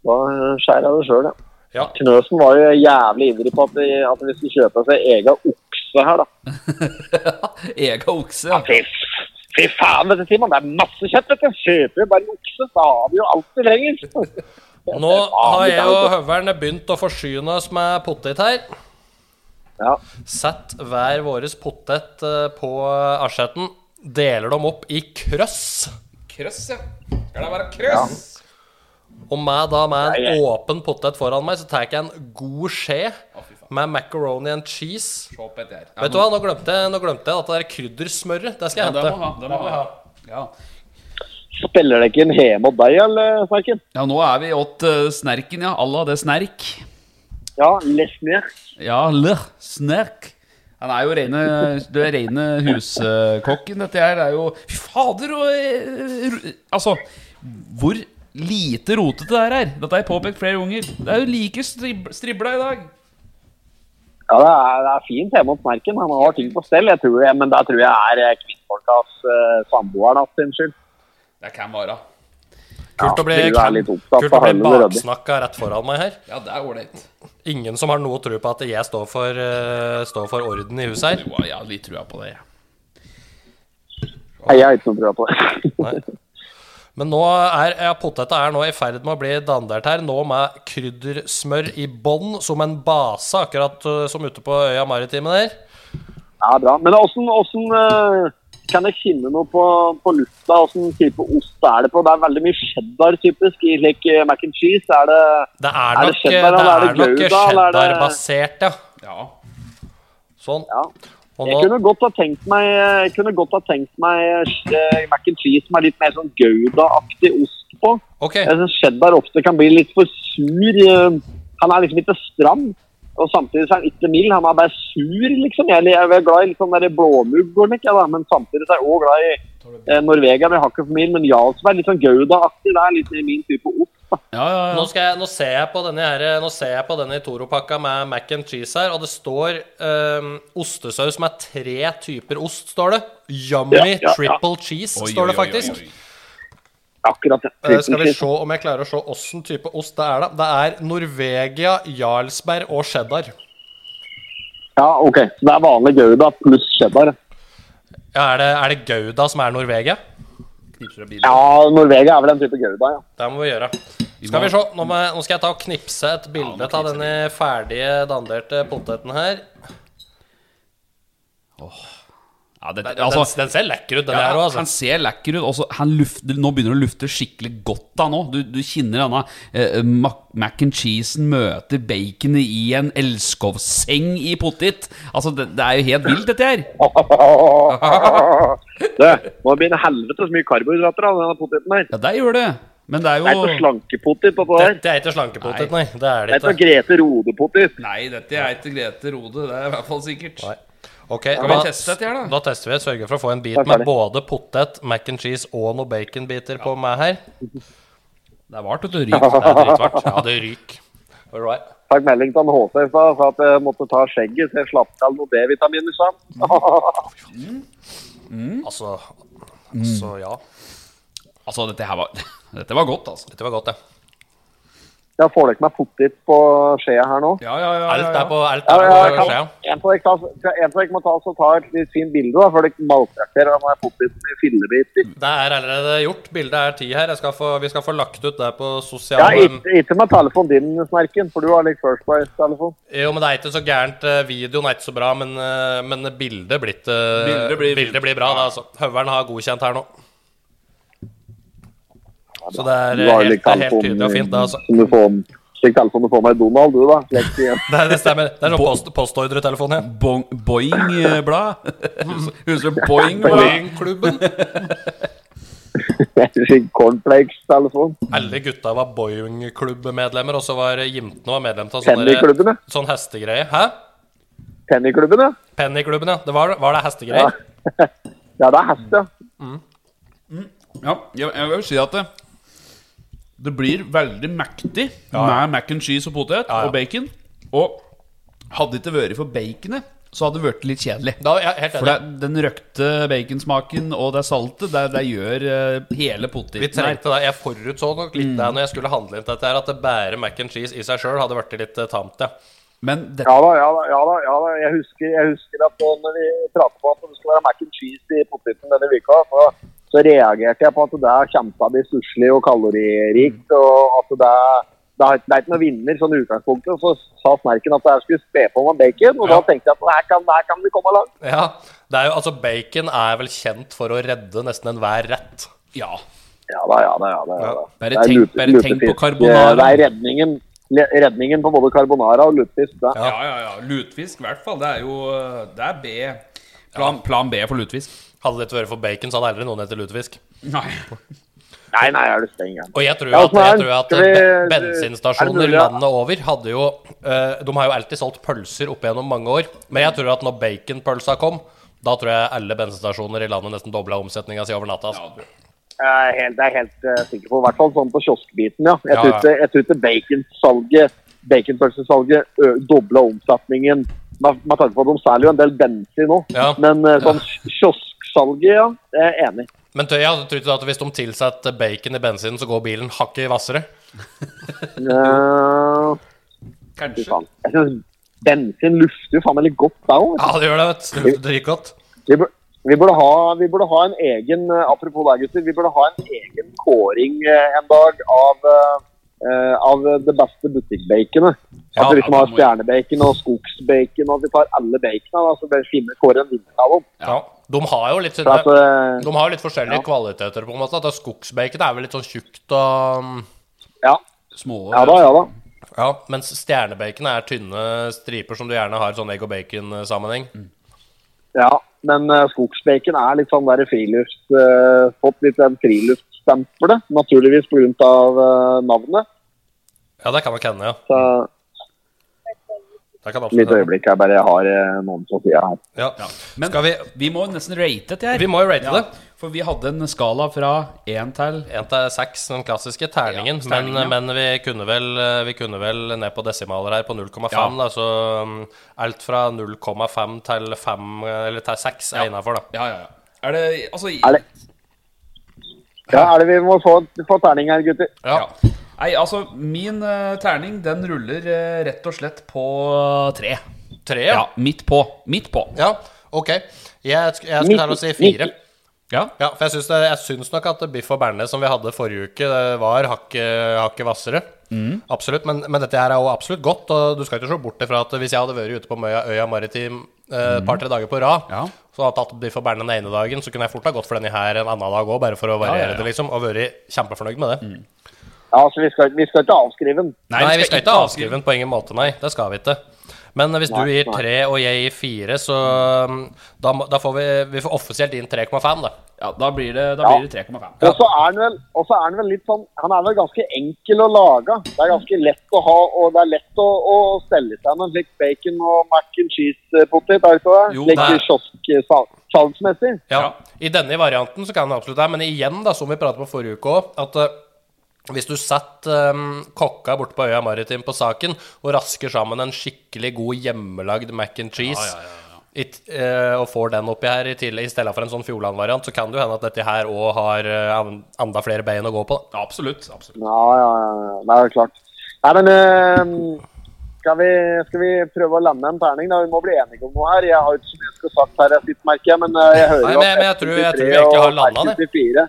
Speaker 7: Da eh, skjærer jeg det sjøl, ja.
Speaker 6: Ja.
Speaker 7: Knøsen var jo jævlig ivrig på at vi, at vi skulle kjøpe oss ei egen okse her, da.
Speaker 5: Ega okse. Ja.
Speaker 7: Fy, fy faen, vet du, Simon. Det er masse kjøtt, vet du. Kjøper vi bare en okse, så har vi jo alt vi trenger. *laughs*
Speaker 6: Nå har jeg og høveren begynt å forsyne oss med potet her.
Speaker 7: Ja.
Speaker 6: Sett hver våres potet eh, på asjetten. Deler dem opp i krøss.
Speaker 5: Krøss, ja. Skal det være krøss?
Speaker 6: Og med, da, med en
Speaker 7: Nei, jeg-
Speaker 6: åpen potet foran meg, så tar jeg en god skje
Speaker 5: fy faen.
Speaker 6: med macaroni and cheese.
Speaker 5: Se opp etter her. Ja,
Speaker 6: Vet du hva, nå glemte jeg, nå glemte jeg at det der kryddersmøret. Det skal
Speaker 5: Ja,
Speaker 6: jeg
Speaker 5: det må
Speaker 6: hente.
Speaker 5: ha. Det må ha. Ja.
Speaker 7: Spiller det ikke en hjemme hos deg, eller, Snerken?
Speaker 5: ja, nå er vi åt eh, snerken, ja. Alla det snerk.
Speaker 7: Ja, les mer.
Speaker 5: Ja, lør, snerk. Han er jo rene, det er rene huskokken, dette her. Det er jo Fy fader og eh, ru- Altså, hvor lite rotete det her er. Dette har jeg påpekt flere ganger. Det er jo like strib stribla i dag.
Speaker 7: Ja, det er, det er fint hjemme hos Merken. Han har ting på stell, jeg tror det, men der tror jeg er eh, kvinnfolkas uh, samboer da, sin skyld.
Speaker 5: Det kan være.
Speaker 6: Kult å bli,
Speaker 7: Ja, du er litt opptatt
Speaker 6: kult å
Speaker 7: av
Speaker 6: bli
Speaker 7: Helen Rødde.
Speaker 6: baksnakka rett foran meg her.
Speaker 5: Ja, det er ålreit.
Speaker 6: Ingen som har noe tro på at jeg står for, eh, står for orden i huset her.
Speaker 5: Jo, jeg har litt trua på det, jeg.
Speaker 7: Nei, Jeg har ikke noe trua på det. *laughs*
Speaker 6: Men nå er ja, poteta er nå i ferd med å bli dandert her, nå med kryddersmør i bånn som en base, akkurat eh, som ute på øya Maritime der.
Speaker 7: Ja, bra. Men åssen åssen, eh, kan jeg kjenne noe på, på lufta? Åssen type ost er det på? Det er veldig mye cheddar, typisk. I slik eh, mac and cheese er det
Speaker 6: Det er
Speaker 7: Er det
Speaker 6: nok, eh, det
Speaker 7: cheddar, eller er
Speaker 6: er
Speaker 7: det
Speaker 6: nok
Speaker 7: gouda, eller er det-
Speaker 6: cheddarbasert, ja.
Speaker 5: Ja.
Speaker 6: Sånn.
Speaker 7: Ja.
Speaker 6: Og
Speaker 7: Jeg
Speaker 6: nå,
Speaker 7: kunne godt ha tenkt meg, eh, jeg kunne godt ha tenkt meg eh, mac and cheese med litt mer sånn Gouda-aktig ost på.
Speaker 6: ok,
Speaker 7: Jeg synes cheddar ofte kan bli litt for sur. eh, Han er liksom ikke stram, og samtidig så er han ikke mild. Han er bare sur, liksom. Jeg jeg er glad i litt sånn der blåmugg, går den ikke, ja, da. men samtidig så er jeg også glad i eh, Norvegia med hakket for mild, men Jarlsberg litt sånn Gouda-aktig. Det er litt min type ost. da.
Speaker 5: Ja, ja,
Speaker 6: nå, skal jeg, nå ser jeg på denne, her- eh, nå ser jeg på denne Toro-pakka med mac and cheese her, og det står eh, ostesaus med tre typer ost, står det. Yummy
Speaker 7: Ja, ja, ja.
Speaker 6: triple cheese, står det faktisk.
Speaker 7: Akkurat det.
Speaker 6: Eh, skal vi se om jeg klarer å se åssen type ost det er, da. Det er Norvegia, Jarlsberg og cheddar.
Speaker 7: Ja, ok. Så det er vanlig Gouda pluss cheddar.
Speaker 6: Ja, er, det, er det Gouda som er Norvegia?
Speaker 7: Ja, Norvegia er vel en type Gouda,
Speaker 6: *laughs*
Speaker 7: ja.
Speaker 6: Det må vi gjøre. Skal vi se, nå, må, jeg- nå skal jeg ta og knipse et bilde av denne ferdige danderte poteten her.
Speaker 5: Ja, det,
Speaker 6: Den,
Speaker 5: altså,
Speaker 6: den, den ser lekker ut, den
Speaker 5: ja,
Speaker 6: her òg,
Speaker 5: Han
Speaker 6: altså.
Speaker 5: ser lekker ut. Også, han lufter, nå begynner det å lufte skikkelig godt. da nå Du, du kjenner denne eh, mac, mac and cheesen møter baconet i en elskovsseng i potet. Altså, det, det er jo helt vilt, dette her.
Speaker 7: Det, nå begynner helvete så mye karbohydrater av denne poteten her.
Speaker 5: Ja, det gjør det. Men det er
Speaker 7: Det er ikke
Speaker 5: jo
Speaker 7: slankepotet på det her.
Speaker 6: Dette er ikke slankepotet, nei. Det er
Speaker 7: Det
Speaker 6: det
Speaker 7: er ikke
Speaker 6: ikke.
Speaker 7: Grete Rode-potet.
Speaker 5: Nei, dette er ikke Grete Rode. Det er i hvert fall sikkert.
Speaker 6: Nei. Ok,
Speaker 5: vi
Speaker 6: da,
Speaker 5: teste dette her, da?
Speaker 6: da tester vi. Sørger for å få en bit
Speaker 7: Da er
Speaker 6: med
Speaker 7: ferdig.
Speaker 6: både potet, mac and cheese og noen baconbiter på meg
Speaker 5: *laughs*
Speaker 6: her.
Speaker 5: Det er vart, vet du. Rykt. Det er dritvart.
Speaker 6: Ja, det ryker. All right.
Speaker 7: Takk melding til han HC i stad for at jeg måtte ta skjegget, så jeg slapp til noen D-vitaminer, sa
Speaker 6: Mm.
Speaker 7: *laughs* han.
Speaker 6: Altså,
Speaker 5: Mm.
Speaker 6: altså ja.
Speaker 5: Altså, dette her var *laughs* Dette var godt, altså.
Speaker 6: Dette var godt, det.
Speaker 7: Jeg får dere meg potet på skjea her nå?
Speaker 5: Ja, ja, ja.
Speaker 6: Alt er på, alt
Speaker 7: Ja,
Speaker 6: er
Speaker 7: ja,
Speaker 6: på
Speaker 7: jeg
Speaker 6: skjea.
Speaker 7: kan, en av dere ta- en av dere må ta, så ta et litt fint bilde, da, for dere maltrakterer den der poteten i fillebiter.
Speaker 6: Det er allerede gjort. Bildet er ti her. Jeg skal få, vi skal få lagt ut det på
Speaker 7: Ja,
Speaker 6: sosiale
Speaker 7: ikke, ikke med telefonen din, Snerken, for du har litt First Price-telefon.
Speaker 6: Jo, men det er ikke så gærent. eh, Videoen er ikke så bra, men, eh, men bildet, blir ikke, eh,
Speaker 5: Bildet blir-
Speaker 6: bildet blir bra. Det, altså. Høveren har godkjent her nå. Så det er
Speaker 7: Du
Speaker 6: eh,
Speaker 7: har
Speaker 6: helt,
Speaker 7: litt
Speaker 6: det er helt
Speaker 7: telefonen
Speaker 6: tydelig og fint, det, altså.
Speaker 7: som du får, slik telefonen du får med Donald, du, da. Slik, ja.
Speaker 6: Det, er- det stemmer. Det er sånn post, postordretelefon igjen.
Speaker 5: Bong, eh, Boing-blad. Husker du Boing-blad?
Speaker 6: Boeing-klubben.
Speaker 7: slik *laughs* cornflakes-telefon.
Speaker 6: *laughs* Alle gutta var Boeing-klubbmedlemmer, og så var Jimten var medlem av sånn der-
Speaker 7: Pennyklubben, ja.
Speaker 6: sånn hestegreie. Hæ?
Speaker 7: Pennyklubben, ja.
Speaker 6: Pennyklubben, ja. Det var, var det hestegreier?
Speaker 7: Ja. *laughs* Ja, det er hest, ja.
Speaker 5: Ja, jeg, jeg vil si at det, det blir veldig mektig med mac and cheese og potet
Speaker 6: ja.
Speaker 5: og bacon. Og hadde det ikke vært for baconet, så hadde det blitt litt kjedelig.
Speaker 6: Da, ja, helt
Speaker 5: For det,
Speaker 6: enig.
Speaker 5: den røkte baconsmaken og det saltet, det, det gjør eh, hele
Speaker 6: Vi
Speaker 5: poteten her.
Speaker 6: trengte det. Jeg forutså nok litt
Speaker 7: Mm.
Speaker 6: det når jeg skulle handle inn til dette her, at det bære mac and cheese i seg sjøl hadde blitt litt eh, tamt, ja.
Speaker 5: Men det,
Speaker 7: Ja da, ja da. ja da, ja da. Jeg, husker, jeg husker at da når vi pratet på at det skulle være mac and cheese i poteten denne uka, så, så reagerte jeg på at det der kommer til å bli stusslig og kaloririkt.
Speaker 5: Mm.
Speaker 7: og at det er det er, det er ikke noen vinner sånn i utgangspunktet. og Så sa Snerken at jeg skulle spe på med bacon. Og da
Speaker 6: Ja.
Speaker 7: tenkte jeg at her kan, her kan vi komme langt.
Speaker 6: ja. Det er jo, altså, bacon er vel kjent for å redde nesten enhver rett.
Speaker 5: ja.
Speaker 7: Ja da, ja da. ja da, ja da.
Speaker 5: Bare
Speaker 7: Det er
Speaker 5: tenk-
Speaker 7: lute-
Speaker 5: bare tenk på
Speaker 7: lutefisk.
Speaker 5: carbonara.
Speaker 7: Det er redningen, le- redningen på både carbonara og lutefisk. Det.
Speaker 5: Ja, ja, ja. Lutfisk, i hvert fall. Det er jo eh, Det er B. Plan, plan B for lutfisk.
Speaker 6: Hadde det ikke vært for bacon, så hadde aldri noen hett lutefisk.
Speaker 5: Nei.
Speaker 7: Nei, nei, er du streng? ja.
Speaker 6: Og jeg tror
Speaker 7: Ja,
Speaker 6: at,
Speaker 7: åssen er
Speaker 6: jeg
Speaker 7: den?
Speaker 6: tror at
Speaker 7: Skal vi-
Speaker 6: be-
Speaker 7: er det
Speaker 6: bensinstasjoner
Speaker 7: mulig, ja?
Speaker 6: landet over hadde jo eh, De har jo alltid solgt pølser opp gjennom mange år, men jeg tror at når baconpølsa kom da tror jeg alle bensinstasjoner i landet nesten dobla omsetninga si over natta. Altså.
Speaker 7: Jeg er helt, jeg er helt eh, sikker på. I hvert fall sånn på kioskbiten, ja. Jeg
Speaker 6: Ja,
Speaker 7: tror
Speaker 6: ja.
Speaker 7: ikke, jeg tror ikke baconsalget, baconpølsesalget ø- dobla omsetningen med, med tanke på at de selger jo en del bensin nå.
Speaker 6: Ja.
Speaker 7: Men eh, sånn kiosksalget, ja. Jeg er enig.
Speaker 6: Men tøy, jeg trodde at hvis de tilsetter bacon i bensinen, så går bilen hakket hvassere.
Speaker 7: Eh, fy
Speaker 5: Kanskje.
Speaker 7: faen. Jeg synes bensin lufter jo faen meg litt godt der òg.
Speaker 6: Ja, det gjør det, vet du. Det lukter dritgodt.
Speaker 7: Vi, bur- vi, burde ha- vi burde ha en egen eh, Apropos deg, gutter. Vi burde ha en egen kåring eh, en dag av, eh, eh, av det beste butikkbaconet.
Speaker 6: Ja,
Speaker 7: at vi liksom
Speaker 5: ja,
Speaker 7: har
Speaker 5: det må-
Speaker 7: stjernebacon og skogsbacon, og at vi tar alle baconene. da, Så bare finner kårer en vinner av dem.
Speaker 6: Ja. De har jo litt,
Speaker 7: For at,
Speaker 6: de
Speaker 7: eh,
Speaker 6: har jo litt forskjellige kvaliteter, på en måte. At Skogsbacon er vel litt sånn tjukt og
Speaker 7: ja,
Speaker 5: Små
Speaker 7: ja da, ja da.
Speaker 6: Ja, mens stjernebacon er tynne striper som du gjerne har i sånn egg og bacon-sammenheng.
Speaker 7: Ja, men eh, skogsbacon er litt sånn der friluft... eh, fått litt den friluftsstempelet, naturligvis pga. Uh, navnet.
Speaker 6: Ja, det kan nok hende, ja.
Speaker 7: Så
Speaker 6: Det kan absolutt
Speaker 7: litt
Speaker 6: hende.
Speaker 7: øyeblikk jeg bare har eh, noen på sida her.
Speaker 6: Ja.
Speaker 5: Men
Speaker 6: Skal vi
Speaker 5: vi må nesten rate dette her.
Speaker 6: Vi må jo rate det.
Speaker 5: For vi hadde en skala fra én til
Speaker 6: En til seks, den klassiske terningen.
Speaker 5: Ja, terningen, ja.
Speaker 6: men men vi, kunne vel, eh, vi kunne vel ned på desimaler her, på 0,5.
Speaker 5: Ja.
Speaker 6: da, Så um, alt fra 0,5 til 5, eller til 6 er innafor, da.
Speaker 5: Ja, ja, ja. Er det Altså
Speaker 7: Er det- Ja, er det vi må få, få terning her, gutter?
Speaker 6: Ja.
Speaker 5: Ja. Nei, altså, min eh, terning den ruller eh, rett og slett på eh, tre.
Speaker 6: Tre,
Speaker 5: Ja,
Speaker 6: ja.
Speaker 5: midt på. Midt på.
Speaker 6: ja. OK. Jeg, sk- jeg skulle til å si fire.
Speaker 5: Ja.
Speaker 6: Ja, for jeg syns, det, jeg syns nok at biff og bearnés som vi hadde forrige uke, det var hakket hakke hvassere.
Speaker 5: Mm.
Speaker 6: Absolutt. Men, men dette her er jo absolutt godt, og du skal ikke se bort ifra at hvis jeg hadde vært ute på Møya, Øya Maritim eh, et par-tre dager på rad,
Speaker 5: Ja.
Speaker 6: så hadde jeg tatt biff og bearnés den ene dagen, så kunne jeg fort ha gått for denne her en annen dag òg, bare for å variere
Speaker 5: ja, ja.
Speaker 6: det, liksom, og vært kjempefornøyd med det.
Speaker 7: Ja, altså, vi skal, vi skal ikke avskrive den.
Speaker 6: Nei, vi skal ikke avskrive den på ingen måte, nei. Det skal vi ikke. Men eh, hvis du
Speaker 7: Nei,
Speaker 6: gir
Speaker 7: nei.
Speaker 6: tre og jeg gir fire, så um, da, må- da får vi, vi får offisielt inn 3,5, da.
Speaker 5: Ja, da blir det, da
Speaker 7: Ja.
Speaker 5: blir det 3,5.
Speaker 7: Og så er han vel, og så er han vel litt sånn Han er vel ganske enkel å lage. Det er ganske lett å ha, og det er lett å, å stelle seg med en slik bacon og mac and cheese-potet. Er det ikke det?
Speaker 5: Jo,
Speaker 7: Slik
Speaker 6: det er-
Speaker 7: kiosksalgsmessig.
Speaker 6: Ja. I denne varianten så kan det absolutt det, men igjen, da, som vi pratet på forrige uke òg, at eh, hvis du setter um, kokka borte på Øya Maritim på saken og rasker sammen en skikkelig god hjemmelagd mac and cheese i t- eh, og får den oppi her i, tillegg, i stedet for en sånn Fjordland-variant, så kan det jo hende at dette her òg har eh, an- enda flere bein å gå på. Da.
Speaker 5: Absolutt. absolutt.
Speaker 7: Ja, ja, ja. Det er jo klart. Nei, men eh, skal, vi, skal vi prøve å lande en terning, da? Vi må bli enige om noe her. Jeg har jo ikke så mye jeg skulle sagt her, jeg sitter, merker jeg, men eh, jeg hører
Speaker 6: Nei,
Speaker 7: jo
Speaker 6: men jeg- men jeg tror- jeg tror vi egentlig har landet det.
Speaker 7: det.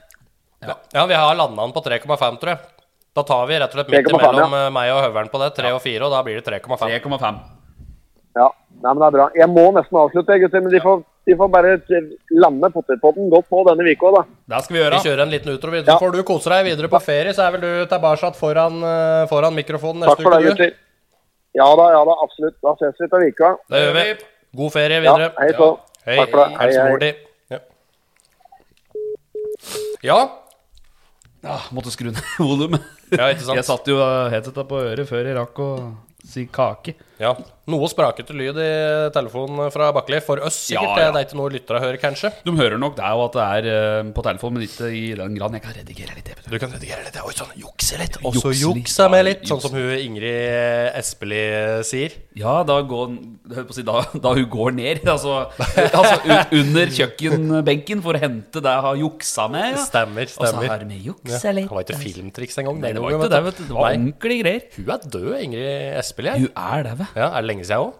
Speaker 6: Ja, vi har landa den på 3,5, tror jeg. Da tar vi rett og slett midt
Speaker 7: 3,5,
Speaker 6: imellom eh, meg og høveren på det, 3 og 4, og da blir det 3,5.
Speaker 5: 3,5.
Speaker 7: Ja, Nei, men det er bra. Jeg må nesten avslutte, gutter. Men de får, de får bare eh, lande potetpotten godt nå denne uka, da.
Speaker 5: Det skal vi gjøre.
Speaker 6: Vi kjører en liten utro. Så
Speaker 7: Ja.
Speaker 6: får du kose deg videre på ferie, så er vel du tilbake foran, eh, foran mikrofonen
Speaker 7: Takk
Speaker 6: neste
Speaker 7: for det,
Speaker 6: uke. du.
Speaker 7: gutter. Ja da, ja da, absolutt. Da ses vi til uka.
Speaker 6: Det gjør vi. God ferie
Speaker 7: Ja,
Speaker 6: videre.
Speaker 7: hei så.
Speaker 6: Hei.
Speaker 7: Takk for det. Hei,
Speaker 6: Hils
Speaker 7: hei.
Speaker 6: mor di. Ja. ja.
Speaker 5: Ja, Ah, måtte skru ned *laughs* volumet.
Speaker 6: Ja, ikke sant.
Speaker 5: *laughs* Jeg satt jo eh, helt etter på øret før jeg rakk å si kake.
Speaker 6: ja. Noe sprakete lyd i telefonen fra Bakkeli. For oss, sikkert.
Speaker 5: Ja, ja.
Speaker 6: Det er ikke noe lyttere hører, kanskje.
Speaker 5: De hører nok det og at det er eh, på telefonen, men ikke i den grad jeg kan redigere litt.
Speaker 6: Du kan redigere litt. Oi sann, jukse litt. Og
Speaker 5: Jukse
Speaker 6: så
Speaker 5: litt.
Speaker 6: juksa med litt.
Speaker 5: Ja,
Speaker 6: Sånn som hun Ingrid Espelid sier.
Speaker 5: Ja, da går jeg holdt på å si, da, da hun går ned, *laughs* altså, altså u- under kjøkkenbenken for å hente det jeg har juksa med. Ja.
Speaker 6: Stemmer,
Speaker 5: Og så
Speaker 6: stemmer.
Speaker 5: har vi
Speaker 6: Ja.
Speaker 5: juksa
Speaker 6: Det
Speaker 5: litt.
Speaker 6: var ikke filmtriks engang.
Speaker 5: Nei,
Speaker 6: den
Speaker 5: det var
Speaker 6: gangen,
Speaker 5: ikke det, vet du. Det var
Speaker 6: Nei.
Speaker 5: ordentlige greier.
Speaker 6: Hun er død, Ingrid Espelid.
Speaker 5: Hun er det, vet du.
Speaker 6: Ja, er det lenge siden òg?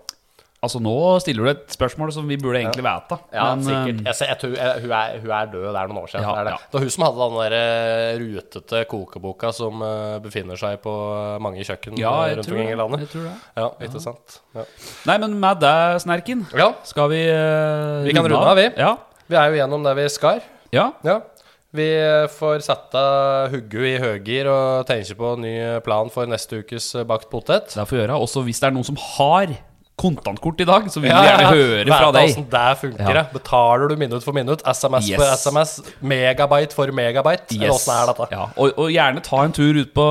Speaker 5: Altså, nå stiller du et spørsmål som vi burde egentlig vite.
Speaker 6: Ja,
Speaker 5: men,
Speaker 6: sikkert.
Speaker 5: eh,
Speaker 6: Jeg ser, jeg tror, jeg, hun, er, hun er død, det er noen år siden.
Speaker 5: Ja,
Speaker 6: det, er det.
Speaker 5: ja.
Speaker 6: det var hun som hadde den der eh, rutete kokeboka som eh, befinner seg på eh, mange kjøkken
Speaker 5: Ja,
Speaker 6: eh,
Speaker 5: jeg
Speaker 6: rundt
Speaker 5: tror
Speaker 6: omkring i
Speaker 5: det.
Speaker 6: landet.
Speaker 5: Jeg tror det.
Speaker 6: Ja, ikke sant. Ja.
Speaker 5: Nei, men med deg, Snerken,
Speaker 6: ja,
Speaker 5: skal vi eh,
Speaker 6: Vi kan runde av, vi.
Speaker 5: Ja.
Speaker 6: vi er jo gjennom der vi skar.
Speaker 5: ja.
Speaker 6: Ja. Vi eh, får sette huggu i høygir og tenke på en ny plan for neste ukes eh, bakt potet.
Speaker 5: Det får vi gjøre. Også hvis det er noen som har kontantkort i dag, så vil vi
Speaker 6: Ja, ja,
Speaker 5: gjerne
Speaker 6: ja.
Speaker 5: høre
Speaker 6: Vet
Speaker 5: fra
Speaker 6: du
Speaker 5: deg.
Speaker 6: hvordan det funker,
Speaker 5: Ja.
Speaker 6: ja. Betaler du minutt for minutt? SMS for
Speaker 5: Yes.
Speaker 6: SMS? Megabyte for megabyte? Eller
Speaker 5: Yes.
Speaker 6: åssen er dette?
Speaker 5: Ja, og, og gjerne ta en tur ut på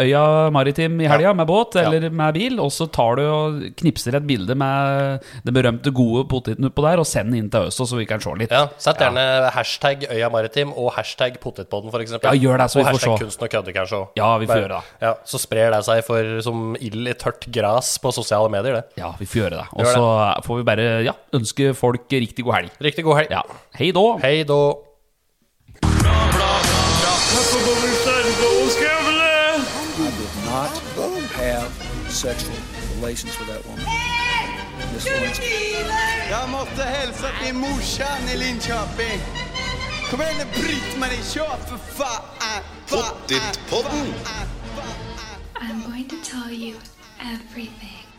Speaker 5: øya Maritim i helga med båt eller med bil. Og så tar du og knipser et bilde med den berømte gode poteten utpå der, og send inn til oss, så vi kan se litt.
Speaker 6: Ja, Sett gjerne hashtag Øya Maritim og hashtag Potetpodden, f.eks.
Speaker 5: Ja, gjør det, så vi
Speaker 6: og
Speaker 5: får
Speaker 6: hashtag
Speaker 5: se.
Speaker 6: Kunsten og kødde, kanskje. også.
Speaker 5: Ja, vi får
Speaker 6: Bare-
Speaker 5: gjøre det.
Speaker 6: Ja, så sprer det seg for, som ild i tørt gras på sosiale medier, det.
Speaker 5: Ja, vi får gjøre det. Og
Speaker 6: Gjør
Speaker 5: så får vi bare ja, ønske folk riktig god helg.
Speaker 6: Riktig god helg.
Speaker 5: Ja. Hei då.
Speaker 6: Hei da.
Speaker 2: I did not have sexual relations with that woman. Miss Lewinsky.
Speaker 3: Jag måste hälsa till morsan i Linköping. Kom igen nu Britt-Marie, kör för fan! Pottitpodden!
Speaker 4: I'm going to tell you everything.